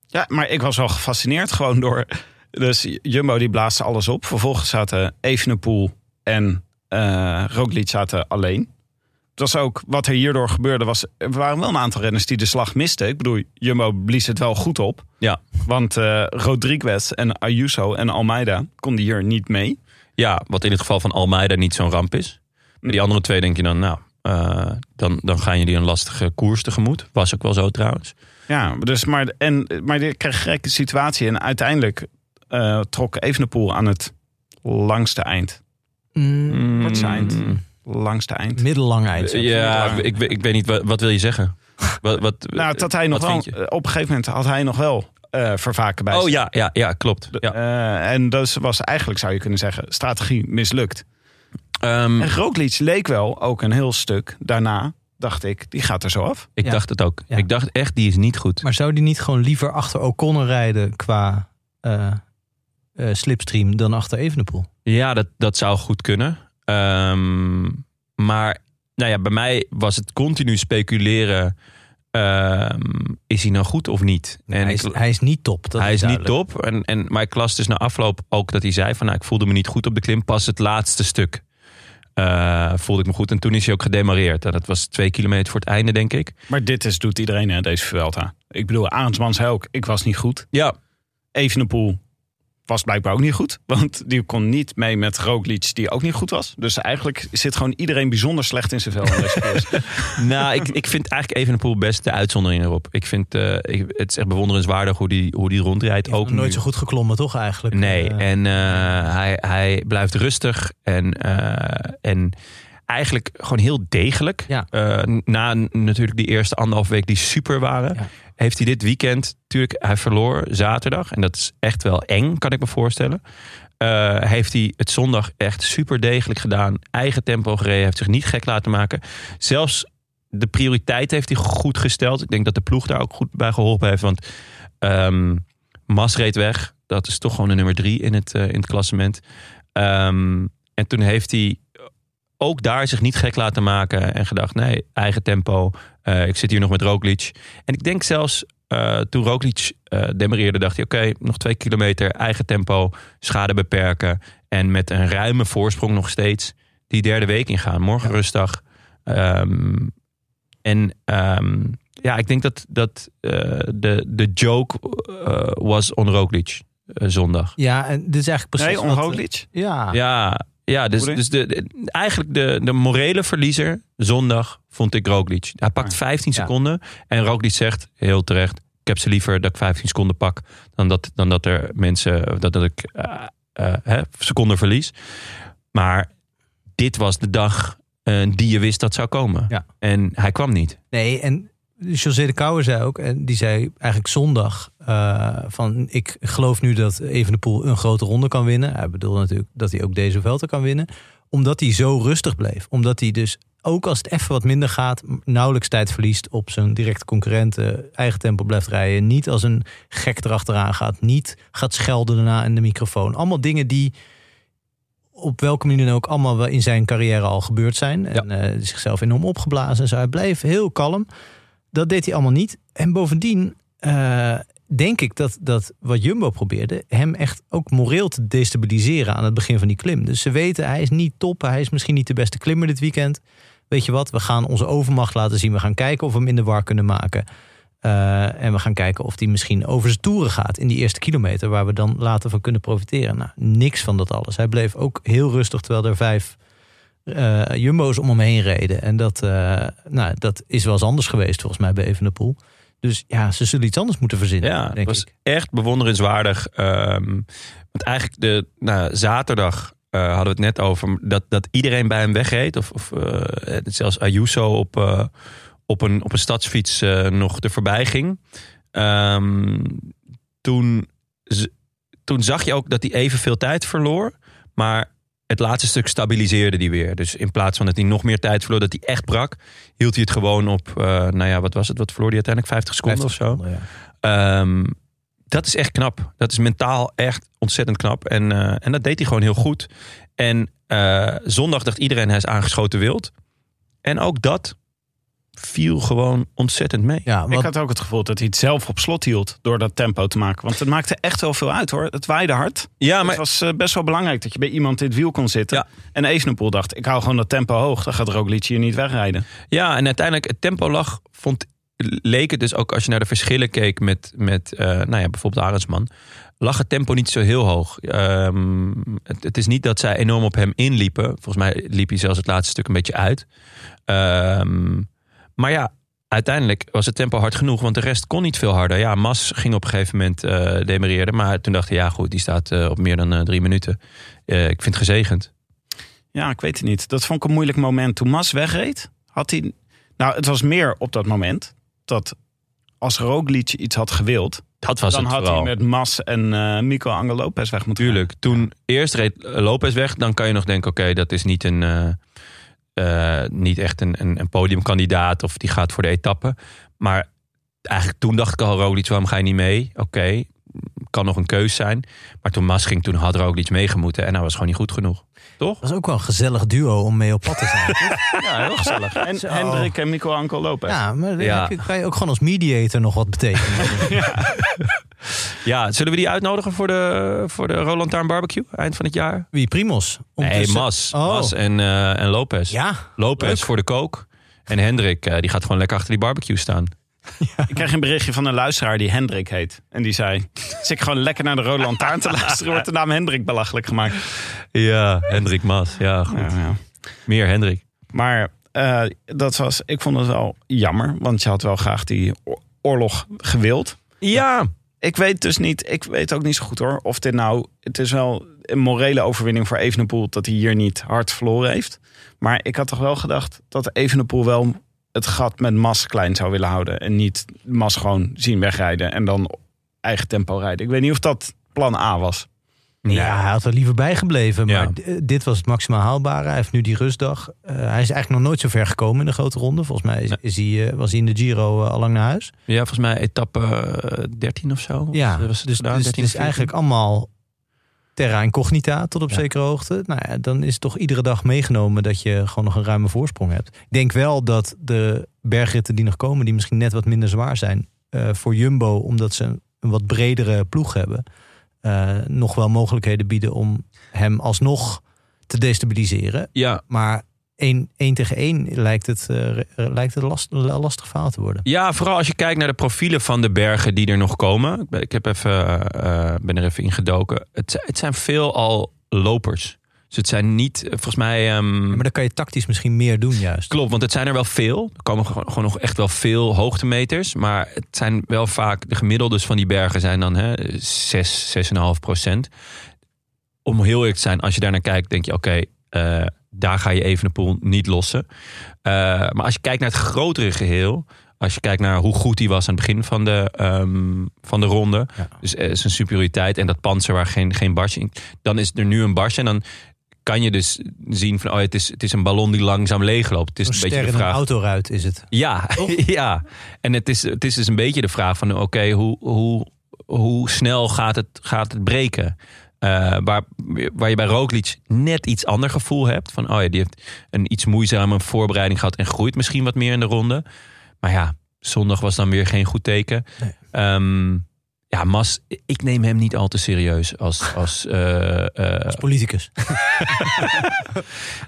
Speaker 3: Ja, maar ik was wel gefascineerd gewoon door... Dus Jumbo die blaasde alles op. Vervolgens zaten Evenepoel en eh Roglic zaten alleen. Dat was ook wat er hierdoor gebeurde. Was, er waren wel een aantal renners die de slag misten. Ik bedoel, Jumbo blies het wel goed op.
Speaker 1: Ja.
Speaker 3: Want eh, Rodriguez en Ayuso en Almeida konden hier niet mee.
Speaker 1: Ja, wat in het geval van Almeida niet zo'n ramp is. Maar die andere twee denk je dan, nou, eh, dan, dan gaan jullie een lastige koers tegemoet. Was ook wel zo trouwens.
Speaker 3: Ja, dus maar, en, maar dit kreeg een gekke situatie. En uiteindelijk eh, trok Evenepoel aan het langste eind.
Speaker 2: Mm,
Speaker 3: Wat zijn het? Langste eind.
Speaker 2: Middellang eind.
Speaker 1: Eh,
Speaker 2: zeg.
Speaker 1: Ja,
Speaker 3: Middellang.
Speaker 1: ik, we- ik weet niet, wat, wat wil je zeggen? Wat, wat,
Speaker 3: Nou, dat hij nog
Speaker 1: wat
Speaker 3: wel,
Speaker 1: vind je?
Speaker 3: op een gegeven moment had hij nog wel eh, vervaken bij
Speaker 1: Oh
Speaker 3: zich.
Speaker 1: ja, ja, ja klopt. Ja.
Speaker 3: Eh, en dat was eigenlijk, zou je kunnen zeggen, strategie mislukt.
Speaker 1: Ehm,
Speaker 3: En Roglic leek wel ook een heel stuk daarna, dacht ik, die gaat er zo af.
Speaker 1: ik
Speaker 2: Ja.
Speaker 1: dacht het ook.
Speaker 2: Ja.
Speaker 1: Ik dacht echt, die is niet goed.
Speaker 2: Maar zou die niet gewoon liever achter O'Connor rijden qua eh, eh, slipstream dan achter Evenepoel?
Speaker 1: Ja, dat, dat zou goed kunnen. Ehm, maar nou ja, bij mij was het continu speculeren. ehm, is hij nou goed of niet? En
Speaker 2: hij, is,
Speaker 1: ik-
Speaker 2: hij is niet top. Dat
Speaker 1: hij is
Speaker 2: duidelijk.
Speaker 1: niet top. En, en, maar ik las dus na afloop ook dat hij zei van... Nou, ik voelde me niet goed op de klim. Pas het laatste stuk eh, voelde ik me goed. En toen is hij ook gedemareerd. En dat was twee kilometer voor het einde, denk ik.
Speaker 3: Maar dit is, doet iedereen, hè, deze Vuelta. Ik bedoel, Arendsman zei ook, ik was niet goed.
Speaker 1: Ja,
Speaker 3: Evenepoel was blijkbaar ook niet goed, want die kon niet mee met Roglic, die ook niet goed was. Dus eigenlijk zit gewoon iedereen bijzonder slecht in zijn vel. in deze koers.
Speaker 1: nou, ik, ik vind eigenlijk Evenepoel best de uitzondering erop. Ik vind, eh, ik- het is echt bewonderenswaardig hoe die, hoe die rondrijdt.
Speaker 2: Hij heeft
Speaker 1: Ook
Speaker 2: nog nooit
Speaker 1: nu.
Speaker 2: zo goed geklommen, toch eigenlijk?
Speaker 1: Nee,
Speaker 2: Eh,
Speaker 1: en eh, hij, hij blijft rustig en, eh, en eigenlijk gewoon heel degelijk.
Speaker 2: Ja.
Speaker 1: Eh, na n- natuurlijk die eerste anderhalf week die super waren,
Speaker 2: Ja.
Speaker 1: heeft hij dit weekend, natuurlijk, hij verloor zaterdag. En dat is echt wel eng, kan ik me voorstellen. Eh, heeft hij het zondag echt super degelijk gedaan. Eigen tempo gereden, heeft zich niet gek laten maken. Zelfs de prioriteit heeft hij goed gesteld. Ik denk dat de ploeg daar ook goed bij geholpen heeft. Want ehm Mas reed weg. Dat is toch gewoon de nummer drie in het, eh, in het klassement. Ehm, en toen heeft hij ook daar zich niet gek laten maken. En gedacht, nee, eigen tempo. Eh, ik zit hier nog met Roglic. En ik denk zelfs eh, toen Roglic eh demereerde, dacht hij... oké, nog twee kilometer, eigen tempo, schade beperken. En met een ruime voorsprong nog steeds die derde week ingaan. Morgen rustdag. Ehm, en ehm, ja, ik denk dat, dat eh, de, de joke eh, was on Roglic eh, zondag.
Speaker 2: Ja, en dit is eigenlijk precies.
Speaker 3: Nee, om
Speaker 2: wat-
Speaker 3: Roglic?
Speaker 2: Ja.
Speaker 1: Ja, ja dus,
Speaker 3: Hoe denk
Speaker 1: dus de, de- eigenlijk de, de morele verliezer zondag vond ik Roglic. Hij
Speaker 3: Ah.
Speaker 1: pakt 15
Speaker 2: Ja.
Speaker 1: seconden en Roglic zegt heel terecht... ik heb ze liever dat ik 15 seconden pak... dan dat, dan dat er mensen... dat, dat ik eh, eh, hè, seconden verlies. Maar dit was de dag eh, die je wist dat zou komen.
Speaker 2: Ja.
Speaker 1: En hij kwam niet.
Speaker 2: Nee, en José de Kouwer zei ook, en die zei eigenlijk zondag: eh, van ik geloof nu dat Evenepoel een grote ronde kan winnen. Hij bedoelde natuurlijk dat hij ook deze Vuelta kan winnen, omdat hij zo rustig bleef. Omdat hij dus ook als het even wat minder gaat, m- nauwelijks tijd verliest op zijn directe concurrenten, eigen tempo blijft rijden, niet als een gek erachteraan gaat, niet gaat schelden daarna in de microfoon. Allemaal dingen die op welke manier dan ook allemaal wel in zijn carrière al gebeurd zijn. En eh, zichzelf enorm opgeblazen en zo. Hij bleef heel kalm. Dat deed hij allemaal niet. En bovendien eh, denk ik dat, dat wat Jumbo probeerde... hem echt ook moreel te destabiliseren aan het begin van die klim. Dus ze weten, hij is niet top. Hij is misschien niet de beste klimmer dit weekend. Weet je wat, we gaan onze overmacht laten zien. We gaan kijken of we hem in de war kunnen maken. Eh, en we gaan kijken of hij misschien over zijn toeren gaat in die eerste kilometer, waar we dan later van kunnen profiteren. Nou, niks van dat alles. Hij bleef ook heel rustig terwijl er vijf eh, jumbo's om hem heen reden. En dat, eh, nou, dat is wel eens anders geweest volgens mij bij Evenepoel. Dus ja, ze zullen iets anders moeten verzinnen,
Speaker 1: Ja, het
Speaker 2: denk
Speaker 1: was
Speaker 2: ik.
Speaker 1: echt bewonderenswaardig. Ehm, want eigenlijk de, nou, zaterdag eh, hadden we het net over dat, dat iedereen bij hem wegreed. Of, of eh, zelfs Ayuso op, eh, op, een, op een stadsfiets eh, nog er voorbij ging. Ehm, toen, z- toen zag je ook dat hij evenveel tijd verloor. Maar het laatste stuk stabiliseerde die weer. Dus in plaats van dat hij nog meer tijd verloor, dat hij echt brak, hield hij het gewoon op, eh, nou ja, wat was het? Wat verloor hij uiteindelijk? 50 seconden of zo.
Speaker 2: Ja.
Speaker 1: Ehm, dat is echt knap. Dat is mentaal echt ontzettend knap. En, eh, en dat deed hij gewoon heel goed. En eh, zondag dacht iedereen hij is aangeschoten wild. En ook dat viel gewoon ontzettend mee.
Speaker 2: Ja,
Speaker 3: Ik
Speaker 2: want-
Speaker 3: had ook het gevoel dat hij het zelf op slot hield door dat tempo te maken. Want het maakte echt wel veel uit hoor. Het waaide hard.
Speaker 1: Ja,
Speaker 3: Het was eh, best wel belangrijk dat je bij iemand in het wiel kon zitten.
Speaker 1: Ja.
Speaker 3: En Evenepoel dacht, ik hou gewoon dat tempo hoog. Dan gaat Roglic hier niet wegrijden.
Speaker 1: Ja, en uiteindelijk het tempo lag, vond, leek het dus ook als je naar de verschillen keek met, met eh, nou ja, bijvoorbeeld Arendsman, lag het tempo niet zo heel hoog. Ehm, het, het is niet dat zij enorm op hem inliepen. Volgens mij liep hij zelfs het laatste stuk een beetje uit. Ehm, maar ja, uiteindelijk was het tempo hard genoeg, want de rest kon niet veel harder. Ja, Mas ging op een gegeven moment eh demereren, maar toen dacht hij, ja goed, die staat eh, op meer dan eh, drie minuten. Eh, ik vind het gezegend.
Speaker 3: Ja, ik weet het niet. Dat vond ik een moeilijk moment. Toen Mas wegreed, had hij... Nou, het was meer op dat moment dat als Roglic iets had gewild...
Speaker 1: Dat was
Speaker 3: dan
Speaker 1: het
Speaker 3: had
Speaker 1: vooral.
Speaker 3: hij met Mas en eh Mico Angel Lopez weg moeten
Speaker 1: Tuurlijk. Toen eerst reed Lopez weg, dan kan je nog denken: oké, dat is niet, een, eh, eh, niet echt een, een, een podiumkandidaat of die gaat voor de etappe. Maar eigenlijk toen dacht ik al: Roglic, waarom ga je niet mee? Oké, kan nog een keus zijn. Maar toen Mas ging, toen had Roglic meegemoeten en hij was gewoon niet goed genoeg. Toch?
Speaker 2: Dat is ook wel een gezellig duo om mee op pad te zijn. toch?
Speaker 3: gaan. Ja, heel gezellig. En
Speaker 2: Zo.
Speaker 3: Hendrik en Mico Angel Lopez.
Speaker 2: ja, maar dan
Speaker 1: Ja.
Speaker 2: heb je- kan je ook gewoon als mediator nog wat betekenen.
Speaker 1: Ja, zullen we die uitnodigen voor de, voor de Roland Taarn Barbecue eind van het jaar?
Speaker 2: Wie, Primos? Om
Speaker 1: Nee,
Speaker 2: te-
Speaker 1: Mas.
Speaker 2: Oh.
Speaker 1: Mas en, eh, en Lopez.
Speaker 2: Ja,
Speaker 1: Lopez
Speaker 2: Leuk.
Speaker 1: voor de kook. En Hendrik, eh, die gaat gewoon lekker achter die barbecue staan.
Speaker 3: Ik kreeg een berichtje van een luisteraar die Hendrik heet. En die zei, zit ik gewoon lekker naar de Roland Lantaarn te luisteren... wordt de naam Hendrik belachelijk gemaakt.
Speaker 1: Ja, Hendrik Mas. Ja, goed.
Speaker 3: Ja, ja.
Speaker 1: Meer Hendrik.
Speaker 3: Maar eh, dat was, ik vond het wel jammer, want je had wel graag die oor- oorlog gewild.
Speaker 1: Ja,
Speaker 3: Ik weet dus niet, ik weet ook niet zo goed hoor, of dit nou, het is wel een morele overwinning voor Evenepoel dat hij hier niet hard verloren heeft. Maar ik had toch wel gedacht dat Evenepoel wel het gat met Mas klein zou willen houden en niet Mas gewoon zien wegrijden en dan eigen tempo rijden. Ik weet niet of dat plan A was.
Speaker 2: ja, hij had er liever bij gebleven. Maar
Speaker 1: Ja.
Speaker 2: d- eh, dit was het maximaal haalbare. Hij heeft nu die rustdag. Eh, hij is eigenlijk nog nooit zo ver gekomen in de grote ronde. Volgens mij is, is hij, eh, was hij in de Giro al lang naar huis.
Speaker 1: ja volgens mij etappe eh, 13 of zo.
Speaker 2: Ja,
Speaker 1: Was- was
Speaker 2: dus,
Speaker 1: het gedaan, 13
Speaker 2: dus
Speaker 1: of
Speaker 2: het
Speaker 1: 14?
Speaker 2: is eigenlijk allemaal terra incognita tot op
Speaker 1: Ja.
Speaker 2: zekere hoogte. Nou ja, dan is toch iedere dag meegenomen dat je gewoon nog een ruime voorsprong hebt. Ik denk wel dat de bergritten die nog komen, die misschien net wat minder zwaar zijn eh, voor Jumbo, omdat ze een wat bredere ploeg hebben, eh, nog wel mogelijkheden bieden om hem alsnog te destabiliseren.
Speaker 1: Ja,
Speaker 2: Maar één, één tegen één lijkt het, eh, re- lijkt het last, lastig verhaal te worden.
Speaker 1: Ja, vooral als je kijkt naar de profielen van de bergen die er nog komen. Ik ben, ik heb even, eh, ben er even ingedoken. Het, zijn- het zijn veel al lopers. Dus het zijn niet, eh, volgens mij... ehm,
Speaker 2: Maar dan kan je tactisch misschien meer doen juist.
Speaker 1: Klopt, want het zijn er wel veel. Er komen gewoon, gewoon nog echt wel veel hoogtemeters. Maar het zijn wel vaak, de gemiddeldes van die bergen zijn dan hè, 6, 6,5 procent. Om heel eerlijk te zijn, als je daar naar kijkt, denk je: oké, eh, daar ga je even de pool niet lossen. Eh, maar als je kijkt naar het grotere geheel. Als je kijkt naar hoe goed hij was aan het begin van de, ehm, van de ronde.
Speaker 2: Ja.
Speaker 1: Dus eh, zijn superioriteit en dat panzer waar geen, geen barstje in. Dan is er nu een barstje. En dan kan je dus zien van... Oh, het, is, het is een ballon die langzaam leegloopt. Het is
Speaker 2: Een
Speaker 1: een beetje
Speaker 2: ster
Speaker 1: de
Speaker 2: in een
Speaker 1: vraag...
Speaker 2: autoruit is het.
Speaker 1: Ja, ja. En het is, het is dus een beetje de vraag van... Oké, hoe, hoe, hoe snel gaat het, gaat het breken? Eh, waar, waar je bij Roglic net iets ander gevoel hebt. Van, oh ja, die heeft een iets moeizame voorbereiding gehad... en groeit misschien wat meer in de ronde. Maar ja, zondag was dan weer geen goed teken.
Speaker 2: Nee.
Speaker 1: Ehm, ja, Mas, ik neem hem niet al te serieus als, als, eh, eh,
Speaker 2: Als politicus.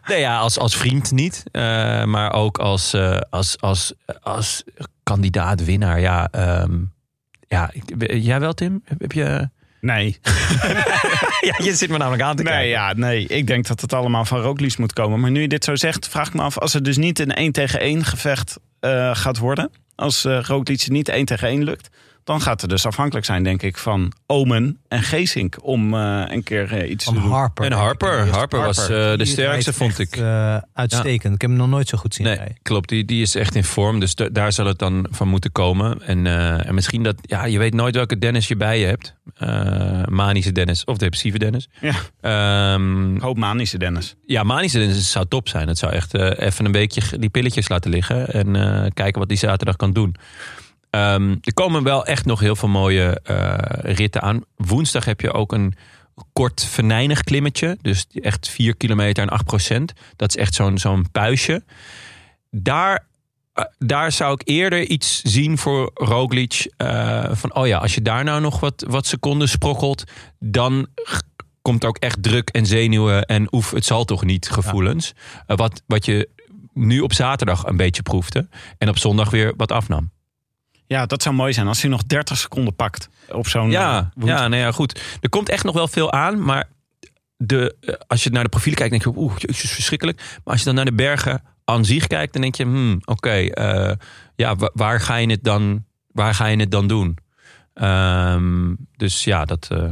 Speaker 1: Nee, ja, als, als vriend niet. eh, maar ook als, eh, als, als, als kandidaat-winnaar. Ja, ehm, ja, ik- jij wel, Tim? Heb, heb je...
Speaker 3: Nee,
Speaker 1: ja, je zit me namelijk aan te
Speaker 3: Nee, ja, nee, ik denk dat het allemaal van Roglic moet komen. Maar nu je dit zo zegt, vraag ik me af... als het dus niet een 1 tegen 1 gevecht eh, gaat worden... als eh Roglic het niet 1 tegen 1 lukt... Dan gaat het dus afhankelijk zijn, denk ik, van Omen en Geesink om eh, een keer eh, iets
Speaker 2: Van
Speaker 3: te doen.
Speaker 2: Harper.
Speaker 1: En Harper. Harper was eh, de
Speaker 2: Die
Speaker 1: sterkste,
Speaker 2: rijdt
Speaker 1: vond
Speaker 2: echt,
Speaker 1: ik.
Speaker 2: eh, uitstekend. Ik heb hem nog nooit zo goed zien
Speaker 1: Nee,
Speaker 2: rijden.
Speaker 1: klopt. Die, die is echt in vorm. Dus da- daar zal het dan van moeten komen. En, eh, en misschien dat... Ja, je weet nooit welke Dennis je bij je hebt. Eh, manische Dennis of depressieve Dennis.
Speaker 3: Ja,
Speaker 1: Ehm,
Speaker 3: ik hoop manische Dennis.
Speaker 1: ja, manische Dennis zou top zijn. Het zou echt eh, even een beetje g- die pilletjes laten liggen. En eh, kijken wat die zaterdag kan doen. Ehm, er komen wel echt nog heel veel mooie eh, ritten aan. Woensdag heb je ook een kort venijnig klimmetje. Dus echt 4 kilometer en 8 procent. Dat is echt zo'n zo'n puisje. Daar, eh, daar zou ik eerder iets zien voor Roglic. eh, van, oh ja, als je daar nou nog wat, wat seconden sprokkelt... dan g- komt er ook echt druk en zenuwen en oef, het zal toch niet gevoelens. Eh, wat, wat je nu op zaterdag een beetje proefde. En op zondag weer wat afnam.
Speaker 3: Ja, dat zou mooi zijn als hij nog 30 seconden pakt op zo'n... eh,
Speaker 1: Ja,
Speaker 3: woensdag.
Speaker 1: ja, nou ja, goed. Er komt echt nog wel veel aan, maar de, eh, als je naar de profielen kijkt, denk je, oeh, jezus, verschrikkelijk. Maar als je dan naar de bergen aan zich kijkt, dan denk je, hmm, oké, eh, ja, wa- waar ga je het dan, waar ga je het dan doen? Ehm, dus ja, dat, eh,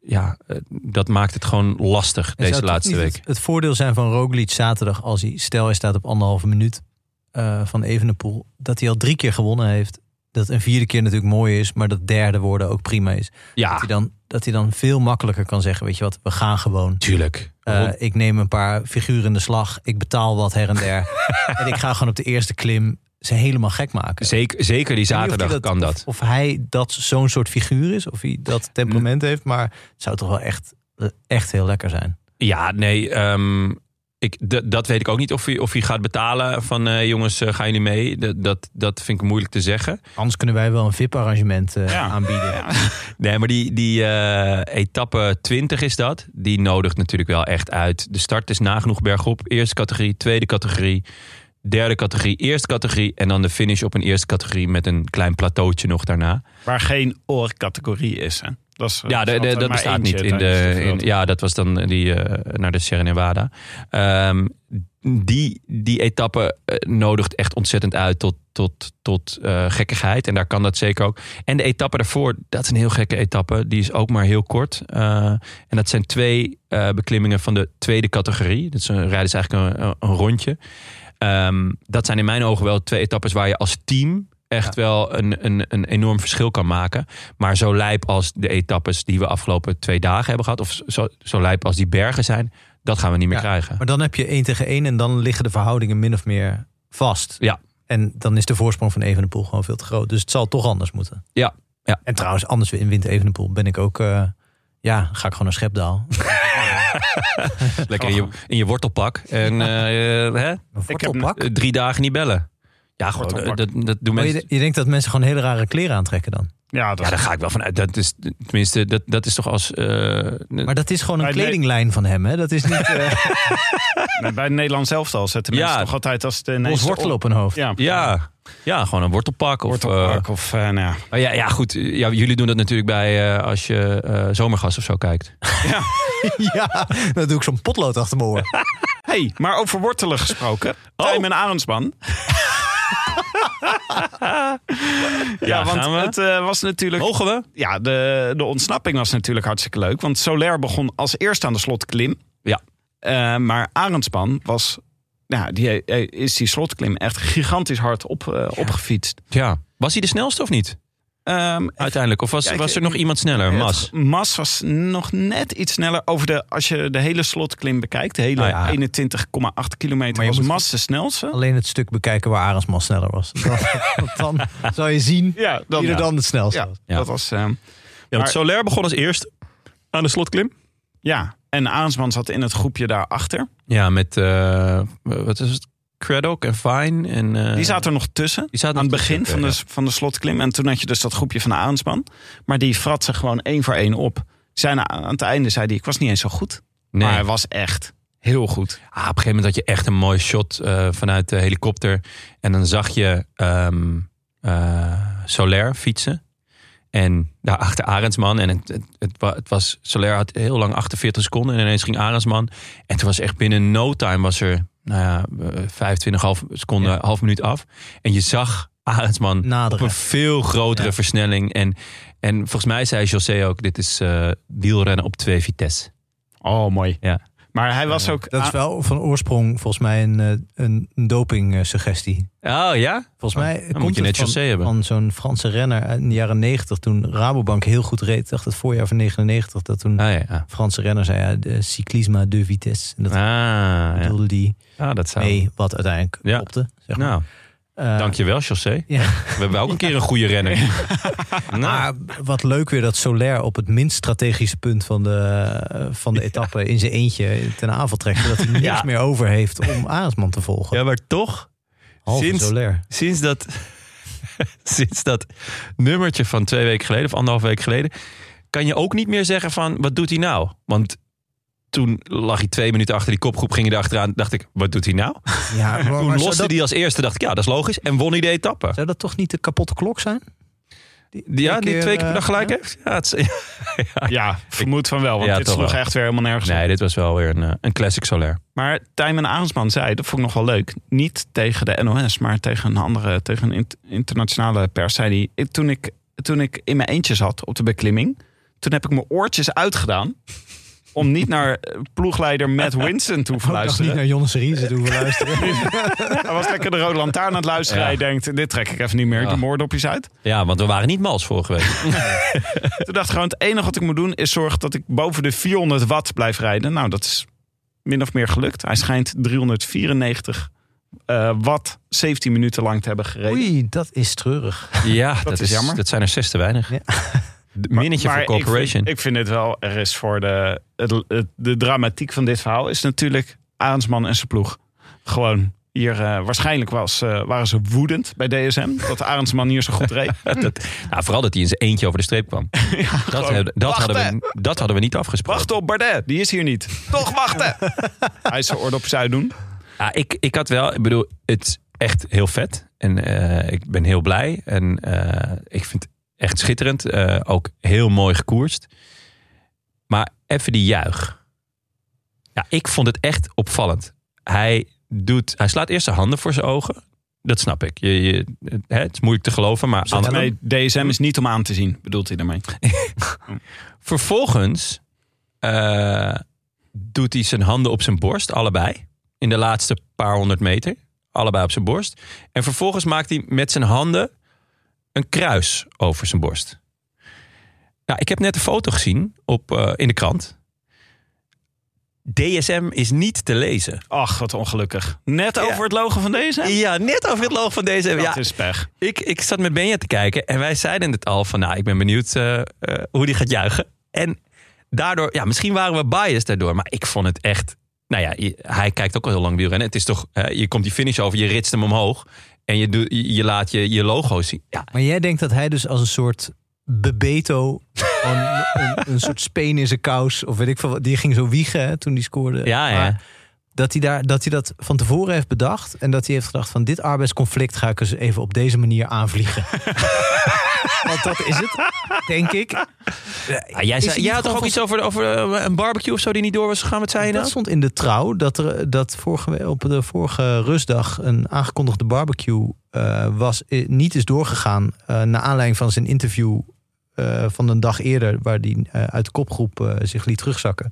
Speaker 1: ja, eh, dat maakt het gewoon lastig
Speaker 2: En
Speaker 1: deze
Speaker 2: zou het
Speaker 1: laatste
Speaker 2: niet
Speaker 1: week.
Speaker 2: Het, het voordeel zijn van Roglic zaterdag als hij, stel hij staat op anderhalve minuut eh, van Evenepoel, dat hij al drie keer gewonnen heeft. Dat een vierde keer natuurlijk mooi is, maar dat derde worden ook prima is.
Speaker 1: Ja,
Speaker 2: Dat, hij dan, dat hij dan veel makkelijker kan zeggen, weet je wat, we gaan gewoon.
Speaker 1: tuurlijk.
Speaker 2: Eh, ik neem een paar figuren in de slag, ik betaal wat her en der. en ik ga gewoon op de eerste klim ze helemaal gek maken.
Speaker 1: zeker, zeker die
Speaker 2: Ik weet niet of
Speaker 1: zaterdag
Speaker 2: hij
Speaker 1: kan dat.
Speaker 2: Of, of hij dat zo'n soort figuur is, of hij dat temperament heeft. Maar het zou toch wel echt, echt heel lekker zijn.
Speaker 1: Ja, nee. ehm, ik, d- dat weet ik ook niet of hij, of hij gaat betalen van eh, jongens, eh, gaan jullie mee? D- dat, dat vind ik moeilijk te zeggen.
Speaker 2: Anders kunnen wij wel een VIP-arrangement eh,
Speaker 3: Ja.
Speaker 2: aanbieden.
Speaker 1: Nee, maar die, die eh, etappe 20 is dat. Die nodigt natuurlijk wel echt uit. De start is nagenoeg bergop. Eerste categorie, tweede categorie, derde categorie, eerste categorie. En dan de finish op een eerste categorie met een klein plateautje nog daarna.
Speaker 3: Waar geen oorcategorie is, hè. Dat is,
Speaker 1: Ja, de-
Speaker 3: is
Speaker 1: de- dat
Speaker 3: altijd dus maar
Speaker 1: bestaat
Speaker 3: eentje
Speaker 1: niet. In
Speaker 3: tijdens
Speaker 1: de,
Speaker 3: het
Speaker 1: in- ja, dat was dan die, eh, naar de Sierra Nevada. Ehm, die, die etappe eh, nodigt echt ontzettend uit tot, tot, tot eh, gekkigheid. En daar kan dat zeker ook. En de etappe daarvoor, dat is een heel gekke etappe. Die is ook maar heel kort. Eh, en dat zijn twee eh, beklimmingen van de tweede categorie. Dus een rijden is eigenlijk een, een rondje. Ehm, dat zijn in mijn ogen wel twee etappes waar je als team echt wel een, een, een enorm verschil kan maken. Maar zo lijp als de etappes die we afgelopen twee dagen hebben gehad... of zo, zo lijp als die bergen zijn, dat gaan we niet meer
Speaker 2: Ja,
Speaker 1: krijgen.
Speaker 2: Maar dan heb je één tegen één en dan liggen de verhoudingen min of meer vast.
Speaker 1: Ja.
Speaker 2: En dan is de voorsprong van Evenepoel gewoon veel te groot. Dus het zal toch anders moeten.
Speaker 1: Ja, ja.
Speaker 2: En trouwens, anders wint Evenepoel ben ik ook... eh, ja, ga ik gewoon naar Schepdaal.
Speaker 1: Lekker in je, in je wortelpak. En eh, eh, hè?
Speaker 2: Ik heb
Speaker 1: Eh, drie dagen niet bellen. Ja, gewoon, eh,
Speaker 3: Wortelpak.
Speaker 1: dat, dat doen
Speaker 2: Maar
Speaker 1: mensen...
Speaker 2: je, je denkt dat mensen gewoon hele rare kleren aantrekken dan.
Speaker 3: Ja, dat
Speaker 1: Ja, daar ga ik wel vanuit. Dat is, tenminste, dat, dat is toch als... eh,
Speaker 2: Maar dat is gewoon een
Speaker 3: Maar nee.
Speaker 2: kledinglijn van hem. Hè? Dat is niet eh
Speaker 3: Nou, bij Nederland zelf al zetten
Speaker 1: Ja.
Speaker 3: mensen toch altijd als de
Speaker 2: ons
Speaker 3: ineens
Speaker 2: wortel op hun hoofd.
Speaker 3: Ja,
Speaker 1: ja, ja, gewoon een wortelpak. Of,
Speaker 3: wortelpak of eh, nou ja.
Speaker 1: eh, ja, ja, goed. Ja, jullie doen dat natuurlijk bij eh, als je eh zomergas of zo kijkt.
Speaker 2: Ja, dan doe ik zo'n potlood achter mijn oor.
Speaker 3: Hey, maar over wortelen gesproken.
Speaker 1: Oh.
Speaker 3: Tijm en Arendsman. ja, want
Speaker 1: gaan we?
Speaker 3: het eh, was natuurlijk...
Speaker 1: Mogen we?
Speaker 3: Ja, de, de ontsnapping was natuurlijk hartstikke leuk. Want Soler begon als eerste aan de slotklim.
Speaker 1: Ja.
Speaker 3: Eh, maar Arendsman was... Nou, die, eh, is die slotklim echt gigantisch hard op, eh, opgefietst.
Speaker 1: Ja. Was hij de snelste of niet?
Speaker 3: Ehm,
Speaker 1: Uiteindelijk. Of was,
Speaker 3: Ja, ik-
Speaker 1: was er nog iemand sneller? Mas.
Speaker 3: Het- Mas was nog net iets sneller over de. Als je de hele slotklim bekijkt, de hele
Speaker 1: Ah, ja.
Speaker 3: 21,8 kilometer,
Speaker 2: Maar je
Speaker 3: was
Speaker 2: moet-
Speaker 3: Mas de snelste.
Speaker 2: Alleen het stuk bekijken waar Arendsman sneller was. Dan, want dan zou je zien
Speaker 3: Ja, dan,
Speaker 2: wie er
Speaker 3: ja.
Speaker 2: dan het snelst
Speaker 3: Ja,
Speaker 2: was.
Speaker 1: Ja.
Speaker 3: dat was. ehm,
Speaker 1: Ja,
Speaker 3: want
Speaker 1: Solaire begon als eerste aan de slotklim.
Speaker 3: ja, en Aansman zat in het groepje daarachter.
Speaker 1: Ja, met eh, wat is het? Craddock en Fine. En, eh,
Speaker 3: Die zaten er nog tussen.
Speaker 1: die zaten
Speaker 3: aan het
Speaker 1: nog
Speaker 3: begin
Speaker 1: tussen,
Speaker 3: van de,
Speaker 1: ja.
Speaker 3: van de slotklim. En toen had je dus dat groepje van Aansman. Maar die fratsen gewoon één voor één op. Zijn, aan het einde zei hij: Ik was niet eens zo goed.
Speaker 1: Nee.
Speaker 3: Maar hij was echt heel goed.
Speaker 1: Ah, op een gegeven moment had je echt een mooi shot eh, vanuit de helikopter. En dan zag je ehm eh, Soler fietsen. En daarachter Arendsman. En het, het, het, wa- het was, Soler had heel lang 48 seconden. En ineens ging Arendsman. En toen was echt binnen no time was er nou ja, eh, 25, half seconde, half minuut af. En je zag Arendsman op
Speaker 2: Naderen.
Speaker 1: een veel grotere
Speaker 2: Ja.
Speaker 1: versnelling. En, en volgens mij zei José ook, dit is eh, wielrennen op twee vitesse.
Speaker 3: Oh, mooi.
Speaker 1: Ja.
Speaker 3: Maar hij was ook...
Speaker 2: Dat is
Speaker 3: ah,
Speaker 2: wel van oorsprong volgens mij een, eh, een doping eh, suggestie.
Speaker 1: Oh ja?
Speaker 2: Volgens mij
Speaker 1: moet
Speaker 2: komt
Speaker 1: je
Speaker 2: het
Speaker 1: net
Speaker 2: van,
Speaker 1: José hebben.
Speaker 2: van zo'n Franse renner uit de jaren 90 toen Rabobank heel goed reed. Ik dacht het voorjaar van 99 dat toen
Speaker 1: Ah ja. ah.
Speaker 2: Franse renner zei ja, de cyclisme de vitesse. En dat
Speaker 1: Ah, ja.
Speaker 2: bedoelde die
Speaker 1: Ah, dat zou...
Speaker 2: mee wat uiteindelijk
Speaker 1: Ja.
Speaker 2: klopte. Zeg maar.
Speaker 1: Nou,
Speaker 2: Eh,
Speaker 1: dankjewel José.
Speaker 2: Ja.
Speaker 1: We hebben ook een keer een goede renner. nou,
Speaker 2: Maar wat leuk weer dat Soler op het minst strategische punt van de, eh, van de etappe in zijn eentje ten aanval trekt. Zodat hij niks
Speaker 1: Ja.
Speaker 2: meer over heeft om Arendsman te volgen.
Speaker 1: ja, maar toch...
Speaker 2: Halve
Speaker 1: sinds-
Speaker 2: Soler.
Speaker 1: sinds dat, sinds dat nummertje van twee weken geleden of anderhalf week geleden, kan je ook niet meer zeggen van wat doet hij nou? Want toen lag hij twee minuten achter die kopgroep, ging hij erachteraan, dacht ik, wat doet hij nou?
Speaker 2: Ja, maar- maar
Speaker 1: Toen
Speaker 2: zou
Speaker 1: loste
Speaker 2: dat-
Speaker 1: die als eerste, dacht ik, ja, dat is logisch. En won hij de etappe.
Speaker 2: Zou dat toch niet de kapotte klok zijn? Die,
Speaker 1: Die- Ja, die
Speaker 2: keer,
Speaker 1: twee keer per
Speaker 2: eh,
Speaker 1: dag gelijk
Speaker 2: ja?
Speaker 1: heeft. Ja, het is-
Speaker 3: Ja, vermoed van wel. Want
Speaker 1: Ja,
Speaker 3: dit
Speaker 1: toch
Speaker 3: sloeg
Speaker 1: wel.
Speaker 3: echt weer helemaal nergens op.
Speaker 1: nee, dit was wel weer een, eh, een classic solair.
Speaker 3: Maar Tijmen Arendsman zei, dat vond ik nog wel leuk. Niet tegen de NOS, maar tegen een andere, tegen een int- internationale pers. Zei hij, "Ik- toen ik, toen ik in mijn eentje zat op de beklimming, toen heb ik mijn oortjes uitgedaan. Om niet naar eh, ploegleider Matt Winston toe te
Speaker 2: Oh, ik dacht niet
Speaker 3: luisteren.
Speaker 2: naar Jonas Riese doen we luisteren.
Speaker 3: Hij was lekker de rode lantaarn aan het luisteren.
Speaker 1: Ja.
Speaker 3: Hij denkt, dit trek ik even niet meer. Ik
Speaker 1: Ja.
Speaker 3: doe mijn oordopjes uit.
Speaker 1: Ja, want we waren niet mals vorige week.
Speaker 3: Toen dacht ik gewoon, het enige wat ik moet doen is zorgen dat ik boven de 400 watt blijf rijden. Nou, dat is min of meer gelukt. Hij schijnt 394 eh, watt 17 minuten lang te hebben gereden.
Speaker 2: Oei, dat is treurig.
Speaker 1: Ja, dat,
Speaker 3: is
Speaker 1: is
Speaker 3: jammer.
Speaker 1: Dat zijn er zes te weinig.
Speaker 2: Ja.
Speaker 1: De- Minnetje
Speaker 3: Maar
Speaker 1: voor Corporation.
Speaker 3: Ik vind, ik vind het wel, er is voor de, het- het- de dramatiek van dit verhaal is natuurlijk Aansman en zijn ploeg. Gewoon. Hier, eh, waarschijnlijk was, eh, waren ze woedend bij DSM. Dat Arendsman hier zo goed reed.
Speaker 1: dat, nou, vooral dat hij in zijn eentje over de streep kwam. dat,
Speaker 3: gewoon
Speaker 1: hebben- dat, hadden
Speaker 3: wachten.
Speaker 1: we, dat hadden we niet afgesproken.
Speaker 3: Wacht op Bardet, die is hier niet. Toch wachten! Hij is zijn oordopjes uitdoen.
Speaker 1: Ja, ik, ik had wel, ik bedoel, het is echt heel vet. En eh, ik ben heel blij. En eh, ik vind het echt schitterend. Eh, ook heel mooi gekoerst. Maar even die juich. Ja, ik vond het echt opvallend. Hij, doet, hij slaat eerst zijn handen voor zijn ogen. Dat snap ik. Je, je, het, hè, het is moeilijk te geloven, maar aan de-
Speaker 3: Nee, DSM is niet om aan te zien, bedoelt hij daarmee.
Speaker 1: Vervolgens eh, doet hij zijn handen op zijn borst, allebei. In de laatste paar honderd meter. Allebei op zijn borst. En vervolgens maakt hij met zijn handen een kruis over zijn borst. Nou, ik heb net een foto gezien op, eh, in de krant. DSM is niet te lezen.
Speaker 3: Ach, wat ongelukkig. Net over het logo van DSM?
Speaker 1: Ja, net over het loog van DSM.
Speaker 3: Dat
Speaker 1: Ja,
Speaker 3: is pech.
Speaker 1: ik, ik zat met Benja te kijken en wij zeiden het al van, nou, ik ben benieuwd eh, eh, hoe die gaat juichen. En daardoor, ja, misschien waren we biased daardoor, maar ik vond het echt, nou ja, je- hij kijkt ook al heel lang wielrennen. Het is toch, eh, je komt die finish over, je ritst hem omhoog en je, doet- je je laat je, je logo zien. Ja,
Speaker 2: Maar jij denkt dat hij dus als een soort bebeto, gewoon een, een soort speen in zijn kous, of weet ik veel wat, die ging zo wiegen hè, toen die scoorde.
Speaker 1: ja, ja.
Speaker 2: Maar Dat hij, daar, dat hij dat van tevoren heeft bedacht en dat hij heeft gedacht van dit arbeidsconflict ga ik eens even op deze manier aanvliegen. Want dat is het, denk ik.
Speaker 1: Ah, jij,
Speaker 2: Is
Speaker 1: zei, jij
Speaker 2: hij niet
Speaker 1: had toch ook
Speaker 2: gewoon
Speaker 1: iets over, over eh, een barbecue of zo die niet door was gegaan, wat zei je
Speaker 2: Dat
Speaker 1: nou?
Speaker 2: stond in de trouw dat er dat vorige, we- op de vorige rustdag een aangekondigde barbecue eh, was, eh, niet is doorgegaan. na naar aanleiding van zijn interview eh, van een dag eerder, waar hij uit de kopgroep eh, zich liet terugzakken.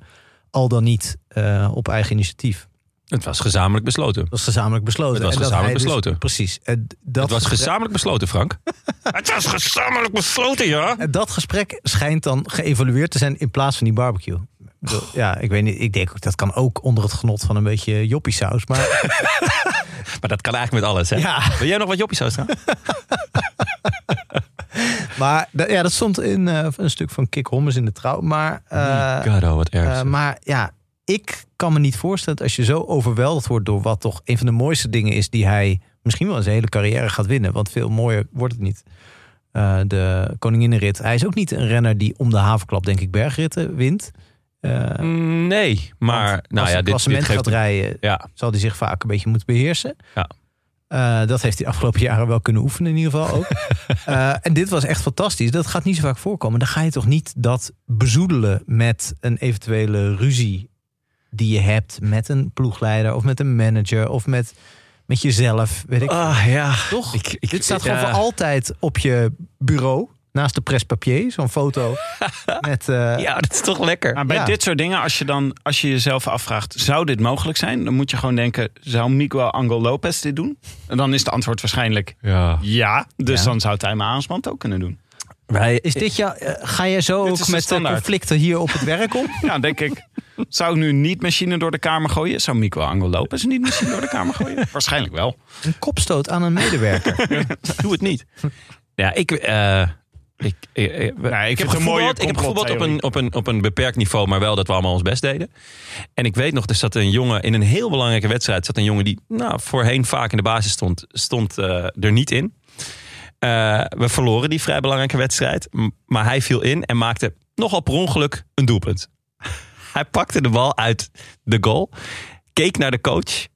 Speaker 2: Al dan niet eh, op eigen initiatief.
Speaker 1: Het was gezamenlijk besloten.
Speaker 2: Dat was gezamenlijk besloten.
Speaker 1: Het was
Speaker 2: En dat
Speaker 1: gezamenlijk
Speaker 2: hij dus-
Speaker 1: besloten.
Speaker 2: precies. En d- dat
Speaker 1: het was
Speaker 2: gesprek-
Speaker 1: gezamenlijk besloten, Frank. het was gezamenlijk besloten, ja.
Speaker 2: En dat gesprek schijnt dan geëvalueerd te zijn in plaats van die barbecue. Ik bedoel, Ja, ik weet niet. Ik denk ook dat kan ook onder het genot van een beetje joppiesaus. Maar
Speaker 1: Maar dat kan eigenlijk met alles, hè?
Speaker 2: ja.
Speaker 1: Wil jij nog wat joppie zou staan?
Speaker 2: Maar da- ja, dat stond in eh, een stuk van Kik Hommes in de trouw. Maar, eh,
Speaker 1: God, oh, wat erg.
Speaker 2: eh,
Speaker 1: zeg.
Speaker 2: maar ja, ik kan me niet voorstellen dat als je zo overweldigd wordt door wat toch een van de mooiste dingen is die hij misschien wel in zijn hele carrière gaat winnen. Want veel mooier wordt het niet. Eh, de koninginnenrit. Hij is ook niet een renner die om de havenklap, denk ik, bergritten wint. Eh,
Speaker 1: Mm, Nee, maar
Speaker 2: als
Speaker 1: nou ja,
Speaker 2: hij
Speaker 1: dit, dit
Speaker 2: klassement
Speaker 1: geeft...
Speaker 2: gaat rijden,
Speaker 1: Ja,
Speaker 2: zal hij zich vaak een beetje moeten beheersen.
Speaker 1: Ja.
Speaker 2: Eh, dat heeft hij de afgelopen jaren wel kunnen oefenen in ieder geval ook. Eh, en dit was echt fantastisch. Dat gaat niet zo vaak voorkomen. Dan ga je toch niet dat bezoedelen met een eventuele ruzie die je hebt met een ploegleider of met een manager of met met jezelf. Weet ik.
Speaker 1: Ah ja.
Speaker 2: Toch?
Speaker 1: Ik- ik-
Speaker 2: Dit staat gewoon
Speaker 1: ja.
Speaker 2: voor altijd op je bureau. Naast de prespapier, zo'n foto. met, eh,
Speaker 1: Ja, dat is toch lekker.
Speaker 3: Maar Nou, bij
Speaker 2: Ja.
Speaker 3: dit soort dingen, als je, dan, als je jezelf afvraagt, zou dit mogelijk zijn? Dan moet je gewoon denken, zou Miguel Angel Lopez dit doen? En dan is het antwoord waarschijnlijk
Speaker 1: Ja.
Speaker 3: ja. Dus
Speaker 2: Ja.
Speaker 3: dan zou Tijmen Aansman het ook kunnen doen.
Speaker 1: Wij,
Speaker 2: Is dit jou, eh, ga jij zo
Speaker 3: Dit
Speaker 2: ook
Speaker 3: is de
Speaker 2: met de
Speaker 3: standaard.
Speaker 2: conflicten hier op het werk om?
Speaker 3: Ja, denk ik. Zou ik nu niet machine door de kamer gooien? Zou Miguel Angel Lopez niet machine door de kamer gooien? Waarschijnlijk wel.
Speaker 2: Een kopstoot aan een medewerker.
Speaker 1: doe het niet. Ja, ik. eh, ik, eh, eh, ik, heb
Speaker 3: het een
Speaker 1: gevoetbald,
Speaker 3: mooie
Speaker 1: ik heb gevoetbald op een,
Speaker 3: complottheorie.
Speaker 1: op, een, op een beperkt niveau, maar wel dat we allemaal ons best deden. En ik weet nog, er zat een jongen in een heel belangrijke wedstrijd. Zat een jongen die nou, voorheen vaak in de basis stond, stond eh, er niet in. Eh, we verloren die vrij belangrijke wedstrijd. m- Maar hij viel in en maakte nogal per ongeluk een doelpunt. Hij pakte de bal uit de goal, keek naar de coach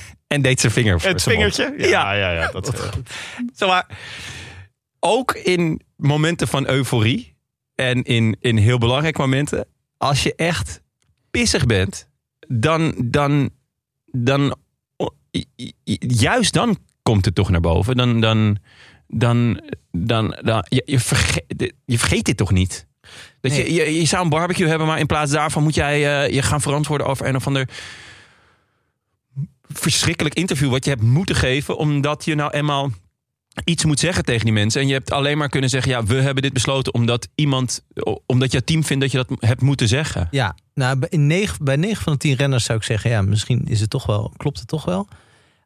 Speaker 1: en deed zijn vinger voor
Speaker 3: Het
Speaker 1: zijn mond.
Speaker 3: vingertje?
Speaker 1: Ja,
Speaker 3: ja, ja dat, eh,
Speaker 1: Zeg maar, ook in momenten van euforie en in, in heel belangrijke momenten, als je echt pissig bent, dan, dan, dan i- i- i- juist dan komt het toch naar boven. Dan, dan, dan, dan, dan- je, je, vergeet, je vergeet dit toch niet? Dat je,
Speaker 2: Nee.
Speaker 1: je, je zou een barbecue hebben, maar in plaats daarvan moet jij eh, je gaan verantwoorden over een of ander verschrikkelijk interview wat je hebt moeten geven, omdat je nou eenmaal iets moet zeggen tegen die mensen. En je hebt alleen maar kunnen zeggen, ja, we hebben dit besloten omdat iemand, omdat jouw team vindt dat je dat hebt moeten zeggen.
Speaker 2: ja, nou, bij- in negen, bij 9 van de 10 renners zou ik zeggen, ja, misschien is het toch wel, klopt het toch wel.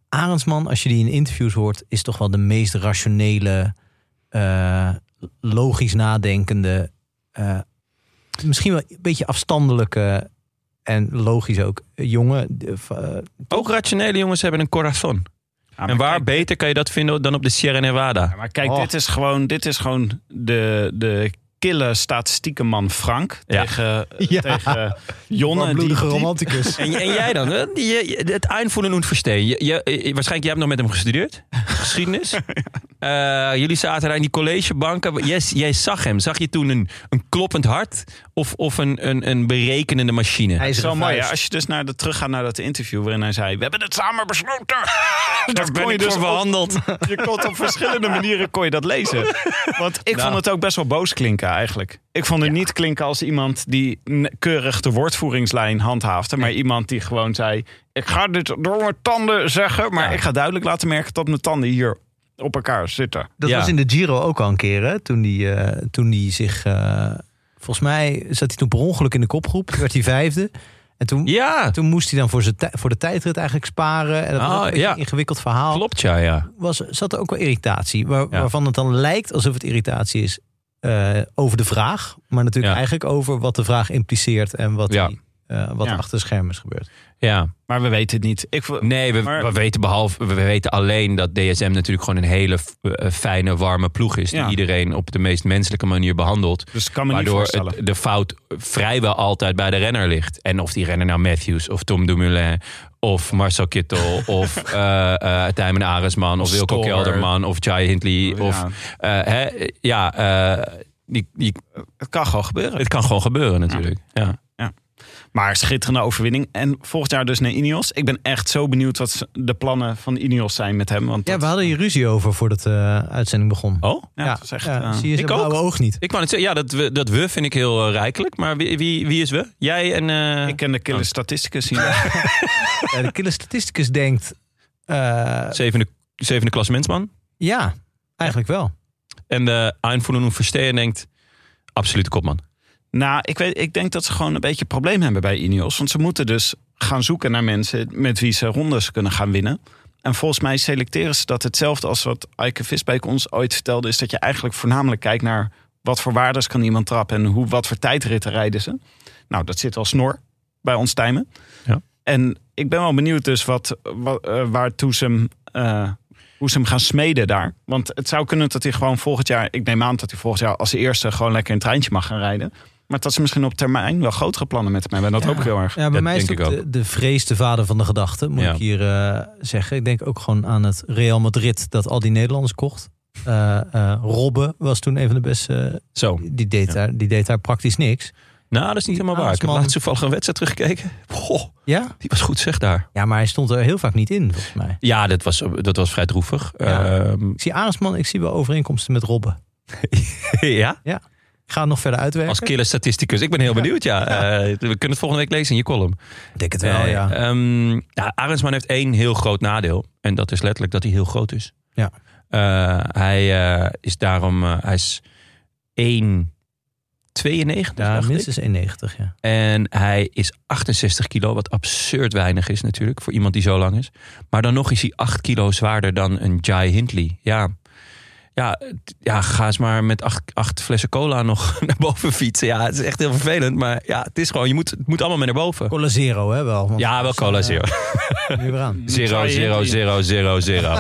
Speaker 2: Arendsman, als je die in interviews hoort, is toch wel de meest rationele, eh, logisch nadenkende, eh, misschien wel een beetje afstandelijke en logisch ook eh, jongen. eh, v- eh,
Speaker 1: Ook rationele jongens hebben een corazon.
Speaker 3: ja,
Speaker 1: en
Speaker 3: maar
Speaker 1: waar
Speaker 3: kijk-
Speaker 1: beter kan je dat vinden dan op de Sierra Nevada?
Speaker 3: Ja, maar kijk,
Speaker 2: Oh.
Speaker 3: dit is gewoon, dit is gewoon de, de kille statistieke man Frank
Speaker 1: Ja.
Speaker 3: tegen,
Speaker 2: Ja.
Speaker 3: tegen Jonne. Die,
Speaker 2: warmbloedige
Speaker 3: die,
Speaker 2: romanticus.
Speaker 1: En, en jij dan? hè? Je, je- het aanvoelen en verstehen. Je, je, eh, waarschijnlijk, jij hebt nog met hem gestudeerd. Geschiedenis. Eh, jullie zaten daar in die collegebanken. Yes, jij zag hem. Zag je toen een, een kloppend hart of, of een, een, een berekenende machine?
Speaker 2: Hij
Speaker 3: het is wel mooi, hè?
Speaker 2: vuist.
Speaker 3: als je dus naar de, teruggaat naar dat interview waarin hij zei: We hebben het samen besloten. dat
Speaker 1: ben ik voor
Speaker 3: verhandeld. je kon het op verschillende manieren kon je dat lezen. Want ik
Speaker 1: Nou.
Speaker 3: vond het ook best wel boos klinken eigenlijk. Ik vond het niet klinken als iemand die n- keurig de woordvoeringslijn handhaafde, maar iemand die gewoon zei: Ik ga dit door mijn tanden zeggen, maar
Speaker 1: Ja.
Speaker 3: ik ga duidelijk laten merken dat mijn tanden hier op elkaar zitten.
Speaker 2: Dat
Speaker 1: Ja.
Speaker 2: was in de Giro ook al een keer, hè? Toen die, eh, toen die zich... eh, volgens mij zat hij toen per ongeluk in de kopgroep. Toen werd hij vijfde. En toen,
Speaker 1: Ja,
Speaker 2: toen moest hij dan voor, zijn tij- voor de tijdrit eigenlijk sparen. En dat was
Speaker 1: Ah,
Speaker 2: ook een beetje
Speaker 1: ja.
Speaker 2: een ingewikkeld verhaal.
Speaker 1: klopt ja, ja.
Speaker 2: Was, zat er ook wel irritatie. waar-
Speaker 1: Ja.
Speaker 2: Waarvan het dan lijkt alsof het irritatie is eh, over de vraag. Maar natuurlijk
Speaker 1: Ja.
Speaker 2: eigenlijk over wat de vraag impliceert. En wat,
Speaker 1: Ja.
Speaker 2: die, eh, wat
Speaker 3: Ja.
Speaker 2: achter de schermen is gebeurd.
Speaker 1: ja.
Speaker 3: Maar we weten het niet. Ik, vo-
Speaker 1: Nee, we,
Speaker 3: Maar-
Speaker 1: we weten behalve, we weten alleen dat DSM natuurlijk gewoon een hele f- eh, fijne, warme ploeg is.
Speaker 3: Ja.
Speaker 1: Die iedereen op de meest menselijke manier behandelt.
Speaker 3: Dus ik kan me niet
Speaker 1: Waardoor
Speaker 3: voorstellen.
Speaker 1: het- de fout vrijwel altijd bij de renner ligt. En of die renner nou Matthews of Tom Dumoulin of Marcel Kittel of eh eh Tijmen Aresman of Wilco
Speaker 3: Stoller.
Speaker 1: Kelderman of Jai Hindley.
Speaker 3: Oh, Ja.
Speaker 1: Of, eh, hè, ja, eh, die, die,
Speaker 3: het kan gewoon gebeuren.
Speaker 1: het kan gewoon gebeuren natuurlijk. Ja.
Speaker 3: Maar schitterende overwinning. En volgend jaar dus naar Ineos. Ik ben echt zo benieuwd wat ze- de plannen van Ineos zijn met hem. Want
Speaker 2: Ja,
Speaker 3: dat-
Speaker 2: we hadden hier ruzie over voordat de eh, uitzending begon.
Speaker 1: Oh?
Speaker 3: ja, dat is echt,
Speaker 2: ja,
Speaker 3: eh,
Speaker 2: zie je
Speaker 1: ik
Speaker 2: zijn blauwe
Speaker 1: ook.
Speaker 2: oog niet.
Speaker 1: Ik wou net zeggen, ja, dat we, dat we vind ik heel eh, rijkelijk. Maar wie, wie, wie is we? Jij en... eh,
Speaker 3: ik ken de kille statisticus hier.
Speaker 2: Ja, Eh, de kille statisticus denkt... eh,
Speaker 1: zevende, zevende klassementsman.
Speaker 2: ja, eigenlijk wel.
Speaker 1: En de aanvoelen hoe Verstegen denkt, absolute kopman.
Speaker 3: nou, ik, weet, ik denk dat ze gewoon een beetje een probleem hebben bij Ineos. Want ze moeten dus gaan zoeken naar mensen met wie ze rondes kunnen gaan winnen. En volgens mij selecteren ze dat hetzelfde als wat Eike Visbeek ons ooit vertelde. Is dat je eigenlijk voornamelijk kijkt naar wat voor waardes kan iemand trappen. En hoe, wat voor tijdritten rijden ze. Nou, dat zit al snor bij ons timen.
Speaker 1: Ja.
Speaker 3: En ik ben wel benieuwd dus wat, wa- eh, waartoe ze hem, eh, hoe ze hem gaan smeden daar. Want het zou kunnen dat hij gewoon volgend jaar... Ik neem aan dat hij volgend jaar als eerste gewoon lekker een treintje mag gaan rijden. Maar dat ze misschien op termijn wel grotere plannen met hem hebben. En dat hoop ik heel erg.
Speaker 2: Ja, bij
Speaker 1: Dat
Speaker 2: mij is eh,
Speaker 1: denk
Speaker 2: het ook
Speaker 1: ik
Speaker 2: de, de vrees de vader van de gedachte, moet
Speaker 1: Ja.
Speaker 2: ik hier eh, zeggen. Ik denk ook gewoon aan het Real Madrid dat al die Nederlanders kocht. Eh eh Robben was toen een van de beste.
Speaker 1: Zo.
Speaker 2: Die deed, daar, die deed daar praktisch niks.
Speaker 1: Nou, dat is niet helemaal waar. Ik heb
Speaker 2: Nagelsman-
Speaker 1: laatst toevallig een wedstrijd teruggekeken. Goh,
Speaker 2: Ja?
Speaker 1: die was goed zeg daar.
Speaker 2: Ja, maar hij stond er heel vaak niet in, volgens mij.
Speaker 1: Ja, dat was, dat was vrij droevig.
Speaker 2: Ja.
Speaker 1: Ehm,
Speaker 2: Ik zie Arendsman, ik zie wel overeenkomsten met Robben.
Speaker 1: ja?
Speaker 2: Ik ga het nog verder uitwerken.
Speaker 1: Als killer statisticus. Ik ben heel benieuwd, ja. Eh, we kunnen het volgende week lezen in je column.
Speaker 2: Ik denk het wel,
Speaker 1: Eh,
Speaker 2: ja.
Speaker 1: ehm, ja, Arendsman heeft één heel groot nadeel. En dat is letterlijk dat hij heel groot is.
Speaker 2: Ja.
Speaker 1: Eh, hij eh, is daarom... eh, hij is 1,92
Speaker 2: ja,
Speaker 1: dacht ik.
Speaker 2: minstens 1,90, ja.
Speaker 1: En hij is 68 kilo, wat absurd weinig is natuurlijk voor iemand die zo lang is. Maar dan nog is hij 8 kilo zwaarder dan een Jai Hindley. Ja, ja, t- ja ga eens maar met 8 acht, acht flessen cola nog naar boven fietsen. Ja, het is echt heel vervelend. Maar ja, het is gewoon, je moet, het moet allemaal mee naar boven.
Speaker 2: Cola Zero, hè, wel. want
Speaker 1: Ja, wel
Speaker 2: anders,
Speaker 1: cola
Speaker 2: eh,
Speaker 1: zero.
Speaker 2: kom je weer aan.
Speaker 1: Zero, zero, zero, zero, zero.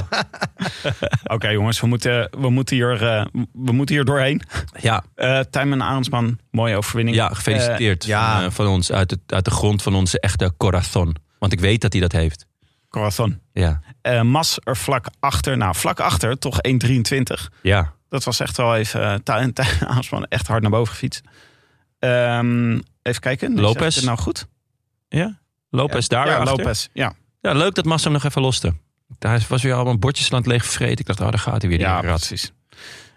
Speaker 3: Oké jongens, we moeten, we, moeten hier, eh, we moeten hier doorheen.
Speaker 1: Ja,
Speaker 3: Eh Tijmen en Arendsman, mooie overwinning.
Speaker 1: ja gefeliciteerd
Speaker 2: Eh, ja.
Speaker 1: Van, eh, van ons. Uit, het, uit de grond van onze echte corazon. Want ik weet dat hij dat heeft.
Speaker 3: Corazon.
Speaker 1: Ja,
Speaker 3: Eh, Mas er vlak achter. Nou, vlak achter, toch 1,23.
Speaker 1: ja.
Speaker 3: Dat was echt wel even... eh, Tij- Tij- Arendsman echt hard naar boven gefietst. Ehm, even kijken.
Speaker 1: Lopez.
Speaker 3: Zeg ik het nou goed?
Speaker 1: Lopez daar
Speaker 3: ja,
Speaker 1: achter.
Speaker 3: Lopez. Ja,
Speaker 1: Ja, leuk dat Massa hem nog even loste. Daar was weer allemaal bordjes aan het leeg vreten. Ik dacht, oh, daar gaat hij weer. die
Speaker 3: ja
Speaker 1: rat.
Speaker 3: precies.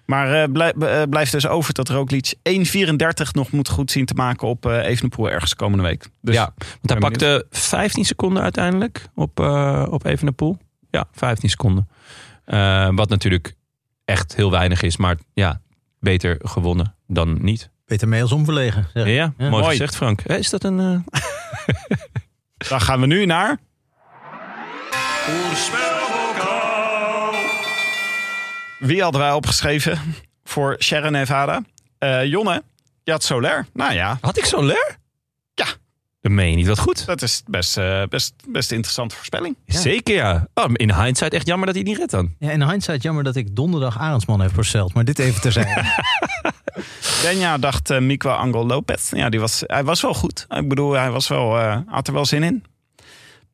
Speaker 3: Maar eh, blij- eh, blijft dus over dat Roglic 1,34 nog moet goed zien te maken op eh Evenepoel ergens komende week. Dus
Speaker 1: ja, want hij
Speaker 3: ben
Speaker 1: pakte 15 seconden uiteindelijk op, eh op Evenepoel. Ja, 15 seconden. Eh, wat natuurlijk echt heel weinig is. Maar ja, beter gewonnen dan niet.
Speaker 2: Peter Meels omverlegen. zeg.
Speaker 1: Ja, mooi,
Speaker 2: Mooi.
Speaker 1: gezegd Frank. Hè, Is dat een... eh,
Speaker 3: dan gaan we nu naar... Wie hadden wij opgeschreven voor Sharon Nevada? Eh Jonne, je had Soler. Nou ja,
Speaker 1: Had ik zo'n leer?
Speaker 3: Ja.
Speaker 1: Dat meen je niet. Wat goed.
Speaker 3: dat is best, eh, best, best interessante voorspelling.
Speaker 1: Zeker ja. Oh, in hindsight echt jammer dat hij het niet redt dan.
Speaker 2: Ja, in hindsight jammer dat ik donderdag Arendsman heb voorspeld. Maar dit even terzijde.
Speaker 3: Benja dacht eh Miquel Angel Lopez. Ja, die was, hij was wel goed. Ik bedoel, hij was wel, eh, had er wel zin in.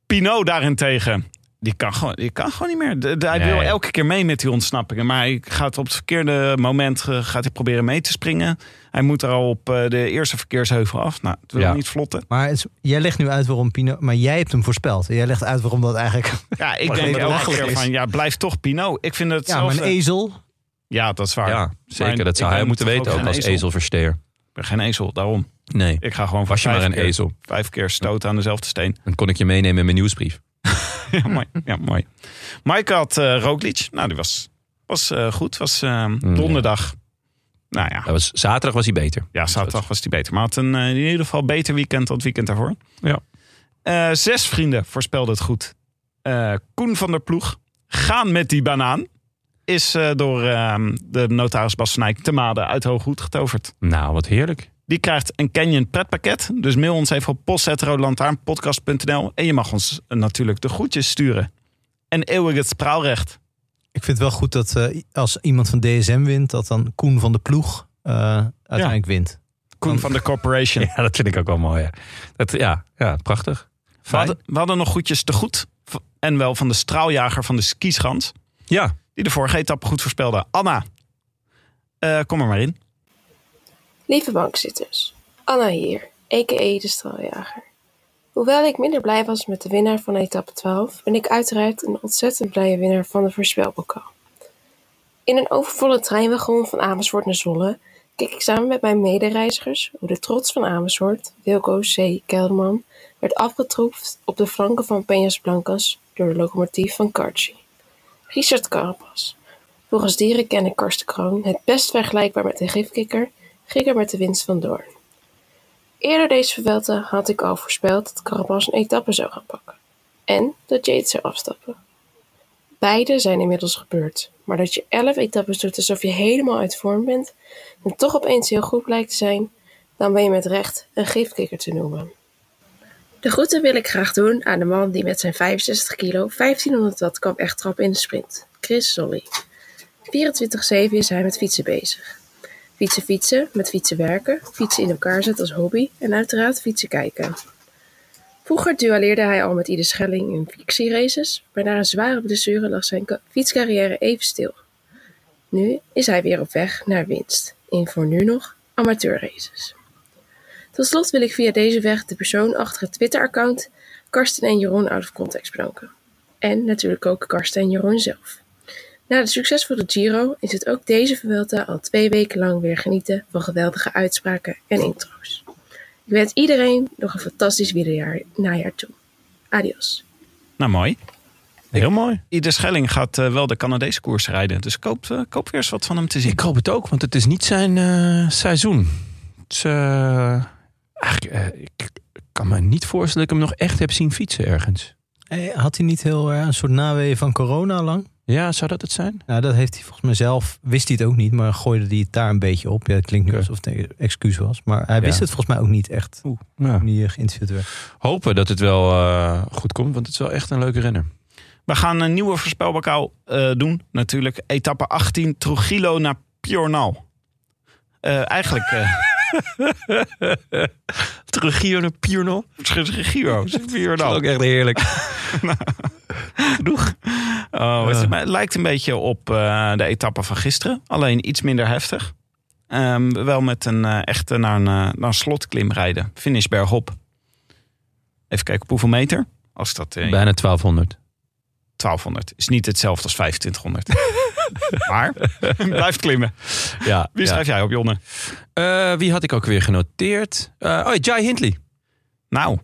Speaker 3: Pino daarentegen. Die kan gewoon, die kan gewoon niet meer. De- de- hij
Speaker 1: Nee.
Speaker 3: wil elke keer mee met die ontsnappingen. Maar hij gaat op het verkeerde moment eh, gaat hij proberen mee te springen. Hij moet er al op eh, de eerste verkeersheuvel af. Nou, het wil
Speaker 1: Ja.
Speaker 3: niet vlotten.
Speaker 2: maar het is- jij legt nu uit waarom Pino... Maar jij hebt hem voorspeld. Jij legt uit waarom dat eigenlijk...
Speaker 3: Ja, ik
Speaker 2: Maar
Speaker 3: denk
Speaker 2: dat het
Speaker 3: elke
Speaker 2: belachelijk
Speaker 3: keer
Speaker 2: is.
Speaker 3: van, ja, blijf toch Pino. Ik vind het eh,
Speaker 2: Ja, maar een ezel...
Speaker 3: Ja, dat is waar.
Speaker 1: Ja, zeker.
Speaker 3: Maar
Speaker 1: Dat zou hij
Speaker 3: ik ben
Speaker 1: moeten
Speaker 3: toch
Speaker 1: weten
Speaker 3: ook
Speaker 1: ook
Speaker 3: geen
Speaker 1: als
Speaker 3: ezel?
Speaker 1: ezelversteer.
Speaker 3: Ik ben geen ezel, daarom.
Speaker 1: Nee,
Speaker 3: Ik ga gewoon voor
Speaker 1: was je maar
Speaker 3: vijf
Speaker 1: een
Speaker 3: keer-
Speaker 1: ezel.
Speaker 3: Vijf keer stoten aan dezelfde steen.
Speaker 1: Dan kon ik je meenemen in mijn nieuwsbrief.
Speaker 3: Ja, mooi. Ja, mooi. Mike had eh Roglic. Nou, die was, was eh, goed. Was eh, donderdag. Nou ja,
Speaker 1: Dat was, zaterdag was hij beter.
Speaker 3: ja, zaterdag was die beter. Maar had een, eh, in ieder geval beter weekend dan het weekend daarvoor.
Speaker 1: Ja.
Speaker 3: Eh, zes vrienden voorspelden het goed. Eh, Koen van der Ploeg. Gaan met die banaan. Is eh, door eh, de notaris Bas Snijk te maden uit Hooghoed getoverd.
Speaker 1: Nou, wat heerlijk.
Speaker 3: Die krijgt een Canyon pretpakket. Dus mail ons even op post.roodlantaarnpodcast.nl. En je mag ons eh, natuurlijk de groetjes sturen. En eeuwig het spraalrecht.
Speaker 2: Ik vind het wel goed dat eh, als iemand van DSM wint, dat dan Koen van de Ploeg eh, uiteindelijk wint.
Speaker 3: Koen van de Corporation.
Speaker 1: Ja, dat vind ik ook wel mooi. ja. Dat, ja, ja, prachtig.
Speaker 3: we,
Speaker 1: Fijn.
Speaker 3: hadden, we hadden nog groetjes te goed. V- En wel van de straaljager van de skischans.
Speaker 1: Ja,
Speaker 3: Die de vorige etappe goed voorspelde. Anna, eh, kom er maar in.
Speaker 4: Lieve bankzitters, Anna hier, a.k.a. de straaljager. Hoewel ik minder blij was met de winnaar van etappe 12, ben ik uiteraard een ontzettend blije winnaar van de voorspelbokaal. In een overvolle treinwagon van Amersfoort naar Zwolle keek ik samen met mijn medereizigers hoe de trots van Amersfoort, Wilco C. Kelderman, werd afgetroefd op de flanken van Peñas Blancas door de locomotief van Carchi. Richard Carapas. Volgens dieren kennen Karsten Kroon het best vergelijkbaar met een gifkikker ging er met de winst vandoor. Eerder deze verwelte had ik al voorspeld dat Carapaz een etappe zou gaan pakken. En dat Jade zou afstappen. Beide zijn inmiddels gebeurd, maar dat je 11 etappes doet alsof je helemaal uit vorm bent en toch opeens heel goed blijkt te zijn, dan ben je met recht een gifkikker te noemen. De groeten wil ik graag doen aan de man die met zijn 65 kilo 1500 watt kan echt trap in de sprint, Chris Solly. 24-7 is hij met fietsen bezig. Fietsen fietsen, met fietsen werken, fietsen in elkaar zetten als hobby en uiteraard fietsen kijken. Vroeger duelleerde hij al met Ieder Schelling in fictieraces, maar na een zware blessure lag zijn ka- fietscarrière even stil. Nu is hij weer op weg naar winst, in voor nu nog amateurraces. Tot slot wil ik via deze weg de persoon achter het Twitter-account Karsten en Jeroen out of context bedanken. En natuurlijk ook Karsten en Jeroen zelf. Na de succesvolle Giro is het ook deze Vuelta al twee weken lang weer genieten van geweldige uitspraken en intro's. Ik wens iedereen nog een fantastisch wielerjaar najaar toe. Adios.
Speaker 3: Nou, mooi.
Speaker 1: Heel mooi.
Speaker 3: Ieder Schelling gaat eh, wel de Canadese koers rijden. Dus koop, eh, koop weer eens wat van hem te zien.
Speaker 1: Ik hoop het ook, want het is niet zijn eh, seizoen. Het is, eh, eigenlijk, eh, ik kan me niet voorstellen dat ik hem nog echt heb zien fietsen ergens.
Speaker 2: Eh, Had hij niet heel erg een soort naweeën van corona lang?
Speaker 1: Ja, zou dat het zijn?
Speaker 2: Nou, dat heeft hij volgens mij zelf, wist hij het ook niet, maar gooide hij het daar een beetje op. Ja, het klinkt nu
Speaker 1: Oké.
Speaker 2: alsof het een excuus was, maar hij wist
Speaker 1: Ja.
Speaker 2: het volgens mij ook niet echt
Speaker 1: Oeh,
Speaker 2: toen hij eh, geïnterviewd werd.
Speaker 1: Hopen dat het wel eh, goed komt, want het is wel echt een leuke renner.
Speaker 3: We gaan een nieuwe voorspelbokaal eh, doen. Natuurlijk etappe 18, Trujillo naar Piornal. Eh, eigenlijk... eh,
Speaker 1: Trujillo naar Piernol.
Speaker 3: Giro,
Speaker 1: Dat
Speaker 3: Piornal.
Speaker 1: is ook echt heerlijk.
Speaker 3: genoeg. Oh, het, maar het lijkt een beetje op eh, de etappe van gisteren. Alleen iets minder heftig. Ehm, wel met een eh, echte naar een, eh, naar een slotklim rijden. Finish bergop. Even kijken op hoeveel meter. Als dat eh,
Speaker 1: Bijna 1200.
Speaker 3: 1200 is niet hetzelfde als 2500. maar blijft klimmen.
Speaker 1: Ja,
Speaker 3: Wie schrijf jij op, Jonne?
Speaker 1: Eh, wie had ik ook weer genoteerd? Eh, oh, Jai Hindley.
Speaker 3: Nou,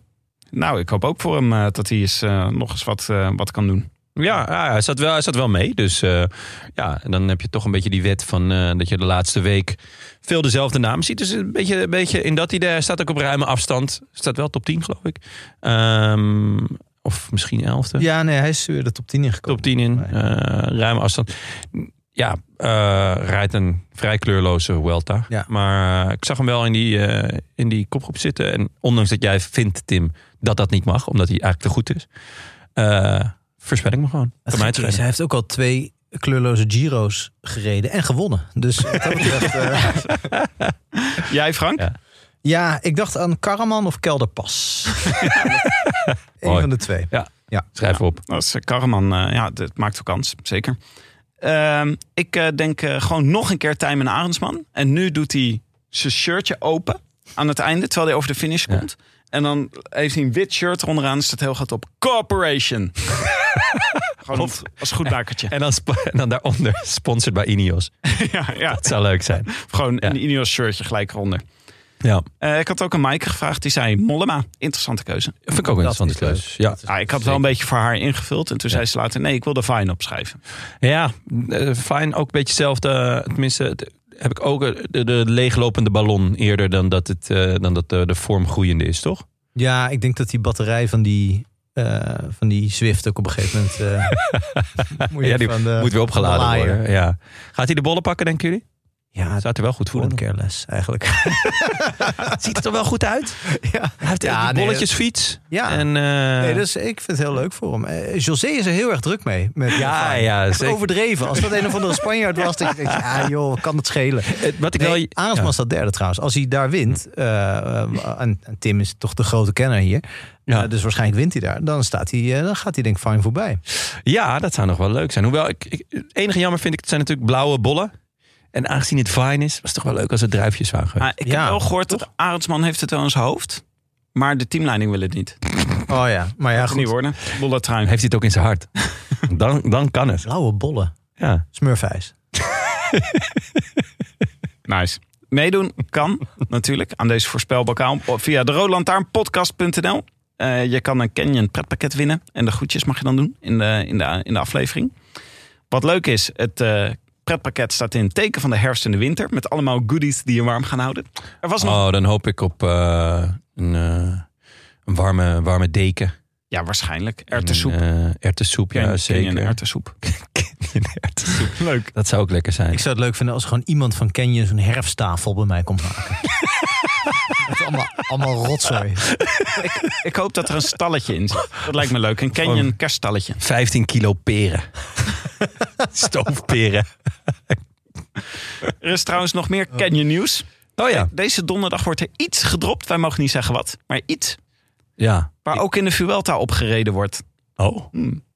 Speaker 3: nou, ik hoop ook voor hem eh, dat hij eens, eh, nog eens wat, eh, wat kan doen.
Speaker 1: Ja, ja, hij, zat wel, hij zat wel mee. Dus eh, ja, en dan heb je toch een beetje die wet van eh, dat je de laatste week veel dezelfde naam ziet. Dus een beetje, een beetje in dat idee. Hij staat ook op ruime afstand. Staat wel top 10, geloof ik. Ehm, of misschien 11e.
Speaker 2: Ja, nee, hij is weer de top 10 ingekomen.
Speaker 1: Top 10 in, eh ruime afstand. Ja, eh, rijdt een vrij kleurloze Welta.
Speaker 2: Ja.
Speaker 1: Maar eh, ik zag hem wel in die, eh, in die kopgroep zitten. En ondanks dat jij vindt, Tim, dat dat niet mag, omdat hij eigenlijk te goed is, eh voorspel ik me gewoon.
Speaker 2: Het
Speaker 1: Kan mij
Speaker 2: gekke is, hij heeft ook al twee kleurloze Giro's gereden en gewonnen. Dus wat dat betreft, eh,
Speaker 3: Jij, Frank?
Speaker 1: Ja.
Speaker 2: ja, ik dacht aan Karaman of Kelderpas. Eén
Speaker 1: Mooi.
Speaker 2: van de twee.
Speaker 1: Schrijf op.
Speaker 3: Dat is eh, Karreman. eh, ja, dat maakt wel kans, zeker. Ehm, ik eh, denk eh, gewoon nog een keer Tijmen Arendsman. En nu doet hij zijn shirtje open aan het einde, terwijl hij over de finish komt. En dan heeft hij een wit shirt onderaan, staat heel goed op Corporation. gewoon om- als goed bakertje.
Speaker 1: En dan, sp- en dan daaronder, sponsored bij Ineos.
Speaker 3: ja, ja,
Speaker 1: Dat zou leuk zijn.
Speaker 3: gewoon
Speaker 1: Ja.
Speaker 3: een Ineos shirtje gelijk eronder.
Speaker 1: Ja,
Speaker 3: Eh, ik had ook aan Maaike gevraagd, die zei Mollema. Interessante keuze.
Speaker 1: vind ik ook een
Speaker 2: Dat
Speaker 1: interessante
Speaker 2: is leuk.
Speaker 1: keus. Ja.
Speaker 3: Ja, ik had wel een beetje voor haar ingevuld. En toen zei ze later, nee, ik wil de fine opschrijven.
Speaker 1: Ja, eh, fijn. Ook een beetje hetzelfde. eh, Tenminste, het- heb ik ook eh, de, de leeglopende ballon eerder dan dat, het, eh, dan dat eh, de vorm groeiende is, toch?
Speaker 2: Ja, ik denk dat die batterij van die, eh, van die Zwift ook op een gegeven moment... eh, moet je
Speaker 1: Ja, die
Speaker 2: van de-
Speaker 1: Moet weer opgeladen
Speaker 2: van de laaier.
Speaker 1: worden. Ja. Gaat hij de bollen pakken, denken jullie?
Speaker 2: Ja,
Speaker 1: Staat er wel goed voor.
Speaker 2: Couldn't care less, eigenlijk.
Speaker 1: Ziet het er wel goed uit?
Speaker 2: ja,
Speaker 1: Hij heeft
Speaker 2: Ja,
Speaker 1: ja,
Speaker 2: nee,
Speaker 1: bolletjesfiets.
Speaker 2: ja.
Speaker 1: En, eh,
Speaker 2: nee, dus ik vind het heel leuk voor hem. Eh, José is er heel erg druk mee. Met
Speaker 1: Ja,
Speaker 2: Fine.
Speaker 1: ja,
Speaker 2: Echt
Speaker 1: zeker.
Speaker 2: Overdreven. Als dat een of andere Spanjaard was, dan denk ik, ja joh, kan het schelen.
Speaker 1: het- wat ik
Speaker 2: Nee,
Speaker 1: wel...
Speaker 2: Arendsma
Speaker 1: ja. Hm.
Speaker 2: staat derde trouwens. Als hij daar wint, eh, eh, en, en Tim is toch de grote kenner hier,
Speaker 1: Ja.
Speaker 2: Eh, dus waarschijnlijk wint hij daar, dan, staat hij, eh, dan gaat hij denk ik fijn voorbij.
Speaker 1: Ja, dat zou nog wel leuk zijn. Hoewel, ik, ik- het enige jammer vind ik, het zijn natuurlijk blauwe bollen. En aangezien het vine is, was het toch wel leuk als het druifjes waren geweest.
Speaker 3: Maar ik
Speaker 2: Ja,
Speaker 3: heb wel gehoord dat Arendsman heeft het wel in zijn hoofd. Maar de teamleiding wil het niet.
Speaker 2: Oh ja, maar ja,
Speaker 3: Kan niet
Speaker 2: goed.
Speaker 3: worden. Bolle
Speaker 1: Heeft
Speaker 3: trein.
Speaker 1: hij het ook in zijn hart? dan, dan kan het.
Speaker 2: Blauwe bollen.
Speaker 1: Ja.
Speaker 2: Smurfijs.
Speaker 3: Nice. Meedoen kan natuurlijk aan deze voorspelbokaal via de roodlantaarnpodcast.nl. Eh, je kan een Canyon pretpakket winnen. En de groetjes mag je dan doen in de, in de, in de aflevering. Wat leuk is, het eh, pretpakket staat in het teken van de herfst en de winter. Met allemaal goodies die je warm gaan houden. Er was nog,
Speaker 1: Oh, dan hoop ik op eh, een, eh, een warme, warme deken.
Speaker 3: ja waarschijnlijk, erwtensoep.
Speaker 1: En een, eh, erwtensoep, ja,
Speaker 3: Canyon-
Speaker 1: zeker.
Speaker 3: Canyon erwtensoep.
Speaker 1: Canyon erwtensoep. Leuk. Dat zou ook lekker zijn.
Speaker 2: Ik zou het leuk vinden als gewoon iemand van Canyon zo'n herfsttafel bij mij komt maken. Met allemaal, allemaal rotzooi.
Speaker 3: Ik hoop dat er een stalletje in zit. Dat lijkt me leuk. Een Canyon kerststalletje.
Speaker 1: 15 kilo peren. Stoofperen.
Speaker 3: Er is trouwens nog meer Canyon nieuws.
Speaker 1: Oh ja.
Speaker 3: Deze donderdag wordt er iets gedropt. Wij mogen niet zeggen wat, maar iets.
Speaker 1: Ja.
Speaker 3: Waar ook in de Vuelta op gereden wordt.
Speaker 1: Oh.
Speaker 3: Hmm.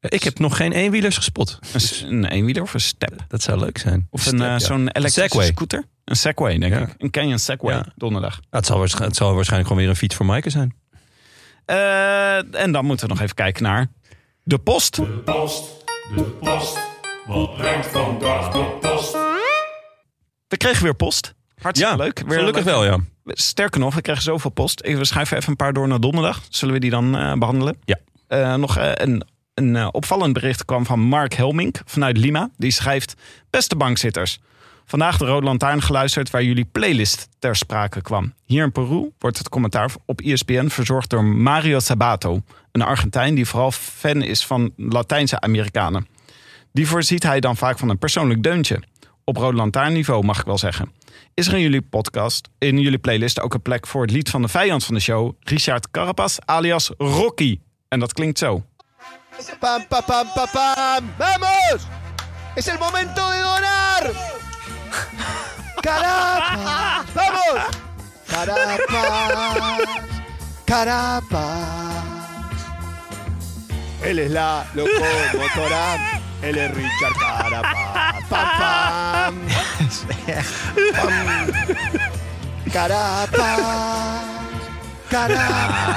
Speaker 1: Ik heb nog geen eenwielers gespot.
Speaker 3: Dus Een, s- een eenwieler of een step.
Speaker 1: Dat zou leuk zijn.
Speaker 3: Of
Speaker 1: Step,
Speaker 3: een, eh,
Speaker 1: ja.
Speaker 3: zo'n elektrische
Speaker 1: Segway.
Speaker 3: scooter. Een Segway, denk
Speaker 1: Ja.
Speaker 3: ik. Een Canyon Segway,
Speaker 1: Ja.
Speaker 3: donderdag.
Speaker 1: het, zal waarsch- het zal waarschijnlijk gewoon weer een fiets voor Maaike zijn.
Speaker 3: Eh, en dan moeten we nog even kijken naar de post.
Speaker 5: post, de post. Wat brengt vandaag de post?
Speaker 3: We kregen weer post. Hartstikke leuk. Weer
Speaker 1: gelukkig
Speaker 3: leuk.
Speaker 1: wel, ja.
Speaker 3: Sterker nog, we kregen zoveel post. Ik- We schuiven even een paar door naar donderdag. Zullen we die dan eh, behandelen?
Speaker 1: Ja.
Speaker 3: Eh, nog eh, een, een eh, opvallend bericht kwam van Mark Helmink vanuit Lima. Die schrijft, beste bankzitters. Vandaag de Rode Lantaarn geluisterd waar jullie playlist ter sprake kwam. Hier in Peru wordt het commentaar op E ESPN verzorgd door Mario Sabato. Een Argentijn die vooral fan is van Latijnse Amerikanen. Die voorziet hij dan vaak van een persoonlijk deuntje. Op Rode Lantaarn niveau mag ik wel zeggen. Is er in jullie podcast, in jullie playlist ook een plek voor het lied van de vijand van de show, Richard Carapaz alias Rocky? En dat klinkt zo.
Speaker 6: ¡Pam, pam, pam, pam, pam! ¡Vamos! ¡Es el momento de donar! ¡Carapa! ¡Vamos! ¡Carapa! ¡Carapa! Él es la locomotora. Él es Richard Carapa. ¡Pam, pam! ¡Pam! ¡Carapa! ¡Carapa!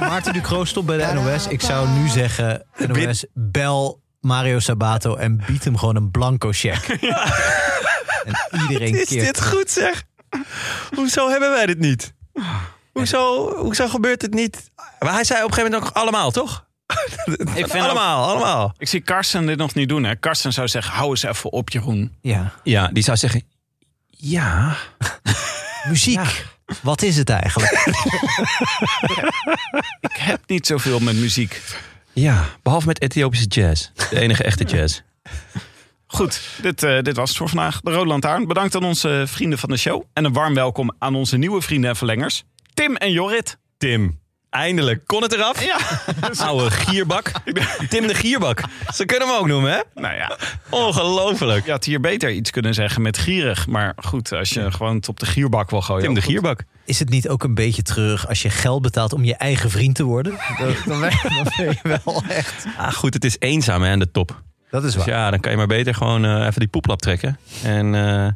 Speaker 2: Maarten Ducroos stond bij de NOS. Ik zou nu zeggen, NOS, bel Mario Sabato en bied hem gewoon een blanco check. en iedereen
Speaker 1: Is
Speaker 2: keert
Speaker 1: dit
Speaker 2: terug.
Speaker 1: goed zeg? Hoezo hebben wij dit niet? Hoezo, hoezo gebeurt het niet? Maar hij zei op een gegeven moment ook allemaal, toch?
Speaker 3: vind ook-
Speaker 1: allemaal, allemaal.
Speaker 3: Ik zie Karsten dit nog niet doen. Hè? Karsten zou zeggen, hou eens even op Jeroen.
Speaker 2: Ja.
Speaker 1: Ja, die zou zeggen... Ja,
Speaker 2: Muziek. Wat is het eigenlijk?
Speaker 3: Ik heb niet zoveel met muziek.
Speaker 1: ja, behalve met Ethiopische jazz. De enige echte jazz.
Speaker 3: Goed, dit, eh, dit was het voor vandaag. De Rode Lantaarn. Bedankt aan onze vrienden van de show. En een warm welkom aan onze nieuwe vrienden en verlengers. Tim en Jorrit.
Speaker 1: Tim, eindelijk kon het eraf.
Speaker 3: Ja,
Speaker 1: Oude gierbak. Tim de gierbak. Ze kunnen hem ook noemen, hè?
Speaker 3: nou ja.
Speaker 1: Ongelooflijk.
Speaker 3: Je had hier beter iets kunnen zeggen met gierig. Maar goed, als je gewoon het op de gierbak wil gooien.
Speaker 1: Tim de
Speaker 3: ook goed.
Speaker 1: gierbak.
Speaker 2: Is het niet ook een beetje terug als je geld betaalt om je eigen vriend te worden? Dan, dan, ben, dan ben je wel echt...
Speaker 1: Ah, goed, het is eenzaam hè, aan de top.
Speaker 2: Dat is
Speaker 1: Dus
Speaker 2: waar.
Speaker 1: ja, dan kan je maar beter gewoon eh, even die poeplap trekken. En eh,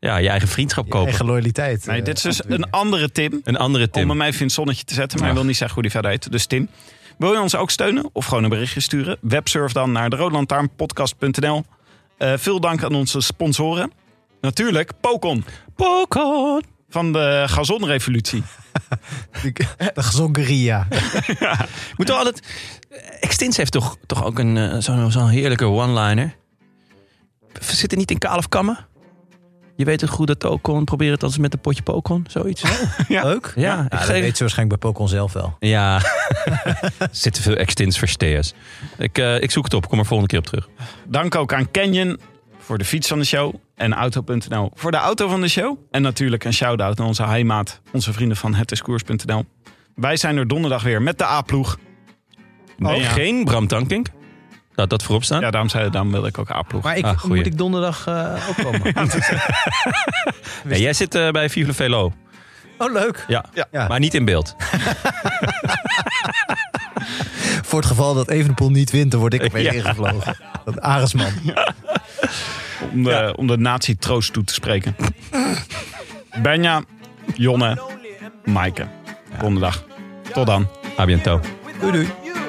Speaker 1: ja, je eigen vriendschap kopen.
Speaker 2: Eigen loyaliteit.
Speaker 3: Nee,
Speaker 2: eh,
Speaker 3: dit is dus
Speaker 2: afdwingen.
Speaker 3: een andere Tim.
Speaker 1: Een andere
Speaker 3: om
Speaker 1: Tim.
Speaker 3: hem even in het zonnetje te zetten. Maar hij
Speaker 1: Ja.
Speaker 3: wil niet zeggen hoe die verder heet. Dus Tim, wil je ons ook steunen of gewoon een berichtje sturen? Websurf dan naar de roodlantaarnpodcast.nl. Eh, veel dank aan onze sponsoren. Natuurlijk, Pokon
Speaker 1: Pokon.
Speaker 3: van de gazonrevolutie.
Speaker 2: De, de gezongeria.
Speaker 1: Moet wel altijd... Extins heeft toch, toch ook een, eh, zo'n zo'n heerlijke one-liner. We zitten niet in kaal of kammen. Je weet het goed dat Pokon. Probeer het als met een potje Pokon. Zoiets.
Speaker 2: Leuk. Nou,
Speaker 1: Ja, ik
Speaker 2: dat
Speaker 1: geef-
Speaker 2: weet ze waarschijnlijk bij Pokon zelf wel.
Speaker 1: Ja, er zitten veel extins versteers. Ik, eh, ik zoek het op, kom er volgende keer op terug.
Speaker 3: Dank ook aan Canyon voor de fiets van de show. En Auto.nl voor de auto van de show. En natuurlijk een shout-out naar onze heimaat, onze vrienden van hetdiscours.nl. Wij zijn er donderdag weer met de A-ploeg.
Speaker 1: Nee,
Speaker 3: ja.
Speaker 1: Geen Bram Tankink. Laat dat voorop staan.
Speaker 3: Ja, daarom, zei, daarom wilde ik ook A-ploeg.
Speaker 2: Maar ik,
Speaker 1: Ah, goeie.
Speaker 2: moet ik donderdag eh, ook komen?
Speaker 1: Ja, jij zit eh, bij Vive Velo.
Speaker 2: Oh, leuk.
Speaker 1: Ja.
Speaker 3: Ja.
Speaker 2: Ja.
Speaker 1: maar niet in beeld.
Speaker 2: Voor het geval dat Evenepoel niet wint, dan word ik opeens
Speaker 1: Ja.
Speaker 2: ingevlogen. Dat Aresman.
Speaker 3: om de, om de natie troost toe te spreken. Benja, Jonne, Maaike. Donderdag. Tot dan.
Speaker 1: A bientôt.
Speaker 2: Doei, doei.